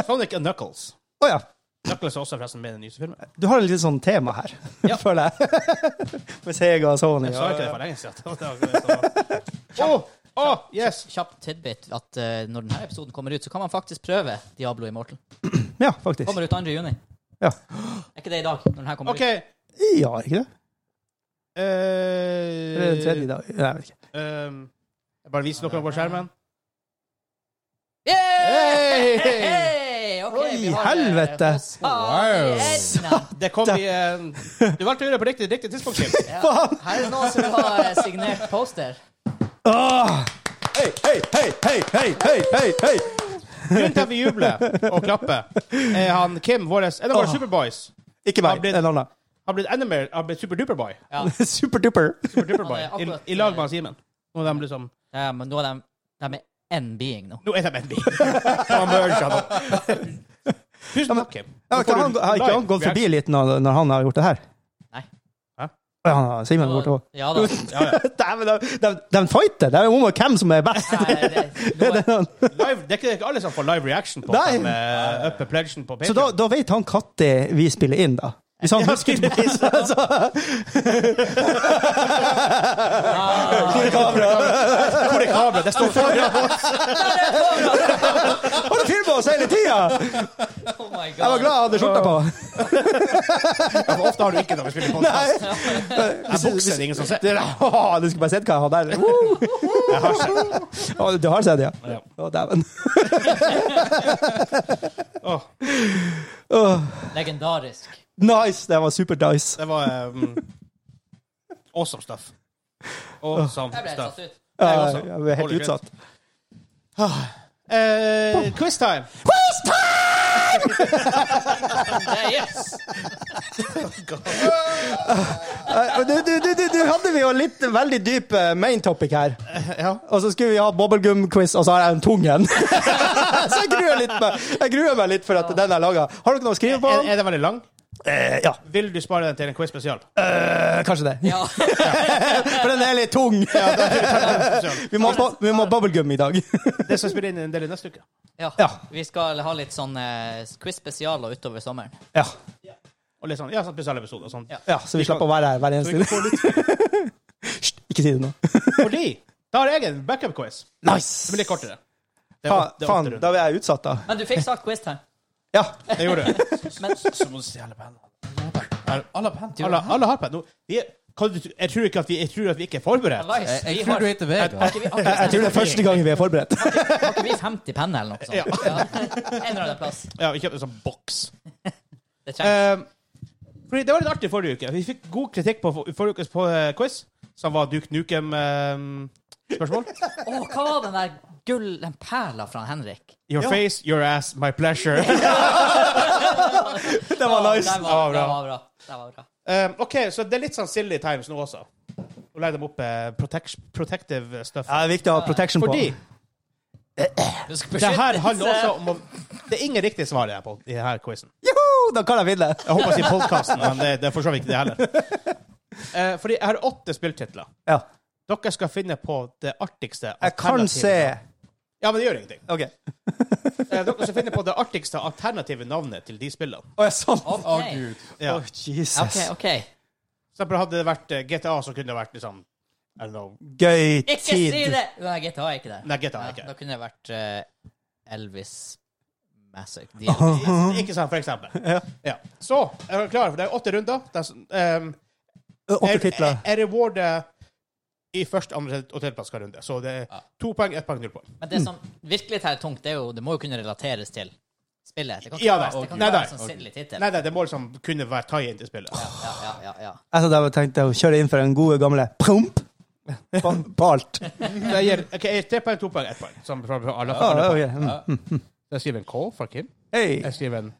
Speaker 2: Sonic and Knuckles.
Speaker 1: Å ja.
Speaker 2: Knuckles er også forresten med i den nyeste filmen. Jeg
Speaker 1: Du har et litt sånn tema her,
Speaker 2: Ja.
Speaker 1: føler jeg. Med Sega og Sony.
Speaker 2: sa ikke det for lenge siden. Å, å, yes!
Speaker 3: Kjapp tidbit at eh, når denne episoden kommer ut, så kan man faktisk prøve Diablo Immortal.
Speaker 1: Ja, faktisk.
Speaker 3: Kommer ut 2. juni.
Speaker 1: Ja.
Speaker 3: Er ikke det i dag? Når den her kommer
Speaker 2: OK.
Speaker 3: ut.
Speaker 1: Ja, ikke det?
Speaker 2: eh,
Speaker 1: Eller er det tredje i dag? Nei, jeg vet ikke.
Speaker 2: ehm, jeg bare viser noe på skjermen.
Speaker 3: Yeah!
Speaker 2: Hey!
Speaker 3: Hey! Ok,
Speaker 1: Oi,
Speaker 3: vi har, eh,
Speaker 1: helvete.
Speaker 3: hos Ariel.
Speaker 2: Det kom i en Du valgte å gjøre det på riktig, riktig tidspunkt, Kim.
Speaker 3: Ja. Her er det noen som vil ha eh, signert poster.
Speaker 1: Åh!
Speaker 4: Hei, hei, hei, hei, hei, hei, hei, hei!
Speaker 2: Grunnen til at vi jubler og klapper, er han Kim, vår, en av våre Superboys,
Speaker 1: Ikke
Speaker 2: Har
Speaker 1: meg,
Speaker 2: blitt-
Speaker 1: en annen.
Speaker 2: har blitt enda mer har blitt Superduperboy.
Speaker 3: Ja.
Speaker 1: Superduper.
Speaker 2: Superduperboy
Speaker 3: Han er
Speaker 2: i,
Speaker 3: akkurat- eh,
Speaker 2: I lag med han Simen. Nå er de liksom
Speaker 3: Ja, men nå er de, de er én being nå.
Speaker 2: Nå er de en bil. Han bør ikke ha noe. Tusen takk, Kim.
Speaker 1: Ja,
Speaker 2: Nå
Speaker 1: ikke
Speaker 2: får
Speaker 1: han,
Speaker 2: du
Speaker 1: har ikke han
Speaker 2: live
Speaker 1: gått forbi
Speaker 2: reaction.
Speaker 1: litt når, når han har gjort det her?
Speaker 3: Nei.
Speaker 2: Hæ?
Speaker 1: Å Ja, Simen er borte òg.
Speaker 3: Ja da.
Speaker 2: Ja, ja.
Speaker 1: Dæven, de, de, de fighter! Det er jo om hvem som er best!
Speaker 3: Nei, det,
Speaker 1: Er
Speaker 3: nå er,
Speaker 1: det noen-
Speaker 2: Live, det er ikke- det er ikke alle som får live reaction på
Speaker 1: Nei.
Speaker 2: at de eh, upper pledgen på
Speaker 1: Så da,
Speaker 2: Patreon.
Speaker 1: da vet han når vi spiller inn, da. Hvis han husker det. Så,
Speaker 3: ah,
Speaker 2: Hvor er kameraet? Det står foran oss!
Speaker 1: har du filma oss hele tida?!
Speaker 3: oh my
Speaker 1: Jeg var
Speaker 3: god.
Speaker 1: glad jeg hadde skjorta på!
Speaker 2: Ofte har du ikke det når vi spiller podkast.
Speaker 1: Nei.
Speaker 2: Jeg bokser, det er ingen som ser.
Speaker 1: Det er- Åh, du skulle bare sett hva jeg har der. Woo! Å, Du har sett, ja?
Speaker 2: Ja.
Speaker 1: Å, dæven.
Speaker 2: Åh,
Speaker 3: Legendarisk.
Speaker 1: Nice! Det var super nice.
Speaker 2: det var um, awesome stuff. Awesome
Speaker 3: Jeg ble helt
Speaker 2: stuff.
Speaker 3: satt ut.
Speaker 2: Jeg
Speaker 1: Ja,
Speaker 2: også.
Speaker 1: Jeg ble helt
Speaker 2: Holy shit.
Speaker 1: utsatt.
Speaker 2: Eh, quiz time!
Speaker 3: Det- Yes!
Speaker 1: Eh, Du, du, du, du, du hadde vi jo litt veldig dyp eh, main topic her. Og så skulle vi ha bubblegum-quiz, og så har jeg en tung en. så jeg gruer, litt meg. jeg gruer meg litt for at den er laga. Har dere noe å skrive på?
Speaker 2: Er, er den veldig lang?
Speaker 1: Eh, ja,
Speaker 2: Vil du spare den til en quiz spesial?
Speaker 1: Eh, kanskje det.
Speaker 3: Ja.
Speaker 1: For den er litt tung. Vi må ha bu- vi må ha bubblegum i dag.
Speaker 2: Det skal spille inn en del i neste uke.
Speaker 3: ja.
Speaker 1: Ja.
Speaker 3: Vi skal ha litt sånn eh, quiz-spesialer utover sommeren.
Speaker 1: ja.
Speaker 2: Og litt sånn, ja, sånn spesialepisode og sånn.
Speaker 3: Ja.
Speaker 1: ja, Så vi slipper å være her hver
Speaker 2: Så vi
Speaker 1: eneste
Speaker 2: kan
Speaker 1: dag.
Speaker 2: få litt-
Speaker 1: Hysj, Ikke si det nå.
Speaker 2: Fordi da har jeg en backup-quiz. Det
Speaker 1: Nice!
Speaker 2: blir litt kortere. Det
Speaker 1: Fa-
Speaker 2: åtte- det er åtte
Speaker 1: Faen,
Speaker 2: runder.
Speaker 1: da er jeg utsatt, da.
Speaker 3: Men du fikk sagt quiz time.
Speaker 1: Ja.
Speaker 2: Det gjorde du.
Speaker 3: Men
Speaker 4: Så må du stjele pennene. Alle pennene.
Speaker 2: Alle, alle har penn. Vi er, kan du- jeg, tror ikke at vi, jeg tror at vi ikke er forberedt.
Speaker 3: Lais, vi
Speaker 4: Jeg
Speaker 3: har
Speaker 4: tror du heter Vegard.
Speaker 3: Har ikke vi- har
Speaker 1: Jeg
Speaker 3: ikke
Speaker 1: tror det
Speaker 3: vi-
Speaker 1: er første gangen vi er forberedt.
Speaker 3: har ikke vi 50 penner eller noe sånt?
Speaker 2: Ja.
Speaker 3: Ja. En eller annen plass.
Speaker 2: Ja, vi kjøpte en sånn boks.
Speaker 3: Det trengs.
Speaker 2: Eh, fordi det var litt artig forrige uke. Vi fikk god kritikk på for- forrige ukes på, eh, quiz, som var Duke ehm, Nukem-spørsmål.
Speaker 3: Å, hva var den der gull... Den perla fra Henrik?
Speaker 2: your
Speaker 1: Ja.
Speaker 2: face, your ass, my pleasure.
Speaker 1: Det var nice.
Speaker 3: Den var, den var bra. Den var bra.
Speaker 2: Eh, OK, så det er litt sånn silly times nå også. Nå legger de opp eh, protect, protective stuff.
Speaker 1: Ja, det er viktig å ha protection på.
Speaker 2: Fordi
Speaker 3: Husk
Speaker 2: det her
Speaker 3: beskyttelse.
Speaker 2: handler også om å Det er ingen riktige svar i denne quizen.
Speaker 1: Joho, da kan jeg vinne!
Speaker 2: Jeg håper jeg sier podkasten, men det, det er for så vidt ikke det heller. Eh, fordi jeg har åtte spilltitler.
Speaker 1: Ja.
Speaker 2: Dere skal finne på det artigste
Speaker 1: Jeg kan
Speaker 2: alternativet.
Speaker 1: se
Speaker 2: Ja, men det gjør ingenting.
Speaker 1: OK. Å
Speaker 2: Eh, dere skal finne på det artigste alternative navnet til de spillene.
Speaker 1: ja, sånn. Å,
Speaker 4: Å,
Speaker 3: Ok.
Speaker 4: gud.
Speaker 2: Ja.
Speaker 1: Jesus.
Speaker 3: OK, OK.
Speaker 2: For eksempel hadde det vært eh, GTA, så kunne det vært liksom I don't know.
Speaker 1: Gøy
Speaker 3: Ikke si
Speaker 1: tid.
Speaker 3: det! Nei, GTA er ikke der.
Speaker 2: Nei, GTA er ikke
Speaker 3: Da
Speaker 2: det.
Speaker 3: kunne det vært eh, Elvis Massive.
Speaker 2: Ikke sant, for eksempel. Ja. Så, er dere klare? For det er åtte runder. Det er, sånn, ehm,
Speaker 1: Åtte
Speaker 2: jeg-
Speaker 1: titler.
Speaker 2: Jeg rewarder i første, andre og tredjeplass hver runde. Så det er to poeng, ett poeng, null poeng.
Speaker 3: Men det som virkelig tar tungt, det er jo Det må jo kunne relateres til spillet. Det kan
Speaker 2: Ja da,
Speaker 3: ikke være, det kan
Speaker 2: ok.
Speaker 3: ikke
Speaker 2: Nei,
Speaker 3: være
Speaker 2: nei,
Speaker 3: en sånn silly tittel.
Speaker 2: Nei, nei, det må liksom kunne være tie-in til spillet.
Speaker 3: Ja, ja, ja, ja, ja.
Speaker 1: Jeg satt der og Altså, tenkte å kjøre inn for den gode gamle promp på, på alt.
Speaker 2: Så jeg gir ok, jeg gir tre poeng, to poeng, ett poeng. Som fra fra alle,
Speaker 1: Ja,
Speaker 2: alle poeng.
Speaker 1: ok, mm.
Speaker 4: Ja.
Speaker 2: Jeg skriver en call fra Kim.
Speaker 1: Hei.
Speaker 2: Jeg skriver en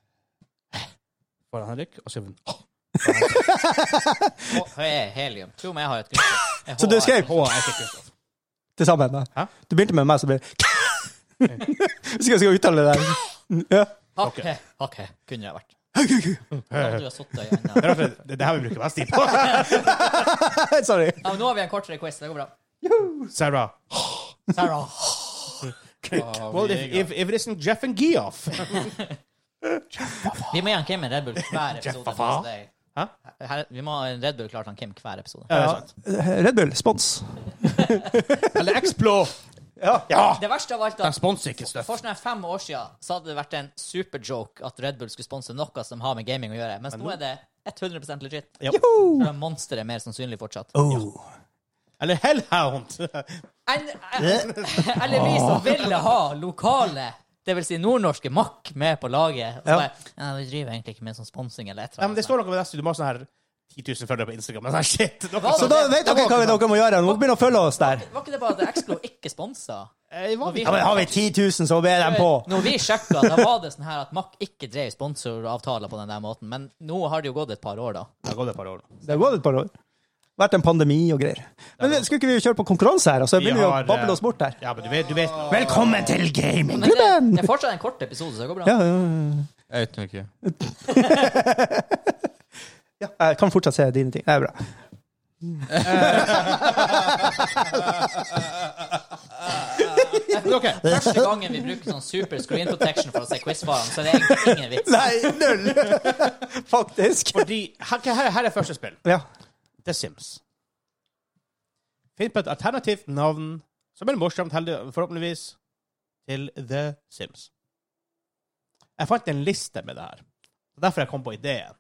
Speaker 2: for Henrik, og skriver en
Speaker 3: Og høy er helium. Tro meg, jeg har et grunnstoff.
Speaker 1: Så du skrev?
Speaker 2: H. Jeg fikk Kristoff.
Speaker 1: Til sammen. Da.
Speaker 2: Hæ?
Speaker 1: Du begynte med meg, så ble det Hvis jeg skal uttale det der. Ja.
Speaker 3: Hakke. Hakke. Kunne det vært. Nå har du sittet i enden.
Speaker 2: Det er derfor- det- det her vi bruker mest tid på.
Speaker 1: Sorry.
Speaker 3: Ja, men nå har vi en kortere quiz. Det går bra.
Speaker 2: Sarah.
Speaker 3: Sarah.
Speaker 4: Ah,
Speaker 2: Well, if,
Speaker 4: Viega.
Speaker 2: if, if it isn't Jeff and Geoff.
Speaker 3: Vi må gi han Kim en Red Bull hver episode.
Speaker 2: Jaffa.
Speaker 3: sånn som det er. Her, vi må ha en Red Bull klar til han Kim hver episode.
Speaker 2: Ja, det er
Speaker 1: Ja.
Speaker 2: sant.
Speaker 1: Red Bull, spons.
Speaker 2: Eller Explore.
Speaker 1: Ja.
Speaker 2: Ja!
Speaker 3: Det verste av alt
Speaker 2: De
Speaker 3: er at
Speaker 2: sponser ikke Stuff.
Speaker 3: for sånn her fem år siden så hadde det vært en superjoke at Red Bull skulle sponse noe som har med gaming å gjøre, mens nå er det 100 legit.
Speaker 2: Ja.
Speaker 3: For Monsteret er mer sannsynlig fortsatt.
Speaker 1: Oh.
Speaker 2: Eller Hellhound.
Speaker 3: En-
Speaker 1: Eh.
Speaker 3: Eller vi som ville ha lokale det vil si nordnorske makk med på laget. Og så
Speaker 1: Ja.
Speaker 3: bare, ja, vi driver egentlig ikke med sånn sponsing eller et
Speaker 2: Ja,
Speaker 3: eller
Speaker 2: men det
Speaker 3: annet.
Speaker 2: står noe med neste. Du må ha sånn her 10 000 følgere på Instagram. Men sånn shit. Noe
Speaker 1: Så
Speaker 2: sånt.
Speaker 1: da vet dere hva dere må gjøre. Dere må begynne å følge oss der.
Speaker 3: Var ikke det bare at Exclo ikke sponsa?
Speaker 2: Eh, hva
Speaker 3: Når vi-
Speaker 1: Ja, men Har vi 10 000, så ber de på.
Speaker 3: Når vi sjekka, da var det sånn her at Mack ikke drev sponsoravtaler på den der måten. Men nå har det jo gått et par år, da.
Speaker 2: Det har gått et par år nå.
Speaker 1: Det har gått et par år. Vært en pandemi og greier. Men skulle ikke vi kjøre på konkurranse her? Og så
Speaker 2: Vi
Speaker 1: begynner vi
Speaker 2: har,
Speaker 1: å
Speaker 2: eh,
Speaker 1: bable oss bort her.
Speaker 2: Ja, men du vet, du vet nå.
Speaker 1: Velkommen til
Speaker 3: Men det,
Speaker 1: gamingklubben!
Speaker 3: det er fortsatt en kort episode, så det går bra.
Speaker 1: Ja, ja,
Speaker 4: Jeg vet nå ikke.
Speaker 1: ja. Jeg kan fortsatt se dine ting. Det er bra.
Speaker 2: Ok.
Speaker 3: Første gangen vi bruker sånn super screen protection for å se quiz-svarene, så er det egentlig ingen vits.
Speaker 1: Nei, null! Faktisk.
Speaker 2: Fordi, her, her, her er første spill.
Speaker 1: Ja.
Speaker 2: The Sims. Finn på et alternativt navn som er morsomt, heldig, forhåpentligvis, til The Sims. Jeg fant en liste med det her. Det er Derfor jeg kom på ideen.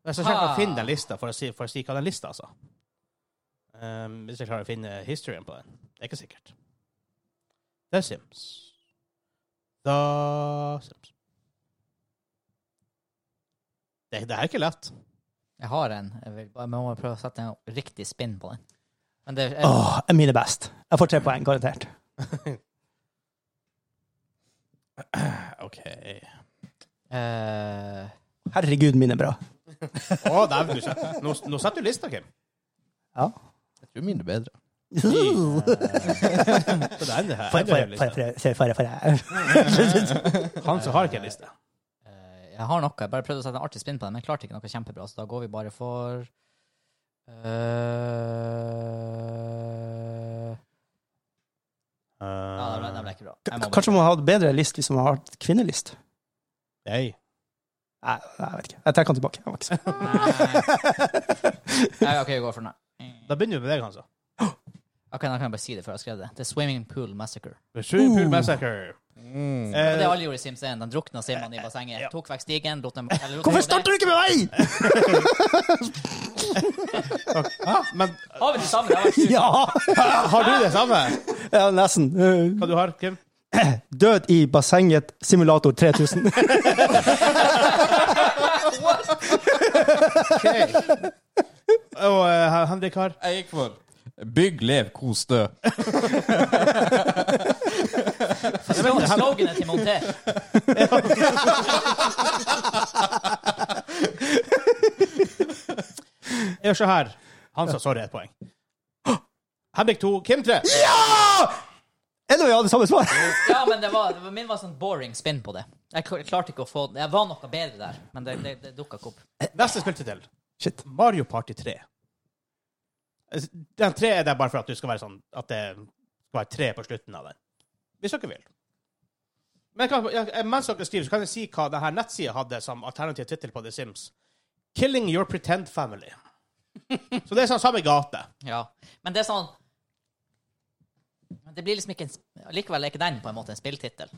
Speaker 2: Jeg skal sjekke
Speaker 3: Ha.
Speaker 2: å finne den lista, for å si, for å si hva den lista altså. Um, hvis jeg klarer å finne historien på den. Det er ikke sikkert. The Sims. The Sims. Det, det her er ikke lett.
Speaker 3: Jeg har en. Jeg vil bare, men jeg må prøve å sette en riktig spinn på den. Men det er,
Speaker 1: Åh, jeg er mine best. Jeg får tre poeng, garantert.
Speaker 2: OK.
Speaker 3: eh,
Speaker 1: Herregud, mine er bra.
Speaker 2: Å, dæven, du setter- nå, nå setter du lista, Kim.
Speaker 1: Ja.
Speaker 4: Jeg tror mine er bedre.
Speaker 2: Det der, det her,
Speaker 1: Får
Speaker 2: er det her
Speaker 1: jeg- får jeg-
Speaker 2: lista.
Speaker 1: får jeg- får jeg- får jeg- får jeg-
Speaker 2: Han som har ikke en liste.
Speaker 3: eh, jeg har noe. Jeg bare prøvde å sette en artig spinn på den, men klarte ikke noe kjempebra, så da går vi bare for eh, Ja, det ble, det ble ikke bra. Jeg må bare-
Speaker 1: Kanskje man har hatt bedre list hvis man har hatt kvinnelist?
Speaker 2: Nei.
Speaker 1: Nei, jeg vet ikke. Jeg trekker den tilbake. Jeg var ikke så-
Speaker 3: Nei, OK, vi går for den. her.
Speaker 2: Da begynner vi med deg, Hansa.
Speaker 3: Ok, Da kan jeg bare si det før jeg skrev det. The Swimming Pool Massacre.
Speaker 2: Swimming Pool Massacre.
Speaker 4: Mm.
Speaker 3: Og det
Speaker 2: Eh,
Speaker 3: alle gjorde i Sims 1. De drukna simmene i bassenget, tok vekk stigen lot dem, eller, lot dem
Speaker 1: eh, Hvorfor
Speaker 3: gå
Speaker 1: starter du
Speaker 3: ned.
Speaker 1: ikke med meg?!
Speaker 2: men
Speaker 3: Har vi det samme? Det har vært sjukt.
Speaker 1: Ja!
Speaker 2: Uh. har du det samme?
Speaker 1: ja nesten.
Speaker 2: Hva du har, Kim?
Speaker 1: Død i bassenget, simulator 3000.
Speaker 2: Og eh, Henrik har?
Speaker 4: Jeg gikk for Bygg, lev, kos, dø.
Speaker 3: Slo- Sloganet til Monter.
Speaker 2: Gjør så her. Hansa, sorry, ett poeng. Henrik to, Kim tre.
Speaker 1: Eller vi hadde samme svar!
Speaker 3: Ja, men det var, det var- min var sånn boring spinn på det. Jeg kl- klarte ikke å få Jeg var noe bedre der, men det, det, det dukka ikke opp.
Speaker 2: Neste spill til del.
Speaker 1: Shit.
Speaker 2: Mario Party 3. Altså, Den tre er der bare for at du skal være sånn At det skal være tre på slutten av den. Hvis dere vil. Men jeg kan, jeg, mens dere skriver, så kan jeg si hva denne nettsida hadde som alternativ tittel på The Sims. 'Killing Your Pretend Family'. Så det er sånn samme gate.
Speaker 3: Ja. Men det er sånn Men Det blir liksom ikke en sp- Likevel er ikke den på en måte en spilltittel.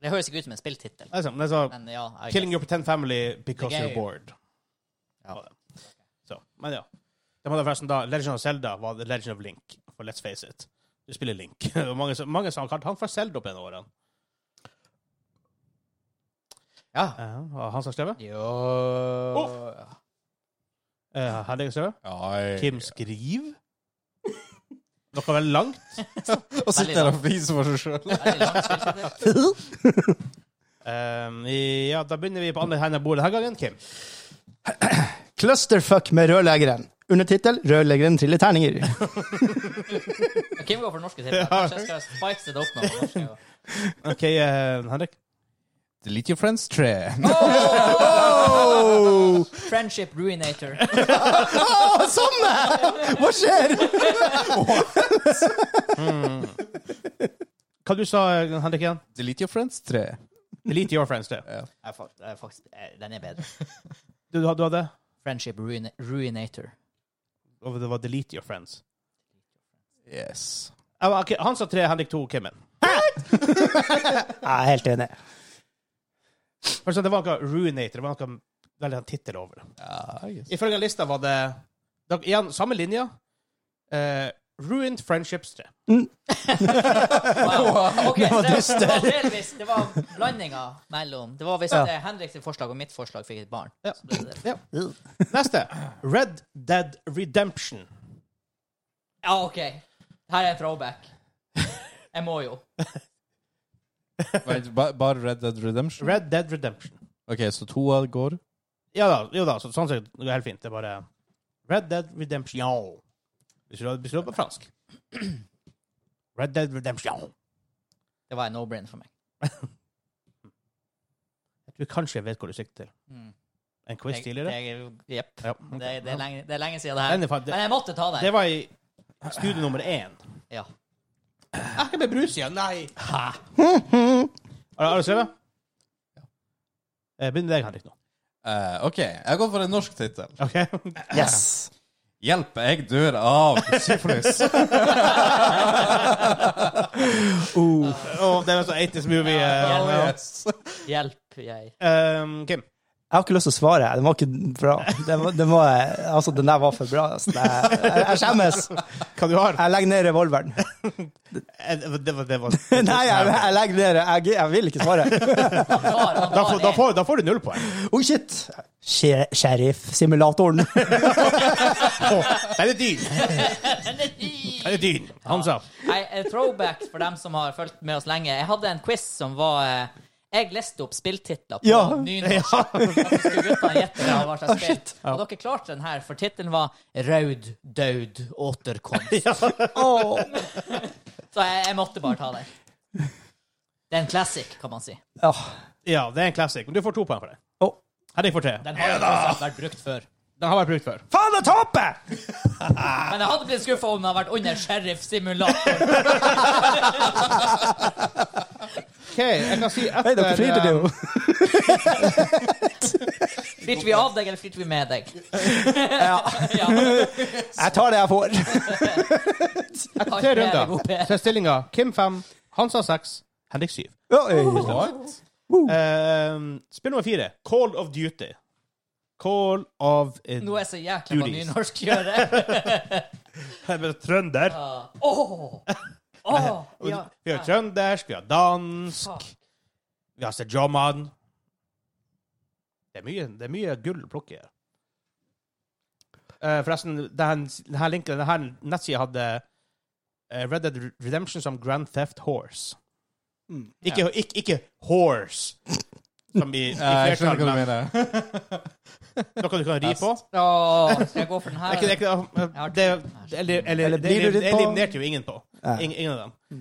Speaker 3: Det høres ikke ut som en spilltittel,
Speaker 2: Det er sånn, det er sånn,
Speaker 3: men ja. I
Speaker 2: 'Killing
Speaker 3: guess.
Speaker 2: Your Pretend Family Because
Speaker 3: Det er
Speaker 2: You're
Speaker 3: gøy.
Speaker 2: Bored'.
Speaker 3: Ja.
Speaker 2: Så, men ja. De hadde forresten da Legend of Zelda var The Legend of Link. For let's face it. Du spiller Link. Og mange, som- mange som har kalt han for Zelda opp gjennom årene.
Speaker 3: Ja.
Speaker 2: Ja, og Eh, han som har skrevet?
Speaker 3: Jo
Speaker 2: Eh, Henrik har skrevet?
Speaker 4: Ai.
Speaker 2: Kim skriver? Noe veldig langt?
Speaker 4: Og sitter der og fliser for seg sjøl.
Speaker 3: Veldig langt spillkjøttet.
Speaker 2: Eh, i- ja, da begynner vi på andre enden av bordet denne gangen. Kim.
Speaker 1: Clusterfuck med rørleggeren. Undertittel 'Rørleggeren triller terninger'.
Speaker 3: Kim går for norske titler. Kanskje jeg skal spice det opp med noe norske.
Speaker 2: OK, eh, Henrik.
Speaker 4: Delete your friends 3.
Speaker 3: Friendship ruinator.
Speaker 1: Å, sånn! Hva skjer?
Speaker 2: Hva du sa du, Henrik? igjen?
Speaker 4: Delete your friends 3.
Speaker 2: Elite Your Friends, det.
Speaker 3: Jeg fa- jeg faktisk, eh, den er bedre.
Speaker 2: Du, du hadde
Speaker 3: Friendship ruina ruinator.
Speaker 2: og Det var Delete Your Friends.
Speaker 4: Yes.
Speaker 2: Ja, men, ok, han sa tre, Henrik to, Kimmen.
Speaker 1: Jeg er helt enig.
Speaker 2: For sånn, Det var noe Ruinator. Det var noe veldig sånn tittel over det.
Speaker 4: Ja, yes.
Speaker 2: Ifølge lista var det da, igjen, samme linja. Eh, ruined Friendships 3.
Speaker 3: Wow. Ok, så det,
Speaker 1: dyster.
Speaker 3: det var delvis Det var blandinga mellom Det var hvis at det er Henrik sitt forslag og mitt forslag fikk et barn.
Speaker 2: Ja.
Speaker 3: Så ble det det.
Speaker 2: Neste. Red Dead Redemption.
Speaker 3: ja, OK. Her er en throwback. Jeg må jo.
Speaker 4: Wait, ba- Bare Red Dead Redemption?
Speaker 2: Red Dead Redemption.
Speaker 4: OK, så to av går.
Speaker 2: Ja da, jo da, så, sånn sett det går helt fint. Det er bare Red Dead Redemption. Hvis du hadde bestilt på fransk. Red Dead Redemption.
Speaker 3: Det var en no-brain for meg.
Speaker 2: Jeg tror kanskje jeg vet hvor du sikter til.
Speaker 3: Mm.
Speaker 2: En quiz
Speaker 3: Jeg-
Speaker 2: tidligere?
Speaker 3: jeg- Jepp.
Speaker 2: Ja.
Speaker 3: Det, det, er lenge, det er lenge siden det
Speaker 2: Den
Speaker 3: her.
Speaker 2: er fa- det,
Speaker 3: Men jeg måtte ta den.
Speaker 2: det var i studie nummer én.
Speaker 3: Ja.
Speaker 2: Jeg skal bli brus igjen, nei! Har har du skrevet? Eh, Begynn med deg, Henrik, nå.
Speaker 4: Eh, OK, jeg går for en norsk tittel.
Speaker 2: Ok?
Speaker 1: Yes.
Speaker 4: Hjelp, jeg dør av syfilis.
Speaker 1: Oh.
Speaker 2: Åh, det var så 80's movie. eh,
Speaker 3: Ja,
Speaker 2: ja.
Speaker 4: yes.
Speaker 3: Hjelp, jeg.
Speaker 2: Ehm, Kim.
Speaker 1: Jeg har ikke lyst til å svare. Den var ikke bra. Den, var, den, var, altså, den der var for bra. Altså. Jeg, jeg, jeg skjemmes.
Speaker 2: Hva du har?
Speaker 1: Jeg legger ned revolveren.
Speaker 2: Eh, Det var, det var, det var.
Speaker 1: Nei, jeg, jeg legger ned jeg, jeg vil ikke svare.
Speaker 3: Han tar, han
Speaker 2: Da,
Speaker 3: tar
Speaker 2: får, da,
Speaker 3: en.
Speaker 2: får, da får du null poeng.
Speaker 1: Oh, shit! Sher- Sheriff-simulatoren.
Speaker 2: Åh, den er dyr!
Speaker 3: Den er dyr.
Speaker 2: Den er dyr. Han sa.
Speaker 3: Nei, eh, throwback for dem som har fulgt med oss lenge. Jeg hadde en quiz som var eh, Jeg leste opp spilltitler på
Speaker 1: Ja.
Speaker 3: nynorsk. Og så skulle guttene gjette det var hva slags spill. Og dere klarte den her, for tittelen var 'Raud daud återkomst'.
Speaker 1: Åh.
Speaker 3: Så jeg, jeg måtte bare ta den. Det er en classic, kan man si.
Speaker 1: Ja.
Speaker 2: Ja, det er en classic. Men du får to poeng for det.
Speaker 1: Åh.
Speaker 2: Henrik får tre.
Speaker 3: Den har jo tross alt vært brukt før.
Speaker 2: Den har vært brukt før.
Speaker 1: Faen, jeg taper!
Speaker 3: Men jeg hadde blitt skuffa om den hadde vært under sheriff-simulator.
Speaker 2: OK, jeg kan si etter eh,
Speaker 1: Nei, dere flirte jo.
Speaker 3: Flirte vi av deg, eller flirte vi med deg? Ja.
Speaker 1: Jeg tar det jeg får.
Speaker 3: Alt
Speaker 2: tre
Speaker 3: mer er god
Speaker 2: runder.
Speaker 3: PR.
Speaker 2: Så er stillinga Kim fem, Hansa seks, Henrik syv.
Speaker 1: Oi.
Speaker 4: What?
Speaker 2: Ehm, spill nummer fire. Call of Duty. Call of eh,
Speaker 3: Nå er jeg så jækla på
Speaker 2: Duties.
Speaker 3: nynorsk gjøre.
Speaker 2: Jeg er Trønder.
Speaker 3: Åh! Åh! Ja.
Speaker 2: Vi har trøndersk, vi har dansk,
Speaker 3: Fuck.
Speaker 2: vi har sejoman. Det er mye, det er mye gull å plukke her. Eh, forresten, den, den her linken, den her nettsida hadde eh, Red Dead Redemption som Grand Theft Horse.
Speaker 1: Mm.
Speaker 2: Ikke, ikke, ikke horse, som i, i
Speaker 4: Ja, Eh, jeg
Speaker 2: flertall,
Speaker 4: skjønner hva du
Speaker 2: men
Speaker 4: mener.
Speaker 2: noe du kan ri på.
Speaker 3: Åh, skal jeg gå for den her?
Speaker 2: Er ikke, er ikke, det, det, eller, eller,
Speaker 1: Eller blir du
Speaker 2: det,
Speaker 1: ridd på?
Speaker 2: eliminerte jo ingen på.
Speaker 1: Ja.
Speaker 2: Ingen, ingen av dem.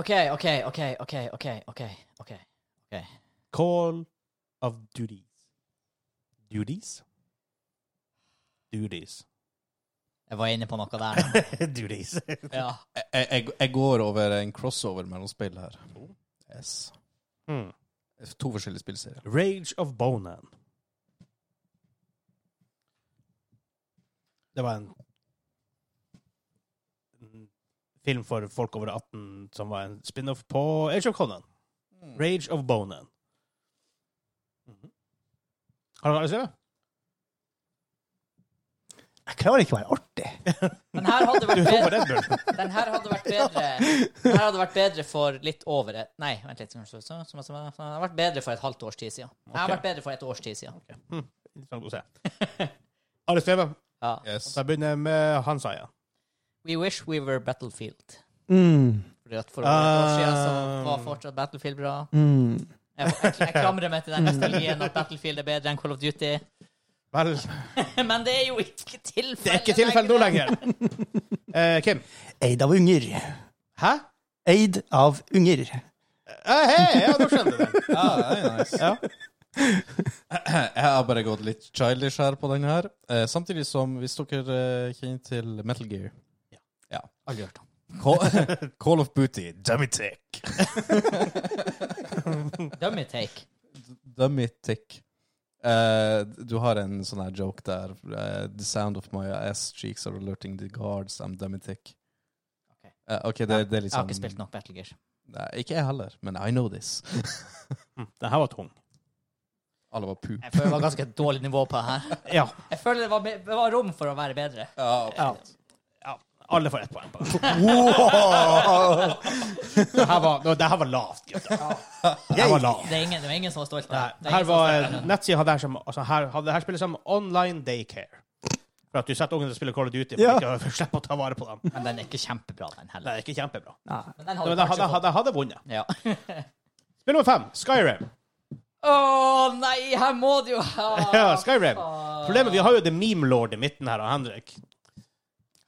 Speaker 3: OK, OK, OK, OK, OK, OK, ok.
Speaker 2: Call of duties. Duties? Duties.
Speaker 3: Jeg var inne på noe der.
Speaker 2: duties.
Speaker 3: Ja.
Speaker 4: Jeg, jeg, jeg går over en crossover mellom spill her. Yes.
Speaker 2: Mm.
Speaker 4: To forskjellige spillserier.
Speaker 2: Rage of Bonan. Det var en en film for folk over 18 som var en spin-off på Age of Conan.
Speaker 1: Mm.
Speaker 2: Rage of Bonan. Mhm. Har dere alle sett det?
Speaker 1: Jeg klarer ikke å være artig.
Speaker 3: Den her hadde vært
Speaker 2: Gå for
Speaker 3: bedre,
Speaker 2: Red Bull.
Speaker 3: den her hadde vært bedre, den her hadde vært bedre for litt over et Nei, vent litt. kanskje, så- så- så- så- Den har vært bedre for et halvt års tid siden. Den har
Speaker 2: Ok.
Speaker 3: vært bedre for et års tid siden.
Speaker 2: Hm, Interessant å se. Alle strever.
Speaker 3: Ja.
Speaker 4: Yes.
Speaker 2: Da begynner jeg med Hansaya.
Speaker 3: We wish we were Battlefield.
Speaker 1: Mm,
Speaker 3: Fordi at for over et år siden
Speaker 2: Ah.
Speaker 3: så var fortsatt Battlefield bra.
Speaker 1: mm.
Speaker 3: Jeg, jeg, jeg klamrer meg til den nostalgien at Battlefield er bedre enn Call of Duty.
Speaker 2: Vel,
Speaker 3: Men det er jo ikke tilfellet.
Speaker 2: det er ikke tilfellet nå lenger. Eh, Kim?
Speaker 1: Eid av unger.
Speaker 2: Hæ?
Speaker 1: Eid av unger.
Speaker 2: Eh, hei, ja, nå skjønte jeg det.
Speaker 4: Ja, det er nice.
Speaker 2: Ja.
Speaker 4: Jeg har bare gått litt childish her på den her. Eh, samtidig som hvis dere eh, kjenner til Metal Gear
Speaker 2: Aldri hørt om.
Speaker 4: Call, Call of Booty, Dummy Tick.
Speaker 3: Dummy take.
Speaker 4: Dummy Tick. Eh, du har en sånn her joke der. eh, the sound of my ass cheeks are alerting the guards. I'm Dummy Tick.
Speaker 3: Ok.
Speaker 4: Eh, ok, det, det er
Speaker 3: Jeg har
Speaker 1: sånn-
Speaker 4: liksom
Speaker 3: ikke spilt nok Battle Gear.
Speaker 4: Nei, ikke jeg heller, men I know this.
Speaker 2: Hm, Den her var tung.
Speaker 4: Alle var poop.
Speaker 3: Jeg føler det var ganske et dårlig nivå på det her.
Speaker 2: Ja.
Speaker 3: Jeg føler det var, be- det var rom for å være bedre.
Speaker 4: Ja,
Speaker 2: ja. ja. Alle får ett poeng på den.
Speaker 1: Wow!
Speaker 2: Det her var, nå, det her var lavt, gutter. Det her var lavt.
Speaker 3: Det er ingen, det er ingen som var stolt av
Speaker 2: Nei,
Speaker 3: det. Det er
Speaker 2: her
Speaker 3: ingen som
Speaker 2: var
Speaker 3: stolt av det.
Speaker 2: nettsiden hadde her som altså, her, hadde her spillet som online daycare. For at du setter ungene til å spille Call of Duty for
Speaker 1: Ja.
Speaker 2: ikke å slippe å ta vare på dem.
Speaker 3: Men den er ikke kjempebra, den
Speaker 2: Det
Speaker 3: heller.
Speaker 2: er ikke kjempebra.
Speaker 1: Nei.
Speaker 3: Men den
Speaker 2: Men
Speaker 3: hadde
Speaker 2: jeg hadde,
Speaker 3: kanskje fått
Speaker 2: hadde, hadde vunnet.
Speaker 3: ja.
Speaker 2: Spill nummer fem, Skyrim.
Speaker 3: Å nei, her må det jo ha
Speaker 2: Ja, Skyrim. Problemet, Vi har jo The Meme Lord i midten her, Henrik.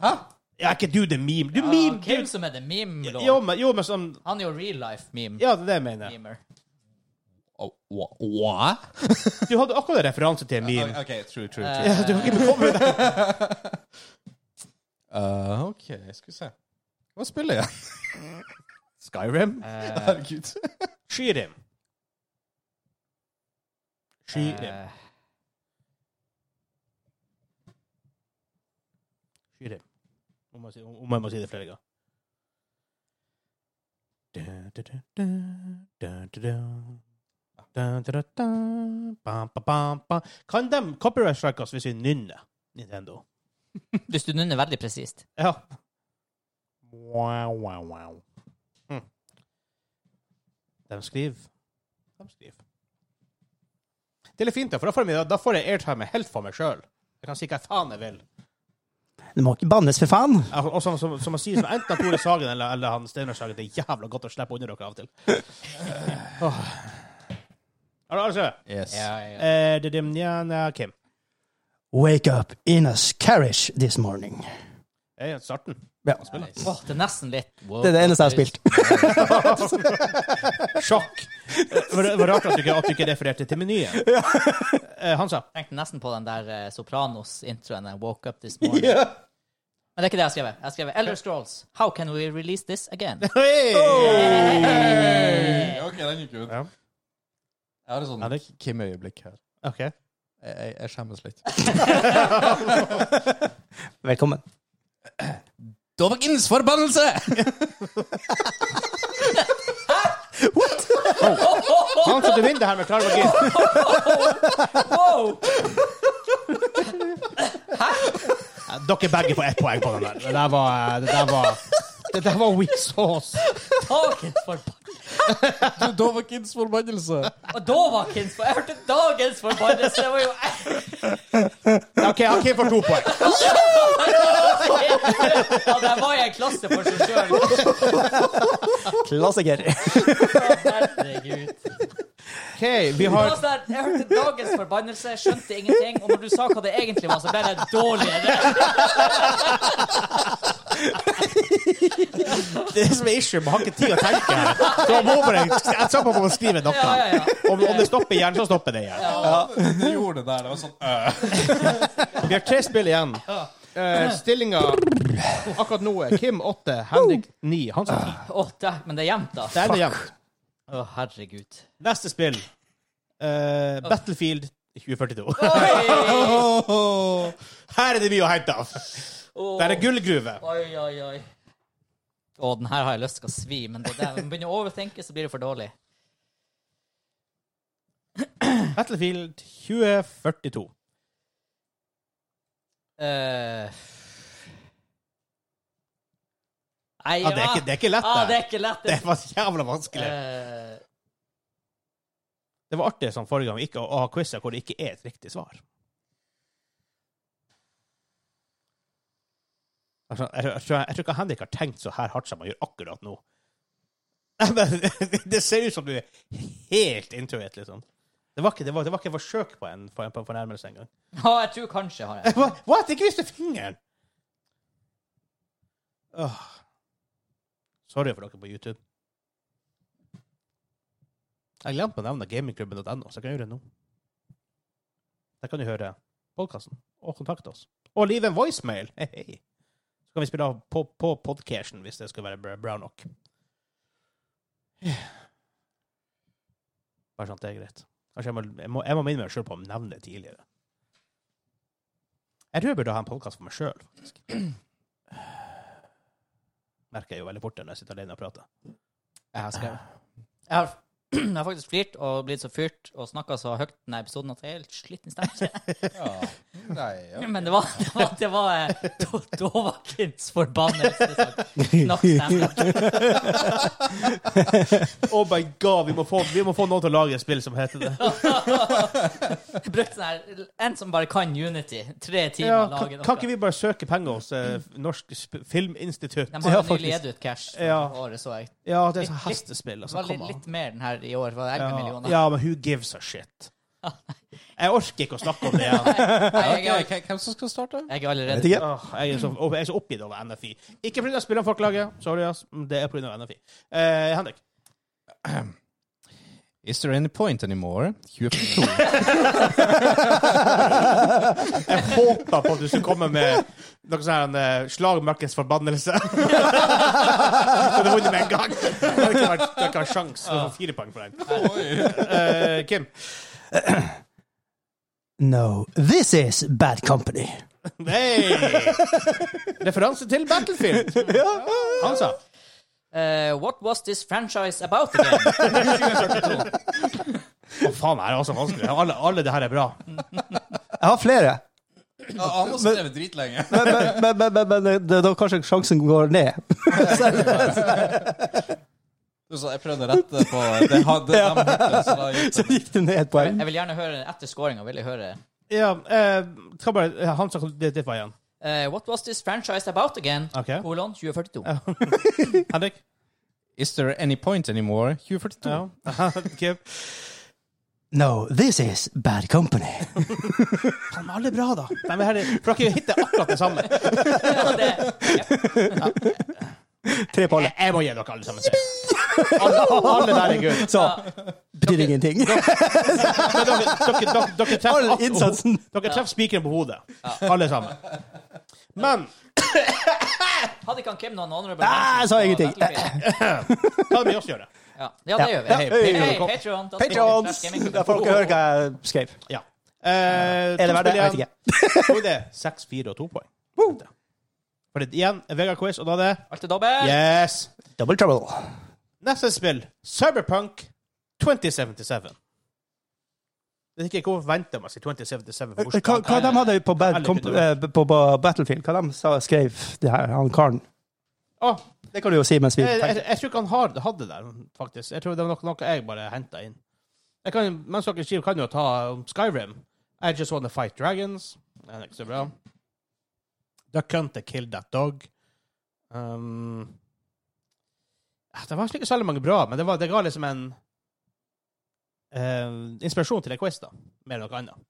Speaker 4: Hæ?
Speaker 2: Ja, er ikke du The Meme? Du
Speaker 3: Ja,
Speaker 2: meme,
Speaker 3: Kim
Speaker 2: du.
Speaker 3: som er the meme lord.
Speaker 2: Jo, men, jo, men som
Speaker 3: Han er jo real life meme.
Speaker 2: Ja, det er det jeg mener.
Speaker 3: Memer.
Speaker 4: Oh, wha- wha?
Speaker 2: Du hadde akkurat en referanse til en meme.
Speaker 4: Ok, true, true, true.
Speaker 3: Eh,
Speaker 2: Du kan ikke bekomme det.
Speaker 4: Eh, ok, skal vi se. Hva spiller jeg?
Speaker 2: Skyrim.
Speaker 3: eh,
Speaker 4: Herregud.
Speaker 2: Skyrim. Skyrim.
Speaker 3: eh,
Speaker 2: Skyrim. Om jeg, si- om jeg må si det flere ganger. Da, da, da, da, da, da, da. Da, da, da, da. Bam, ba, bam, ba. Kan de copyright strike oss hvis vi nynner Nintendo?
Speaker 3: Hvis du nunner veldig presist.
Speaker 2: Ja. Wow, wow, wow. Hm. De skriver. De skriver. Det er litt fint, da, for da får jeg, da får jeg airtime helt for meg sjøl. Jeg kan si hva faen jeg vil.
Speaker 1: Det må ikke bannes, for faen!
Speaker 2: Jeg- Og som, som, som man sier, som enten Tore Sagen eller, eller han Steinar Sagen, det er jævla godt å slippe unna dere av og til. Åh. Er det alle som er?
Speaker 4: Yes.
Speaker 3: ja.
Speaker 2: Eh, det er dem, ja, nei, Kim.
Speaker 1: Wake up in a carriage this morning.
Speaker 2: Eh, starten.
Speaker 1: Ja.
Speaker 3: Åh, det er nesten litt
Speaker 1: Det er det eneste jeg har spilt.
Speaker 2: Sjokk. Eh, Det var rart at du ikke, at du ikke refererte til menyen. Eh, Hansa.
Speaker 3: Jeg tenkte nesten på den der eh, Sopranos-introen. den Woke up this morning. Men det er ikke det jeg har skrevet. Jeg har skrevet Elder Scrolls. How can we release this again?
Speaker 2: Hey!
Speaker 4: Ok, den gikk ut. sånn?
Speaker 2: Ja.
Speaker 4: Jeg har et sånt
Speaker 2: Henrik?
Speaker 4: Kim-øyeblikk her.
Speaker 2: Ok.
Speaker 4: Jeg, jeg, jeg skjemmes litt.
Speaker 1: Velkommen.
Speaker 4: Dovagens forbannelse!
Speaker 2: Sånn som du vinner det her med klar magi.
Speaker 3: Wow!
Speaker 2: Dere begge får ett poeng på den der. Det der var Det der var, det der var weak sauce.
Speaker 3: Dagens forbannelse!
Speaker 4: Dovagens forbannelse!
Speaker 3: Og da var Kins for... Jeg hørte dagens forbannelse! Det var jo
Speaker 2: OK, OK, får to poeng.
Speaker 3: Ja, der var jeg i klasse for seg sjøl.
Speaker 1: Klassiker.
Speaker 3: Herregud.
Speaker 2: OK, vi
Speaker 3: Det
Speaker 2: har
Speaker 3: var sånn der, Jeg hørte dagens forbannelse, skjønte ingenting, og når du sa hva det egentlig var, så ble det dårligere.
Speaker 2: Det som er issue, man har ikke tid å tenke. Så man må bare jeg sa på å skrive noe.
Speaker 3: Ja, ja, ja.
Speaker 2: Om, om det stopper igjen, så stopper det igjen.
Speaker 4: Du gjorde det der. Det var sånn øh.
Speaker 2: Vi har tre spill igjen. Uh, Stillinga akkurat nå er Kim åtte, Henrik ni, Hansa ti.
Speaker 3: Å, dæ- men det er jevnt, da.
Speaker 2: Det er det jevnt.
Speaker 3: Å, herregud.
Speaker 2: Neste spill. Eh, Battlefield 2042.
Speaker 3: Oi!
Speaker 2: Her er det mye å hente av. Det er en gullgruve.
Speaker 3: Oi, oi, oi. Å, den her har jeg lyst til å svi, men det der, når man begynner å overtenke, så blir det for dårlig.
Speaker 2: Battlefield 2042.
Speaker 3: Eh, Nei,
Speaker 2: Ja, det, er ikke, det er ikke lett,
Speaker 3: ah, det
Speaker 2: det.
Speaker 3: er ikke lett.
Speaker 2: Det var jævla vanskelig.
Speaker 3: Eh,
Speaker 2: Det var artig som forrige gang ikke å å ha quizer hvor det ikke er et riktig svar. Altså, Jeg, tror- jeg, tror- jeg tror ikke Henrik har tenkt så her hardt som han gjør akkurat nå. Men det ser ut som du er helt intuit, liksom. Det var ikke, det var, det var ikke et forsøk på en, på en, på en fornærmelse engang.
Speaker 3: ja, jeg tror kanskje har jeg.
Speaker 2: Eh, Hva? What? Ikke viste fingeren! Åh. Sorry for dere på YouTube. Jeg glemte å nevne gamingklubben.no, så jeg kan gjøre det nå. Der kan du høre podkasten og kontakte oss. Og leave en voicemail! Hei, hei. Så kan vi spille av på, på podcasten hvis det skal være bra- bra nok. Bare sånn at det er greit. Kanskje jeg må, jeg må, jeg må minne meg sjøl på å nevne det tidligere. Jeg tror jeg burde ha en podkast for meg sjøl, faktisk. Merker jeg jo veldig fort det når jeg sitter alene og prater.
Speaker 3: Jeg har skrevet. Jeg har, jeg har faktisk flirt og blitt så fyrt og snakka så høyt denne episoden at jeg er helt sliten i stemmen.
Speaker 4: Ja. Nei, ja.
Speaker 3: Men det var, det var, det var eh, Do- Dovakins forbannelse som knakk stemmen.
Speaker 2: Oh my god, vi må, få, vi må få noen til å lage et spill som heter det.
Speaker 3: Jeg brukte sånn her En som bare kan Unity. Tre timer
Speaker 2: Ja,
Speaker 3: å
Speaker 2: kan,
Speaker 3: lage noe.
Speaker 2: kan ikke vi bare søke penger hos eh, Norsk Sp- Filminstitutt?
Speaker 3: De har
Speaker 2: Ja,
Speaker 3: jo nylig
Speaker 2: faktisk.
Speaker 3: gitt ut cash for
Speaker 2: Ja.
Speaker 3: året, så jeg.
Speaker 2: Ja, det er sånn
Speaker 3: Litt- litt-
Speaker 2: hestespill.
Speaker 3: Det
Speaker 2: Altså,
Speaker 3: var
Speaker 2: kom
Speaker 3: litt,
Speaker 2: an.
Speaker 3: litt mer den her i år, for 11
Speaker 2: Ja,
Speaker 3: millioner.
Speaker 2: ja, men who gives a shit? Jeg orker ikke å snakke om det. igjen.
Speaker 3: Nei, jeg,
Speaker 4: Ok,
Speaker 3: er,
Speaker 4: hvem- Hvem som skal starte?
Speaker 3: jeg er allerede
Speaker 1: Vet ikke.
Speaker 2: Åh, jeg, er så, og jeg er så oppgitt over NFI. Ikke pga. spillene folk lager, sorry, ass. men Det er pga. NFI. Eh, Henrik.
Speaker 4: Is there any point anymore? 22.
Speaker 2: Jeg håpa på at du skulle komme med noe sånn uh, slagmarkens forbannelse. Så du vunnet med en gang. Det hadde ikke vært det hadde ikke vært sjans å få fire poeng for den. Eh, Kim.
Speaker 1: No, this is bad company.
Speaker 2: Nei! Referanse til Battlefield. Han sa
Speaker 3: Eh, What was this franchise about again?
Speaker 2: Å, faen, det her er altså vanskelig. Alle, alle det her er bra.
Speaker 1: Jeg har flere.
Speaker 4: Ja, han har skrevet dritlenge.
Speaker 1: Men, men, men, men, men det- det er da kanskje sjansen går ned.
Speaker 4: Så jeg prøvde å rette på eh, det hadde de hørte, så da gikk
Speaker 1: Så
Speaker 4: det.
Speaker 1: gikk det ned et poeng.
Speaker 3: Jeg vil gjerne høre etter scoringa. Vil jeg høre
Speaker 2: Ja, eh, skal bare, han sa det, det var igjen.
Speaker 3: eh, What was this franchise about again?
Speaker 2: Ok.
Speaker 3: Kolon 2042.
Speaker 2: Henrik?
Speaker 4: Is there any point anymore? 2042.
Speaker 2: Ja. Kim?
Speaker 1: No, this is bad company.
Speaker 2: Faen, de er alle bra, da. De er her, for dere hitter akkurat det samme.
Speaker 3: Ja, det-
Speaker 1: Tre på alle.
Speaker 2: Jeg, jeg må gi dere alle sammen tre. Alle, alle der er good.
Speaker 1: Så betyr ingenting.
Speaker 2: Men dere, dere, dere, dere treffer
Speaker 1: All
Speaker 2: alt-
Speaker 1: innsatsen.
Speaker 2: Dere treffer spikeren på hodet. Alle sammen. Men
Speaker 3: Hadde ikke han Kim noen honorable
Speaker 1: Ah, jeg sa
Speaker 3: mentions på
Speaker 1: ingenting.
Speaker 3: Battlefield?
Speaker 2: hva vil vi også gjøre?
Speaker 3: Ja, ja det gjør vi.
Speaker 1: Ja.
Speaker 3: Hey,
Speaker 1: Hey,
Speaker 3: hey,
Speaker 1: kom.
Speaker 3: Patreon. da skal vi
Speaker 1: Patrons!
Speaker 3: treffe gaming.
Speaker 1: Der folk hører hva jeg skrev.
Speaker 2: Ja. Eh,
Speaker 1: Er det verdt det? Jeg vet ikke.
Speaker 2: Jo, det er seks, fire og to poeng. For det, igjen, Vegard-quiz, og da er det
Speaker 3: Alt er dobbelt.
Speaker 2: Yes!
Speaker 1: Double trouble.
Speaker 2: Neste spill, Cyberpunk 2077. Jeg vet ikke hvorfor venter man seg 2077 for
Speaker 1: Eh, Hva, hva de hadde på, bad comp eh, på, på Battlefield? Hva de sa, skrev det her, han karen?
Speaker 2: Åh,
Speaker 1: Det kan du jo si mens vi
Speaker 2: jeg, jeg,
Speaker 1: tenker.
Speaker 2: jeg tror ikke han har, hadde det, der, faktisk. Jeg tror det var noe, noe jeg bare henta inn. Jeg kan, mens dere skriver, kan jeg jo ta um, Skyrim. I just wanna fight dragons. Den er ikke så bra. Duck Hunt to kill that dog. Um, eh, det var egentlig ikke særlig mange bra, men det, var, det ga liksom en eh, inspirasjon til en quiz, da. Mer enn noe annet.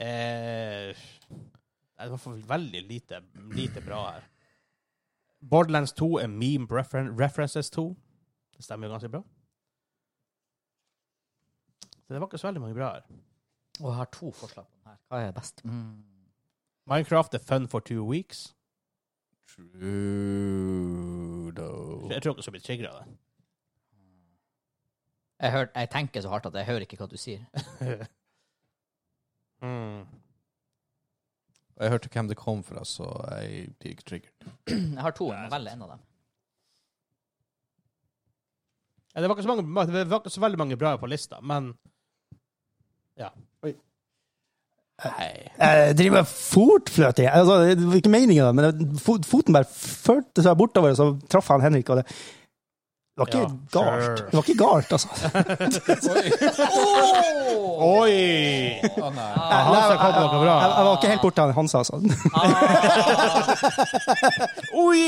Speaker 2: Eh, det var for veldig lite, lite bra her. Borderlands 2 er meme referen references 2. Det stemmer jo ganske bra. Så det var ikke så veldig mange bra her.
Speaker 3: Og jeg har to forslag på den her. Hva er best? Mm.
Speaker 2: Minecraft er fun for two weeks.
Speaker 4: Trudeau.
Speaker 2: Jeg tror ikke så blir trigger av det.
Speaker 3: Jeg, hør, jeg tenker så hardt at jeg hører ikke hva du sier.
Speaker 2: Mm.
Speaker 4: Jeg hørte hvem det kom fra, så jeg blir ikke triggered.
Speaker 3: Jeg har to. Jeg må velge en av dem.
Speaker 2: Ja, det, var ikke så mange, det var ikke så veldig mange bra på lista, men Nei.
Speaker 1: Jeg driver fortfløt i. Altså, det var ikke meningen, da, men fo- foten bare førte seg bortover, og så traff han Henrik, og det det var ikke
Speaker 2: Ja,
Speaker 1: galt.
Speaker 2: sure.
Speaker 1: Det var ikke galt, altså.
Speaker 4: Oi!
Speaker 3: Oh!
Speaker 2: Oi!
Speaker 4: Å nei.
Speaker 3: Ah,
Speaker 2: Han sa kom noe bra.
Speaker 1: Jeg, jeg var ikke helt borte av Hansa, altså.
Speaker 3: ah.
Speaker 2: Oi!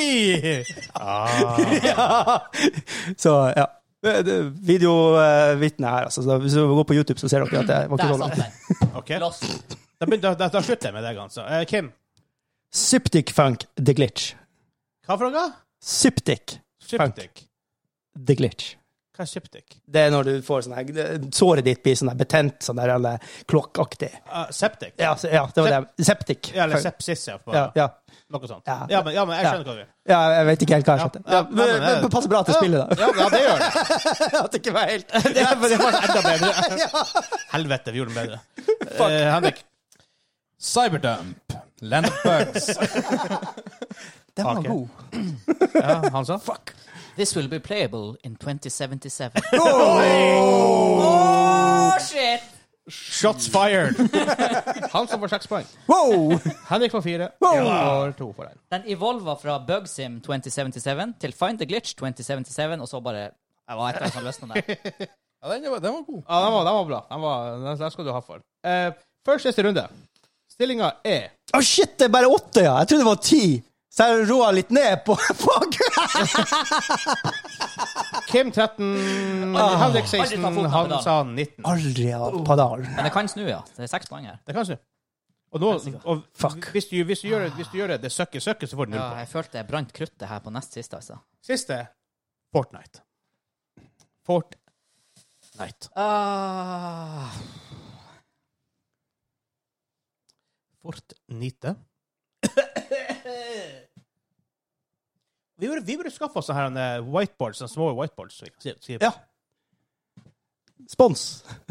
Speaker 2: Ah.
Speaker 1: Så, ja. Videovitnet her, altså. Så hvis du går på YouTube, så ser dere at det var
Speaker 3: Der
Speaker 1: ikke så
Speaker 3: satt
Speaker 1: langt.
Speaker 3: den.
Speaker 2: OK.
Speaker 3: Lost.
Speaker 2: Da, begynner- da, da, da slutter jeg med deg, altså. Eh, Kim,
Speaker 1: Syptic Funk The Glitch.
Speaker 2: hva for noe?
Speaker 1: Syptic
Speaker 2: Syptic.
Speaker 1: The Glitch.
Speaker 2: Hva er syptic?
Speaker 1: Det er når du får sånn her Såret ditt blir sånn her betent, sånn der eller klokkaktig.
Speaker 2: Ah, septic?
Speaker 1: Ja, så, ja, det var det. Septic.
Speaker 2: Ja, eller
Speaker 1: Funk.
Speaker 2: sepsis, ja. På,
Speaker 1: Ja, ja.
Speaker 2: Noe sånt.
Speaker 1: Ja.
Speaker 2: Ja, men, ja, men jeg
Speaker 1: Ja.
Speaker 2: skjønner hva du
Speaker 1: ja, jeg vet ikke helt hva jeg skjønte.
Speaker 2: Ja,
Speaker 1: Ja,
Speaker 2: ja,
Speaker 1: men-
Speaker 2: men- eh,
Speaker 1: men- men Passer bra til spillet, da.
Speaker 2: Ja, ja, det gjør det.
Speaker 1: At det ikke var helt
Speaker 2: Det, det var enda bedre. Helvete, vi gjorde den bedre. Eh, Henrik.
Speaker 4: Cyberdump. Land of bugs.
Speaker 1: Den var
Speaker 2: Ok.
Speaker 1: god.
Speaker 2: Ja, han sa? Fuck.
Speaker 3: This will be playable in 2077. Oh, shit!
Speaker 2: Shots fired. Han som får seks poeng.
Speaker 1: Wow!
Speaker 2: Henrik får fire.
Speaker 1: Wow.
Speaker 2: Jeg får to for den.
Speaker 3: Den evolva fra Bugsim 2077 til Find the Glitch 2077, og så bare Jeg var etter den som løsna der.
Speaker 4: Ja, den, var, den var god.
Speaker 2: Ja, den var, den var bra. Den, var, den, den skal du ha for. Eh, først siste runde. Stillinga er
Speaker 1: Å, shit, det er bare åtte, ja! Jeg trodde det var ti. Så jeg roa litt ned på, på
Speaker 2: Kim 13, Henrik 16,
Speaker 3: Aldri ta foten av
Speaker 2: Hansa 19.
Speaker 1: Aldri av padal.
Speaker 3: Men det kan snu, ja. Det er seks poeng her.
Speaker 2: Det kan snu. Og, nå, og
Speaker 1: Fuck.
Speaker 2: Hvis, du, hvis, du gjør, det- hvis du gjør det det søkker, søkker, så får du null
Speaker 3: Ja,
Speaker 2: poeng.
Speaker 3: jeg følte jeg brant kruttet her på nest siste, altså.
Speaker 2: Siste Fortnite. Fortnite.
Speaker 3: Ah,
Speaker 2: Fortnite. Vi burde, vi burde skaffe oss sånne her, eh, whiteboards, sånne små whiteboards. Så vi kan si, si.
Speaker 1: Ja. Spons.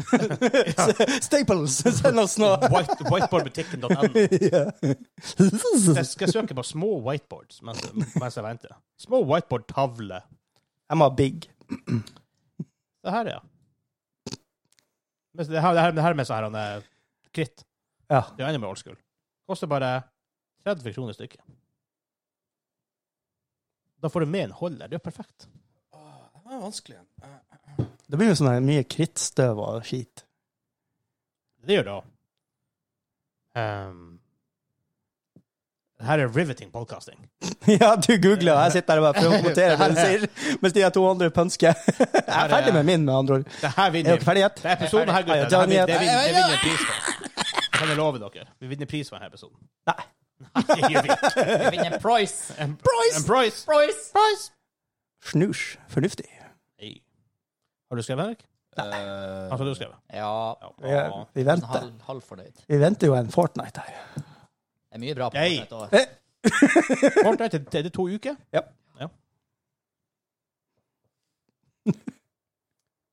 Speaker 1: Staples, send oss nå.
Speaker 2: White, whiteboardbutikken.no.
Speaker 1: Ja.
Speaker 2: Jeg skal søke på små whiteboards mens, mens jeg venter. Små whiteboard-tavle.
Speaker 1: Jeg må ha big.
Speaker 2: Det her, ja. Men Det her, det her, det her med sånn her han, eh, kritt.
Speaker 1: Ja.
Speaker 2: Det er jo enda mer old school. Koster bare 30 kroner stykket. Da får du med en holder. Det er perfekt.
Speaker 4: Den var vanskelig. Eh,
Speaker 1: Det blir jo sånn her mye krittstøv og skit.
Speaker 2: Det gjør det òg. Um, det her er riveting podcasting.
Speaker 1: Ja, du googler, og jeg sitter her og bare prøver å kommentere det du sier, mens de her 200 pønsker. Jeg er ferdig med min, med andre ord.
Speaker 2: Det her
Speaker 1: Er
Speaker 2: vinner
Speaker 1: dere ferdige?
Speaker 2: Det er episoden her, gutter.
Speaker 1: Ja,
Speaker 2: Det, her
Speaker 1: Johnny,
Speaker 2: vinner- det, vinner, det vinner pris for. Det kan jeg love dere. Vi vinner pris for denne episoden.
Speaker 1: Nei.
Speaker 2: Det gjør vi ikke.
Speaker 3: jeg vinner en price!
Speaker 2: En
Speaker 1: Price!
Speaker 2: en price.
Speaker 3: Price!
Speaker 1: Snus. Fornuftig.
Speaker 2: Hei. Har du skrevet, Henrik?
Speaker 4: Eh,
Speaker 2: Han
Speaker 4: Altså-
Speaker 2: sa du skrev.
Speaker 3: Ja, Altså,
Speaker 1: Vi, vi venter.
Speaker 3: halv, halv fornøyd.
Speaker 1: Vi venter jo en Fortnite her.
Speaker 3: Det er mye bra på
Speaker 2: Hey.
Speaker 3: et år.
Speaker 1: Eh,
Speaker 2: Fortnite er- er det to uker.
Speaker 1: Ja.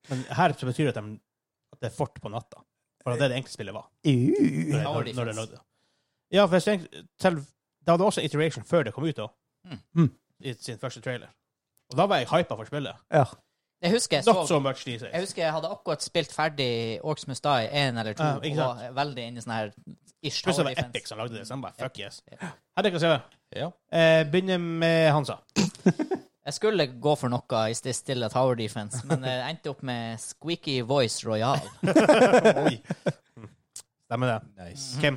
Speaker 2: Men her så betyr det at, de, at det er fort på natta. For det er det egentlig spillet var.
Speaker 1: Uh.
Speaker 2: Når, når,
Speaker 3: Hour
Speaker 2: når det
Speaker 3: difference.
Speaker 2: nådde. Ja, for jeg tenkte, selv, det hadde også iteration før det kom ut, da.
Speaker 1: Mm.
Speaker 2: I sin første trailer. Og da var jeg hypa for spillet.
Speaker 1: Ja.
Speaker 3: Jeg husker jeg
Speaker 2: Not
Speaker 3: så
Speaker 2: so much these
Speaker 3: jeg
Speaker 2: days.
Speaker 3: husker jeg hadde akkurat spilt ferdig Orcs Must Die 1 eller 2,
Speaker 2: Ja,
Speaker 3: og
Speaker 2: ikke sant.
Speaker 3: var veldig inne i sånn her ish
Speaker 2: Pluss det
Speaker 3: tower
Speaker 2: var Epic
Speaker 3: defense.
Speaker 2: som lagde det, så jeg bare fuck yes.
Speaker 3: Ja.
Speaker 2: Her er det hva jeg ser.
Speaker 4: Ja.
Speaker 2: Eh, begynner med Hansa.
Speaker 3: Jeg skulle gå for noe i sti- stille tower defense, men jeg endte opp med Squeaky Voice Royal. Oh,
Speaker 2: Oi. Mm. Stemmer det.
Speaker 3: Mm.
Speaker 4: Nice.
Speaker 2: Kim.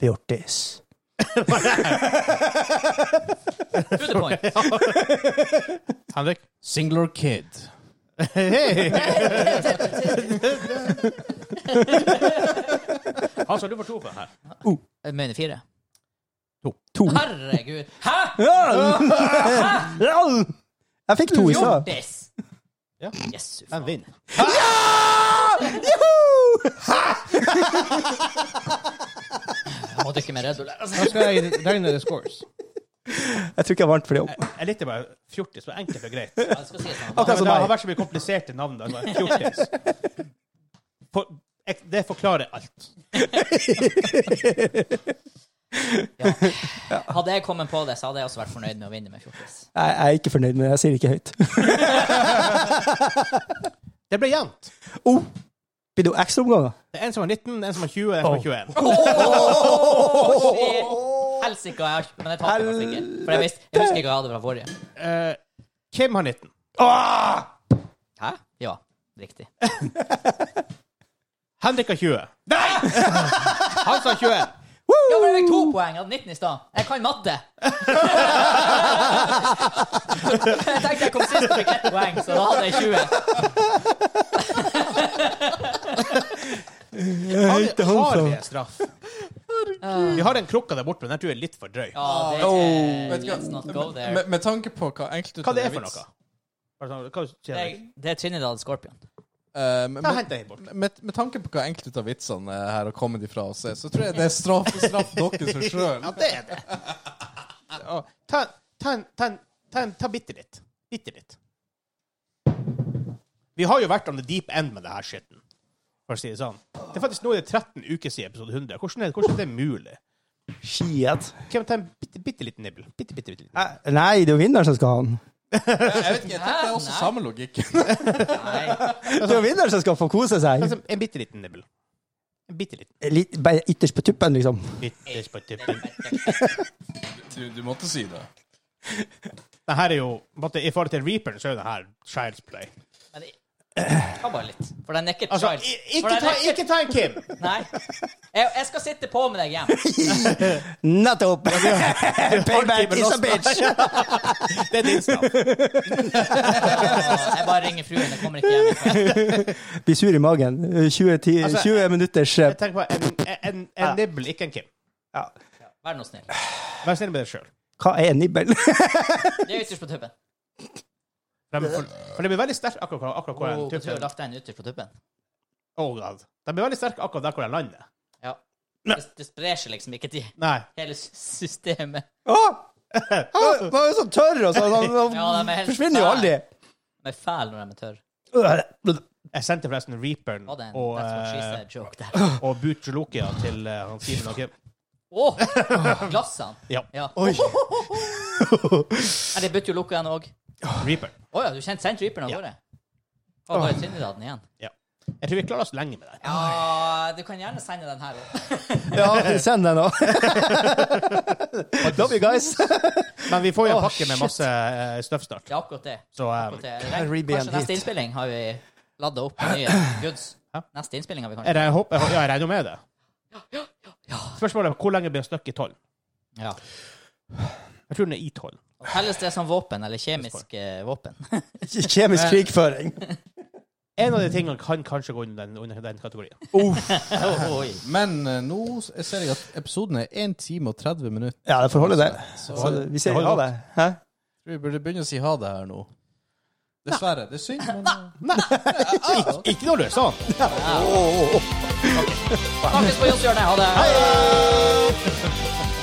Speaker 1: Fjortis.
Speaker 3: To the point.
Speaker 2: Henrik.
Speaker 4: Singular Kid.
Speaker 2: Hansa, du får to for den her.
Speaker 3: Jeg mener fire.
Speaker 1: To.
Speaker 3: Herregud. Hæ?!
Speaker 1: Jeg fikk to i stad.
Speaker 3: Hjortis!
Speaker 2: Ja.
Speaker 3: Yes, fy
Speaker 2: Den
Speaker 3: faen.
Speaker 2: vinner.
Speaker 3: Jeg må drikke mer Red Bull. her, altså.
Speaker 2: Nå skal jeg regne the scores.
Speaker 1: Jeg tror ikke jeg vant for det opp.
Speaker 2: Jeg likte bare fjortis. var enkelt og greit.
Speaker 3: Jeg skal si det sånn.
Speaker 2: Men
Speaker 1: Akkurat som
Speaker 2: det har
Speaker 1: meg.
Speaker 2: vært så mye kompliserte navn. Da. bare Fjortis. For, ek- det forklarer alt.
Speaker 3: Hadde jeg kommet på det, så hadde jeg også vært fornøyd med å vinne med fjortis.
Speaker 1: Jeg, jeg er ikke fornøyd med det. Jeg sier det ikke høyt.
Speaker 2: Det ble jevnt.
Speaker 1: Oh, blir det jo ekstraomganger?
Speaker 2: Det er en som er 19, en som er 20, og en som er 21.
Speaker 3: Helsika, jeg har ikke Men jeg tapte faktisk ikke. For jeg, visste, jeg husker ikke hva jeg hadde fra forrige.
Speaker 2: Eh, Kim har 19.
Speaker 3: Hæ? Ja, riktig.
Speaker 2: Henrik har 20. Nei! Han sa 21.
Speaker 3: Ja, men jeg fikk to poeng. Jeg hadde 19 i stad. Jeg kan matte! jeg tenkte jeg kom sist og fikk ett poeng, så da hadde jeg 20.
Speaker 2: Har vi- har
Speaker 1: håndfra.
Speaker 2: vi en straff? Vi har den krukka der borte, men den tror jeg er litt for drøy.
Speaker 3: Ja, det
Speaker 4: Oh,
Speaker 3: er,
Speaker 4: vet du hva?
Speaker 3: let's not go there.
Speaker 4: Med, med tanke på hva enkelte
Speaker 2: Hva det er
Speaker 4: til
Speaker 2: for
Speaker 4: vits,
Speaker 2: noe? Bare sånn, Hva sier
Speaker 3: Det er,
Speaker 2: Henrik?
Speaker 3: det er Trinidad Scorpion.
Speaker 4: eh, med,
Speaker 2: Ta og Hent den bort.
Speaker 4: med, med tanke på hva enkelte av vitsene er her og kommer de fra oss, er, så tror jeg det er straff straff dere for sjøl.
Speaker 2: Ja, det er det. Ja, Ta, ta, en- ta, en- ta, en- ta bitte litt. Bitte litt. Vi har jo vært on the deep end med det her skitten. For å si det sånn. Det er faktisk nå er det 13 uker siden episode 100. Hvordan er, hvordan er det mulig?
Speaker 1: Shit.
Speaker 2: Kan vi ta en bitte, bitte liten nibbel? Bitte, bitte, bitte liten.
Speaker 1: Eh, Nei, det er jo vinneren som skal ha den.
Speaker 4: Jeg vet ikke, jeg tenker det er også
Speaker 3: Nei.
Speaker 4: samme logikk.
Speaker 3: Nei.
Speaker 1: Det er jo vinneren som skal få kose seg.
Speaker 2: Altså, en bitte liten nibbel. En bitte liten.
Speaker 1: Litt, bare ytterst på tuppen, liksom.
Speaker 2: Bitte på tippen.
Speaker 4: Du, du måtte si det.
Speaker 2: Det her er jo på en måte, I forhold til Reaperen så er jo det her Child's Play.
Speaker 3: Men jeg- ta bare litt. For den er ikke
Speaker 2: Altså,
Speaker 3: child.
Speaker 2: i-
Speaker 3: For
Speaker 2: ikke,
Speaker 3: den er
Speaker 2: ta, ikke ta en Kim!
Speaker 3: Nei. Jeg, jeg skal sitte på med deg hjem.
Speaker 1: Nettopp!
Speaker 2: Payback
Speaker 1: Payback
Speaker 2: is
Speaker 1: is
Speaker 2: a
Speaker 1: a bitch!
Speaker 2: Det er din straff.
Speaker 3: Jeg bare ringer fruen. Jeg kommer ikke hjem. i kveld.
Speaker 1: Blir sur i magen. 20, ti-
Speaker 2: Altså,
Speaker 1: 20 minutters eh,
Speaker 2: Jeg tenker på en, en, en, en nibbel, ikke en Kim.
Speaker 1: ja.
Speaker 3: Vær nå snill.
Speaker 2: Vær snill med deg sjøl.
Speaker 1: Hva er nibbel?
Speaker 3: Det er ytterst på tuppen.
Speaker 2: For, for det blir veldig sterkt akkurat, akkurat hvor
Speaker 3: Oh,
Speaker 2: den
Speaker 3: du har
Speaker 2: tuppen
Speaker 3: lagt den ytterst på tuppen.
Speaker 2: oh, God. Den blir veldig sterk akkurat der hvor den lander.
Speaker 3: Ja. Det, det sprer seg liksom ikke til
Speaker 2: Nei.
Speaker 3: hele sy- systemet.
Speaker 1: Åh! Han var jo så tørr, og så han,
Speaker 3: Ja, de er
Speaker 1: han
Speaker 3: helt
Speaker 1: forsvinner jo aldri.
Speaker 3: De er fæle når de er tørre.
Speaker 2: Jeg sendte forresten Reaperen
Speaker 3: Var det en
Speaker 2: og,
Speaker 3: That's What She
Speaker 2: eh,
Speaker 3: Said joke der?
Speaker 2: og Butjolokia til eh, han Simen og Kim.
Speaker 3: Åh, glassene!
Speaker 2: Ja.
Speaker 3: Ja.
Speaker 1: Oi.
Speaker 3: Men det burde jo lukke den òg.
Speaker 2: Reaperen.
Speaker 3: Å ja, du kjente Sand Reaperen av
Speaker 2: Ja.
Speaker 3: gårde? Å, bare Trinidad igjen.
Speaker 2: Ja. Jeg tror vi klarer oss lenge med den.
Speaker 3: Ja, du kan gjerne sende den her òg.
Speaker 1: Ja, send den, da. Love you guys.
Speaker 2: Men vi får jo en
Speaker 1: Åh,
Speaker 2: pakke med masse eh, støff snart.
Speaker 3: Ja, akkurat det.
Speaker 2: Så eh,
Speaker 3: Akkurat det.
Speaker 1: Kan
Speaker 3: Regn-
Speaker 1: Reaperen bli en
Speaker 3: Kanskje neste
Speaker 1: hit?
Speaker 3: innspilling har vi ladda opp med nye goods.
Speaker 2: Hæ?
Speaker 3: Neste innspilling har vi
Speaker 2: jeg
Speaker 3: kanskje.
Speaker 2: regner- håper- ja, jeg regner jo med det. Spørsmålet er hvor lenge blir en støkk i tolv?
Speaker 3: Ja.
Speaker 2: Jeg tror den er i tolv.
Speaker 3: Og Telles det som våpen, eller kjemisk eh, våpen?
Speaker 1: Kjemisk krigføring.
Speaker 2: En av de tingene kan kanskje gå under den, under den kategorien.
Speaker 3: Oh, oi.
Speaker 4: Men eh, nå s- jeg ser jeg at episoden er 1 time og 30 minutter.
Speaker 1: Ja, det får holde, det.
Speaker 4: Så
Speaker 1: Så,
Speaker 4: jeg
Speaker 1: vi sier ha det. Hæ?
Speaker 4: tror vi burde begynne å si ha det her nå. Dessverre. Det er synd, men eh, ah,
Speaker 2: Ikke noe løs, sånn!
Speaker 3: Snakkes på Jonshjørnet. Ha det!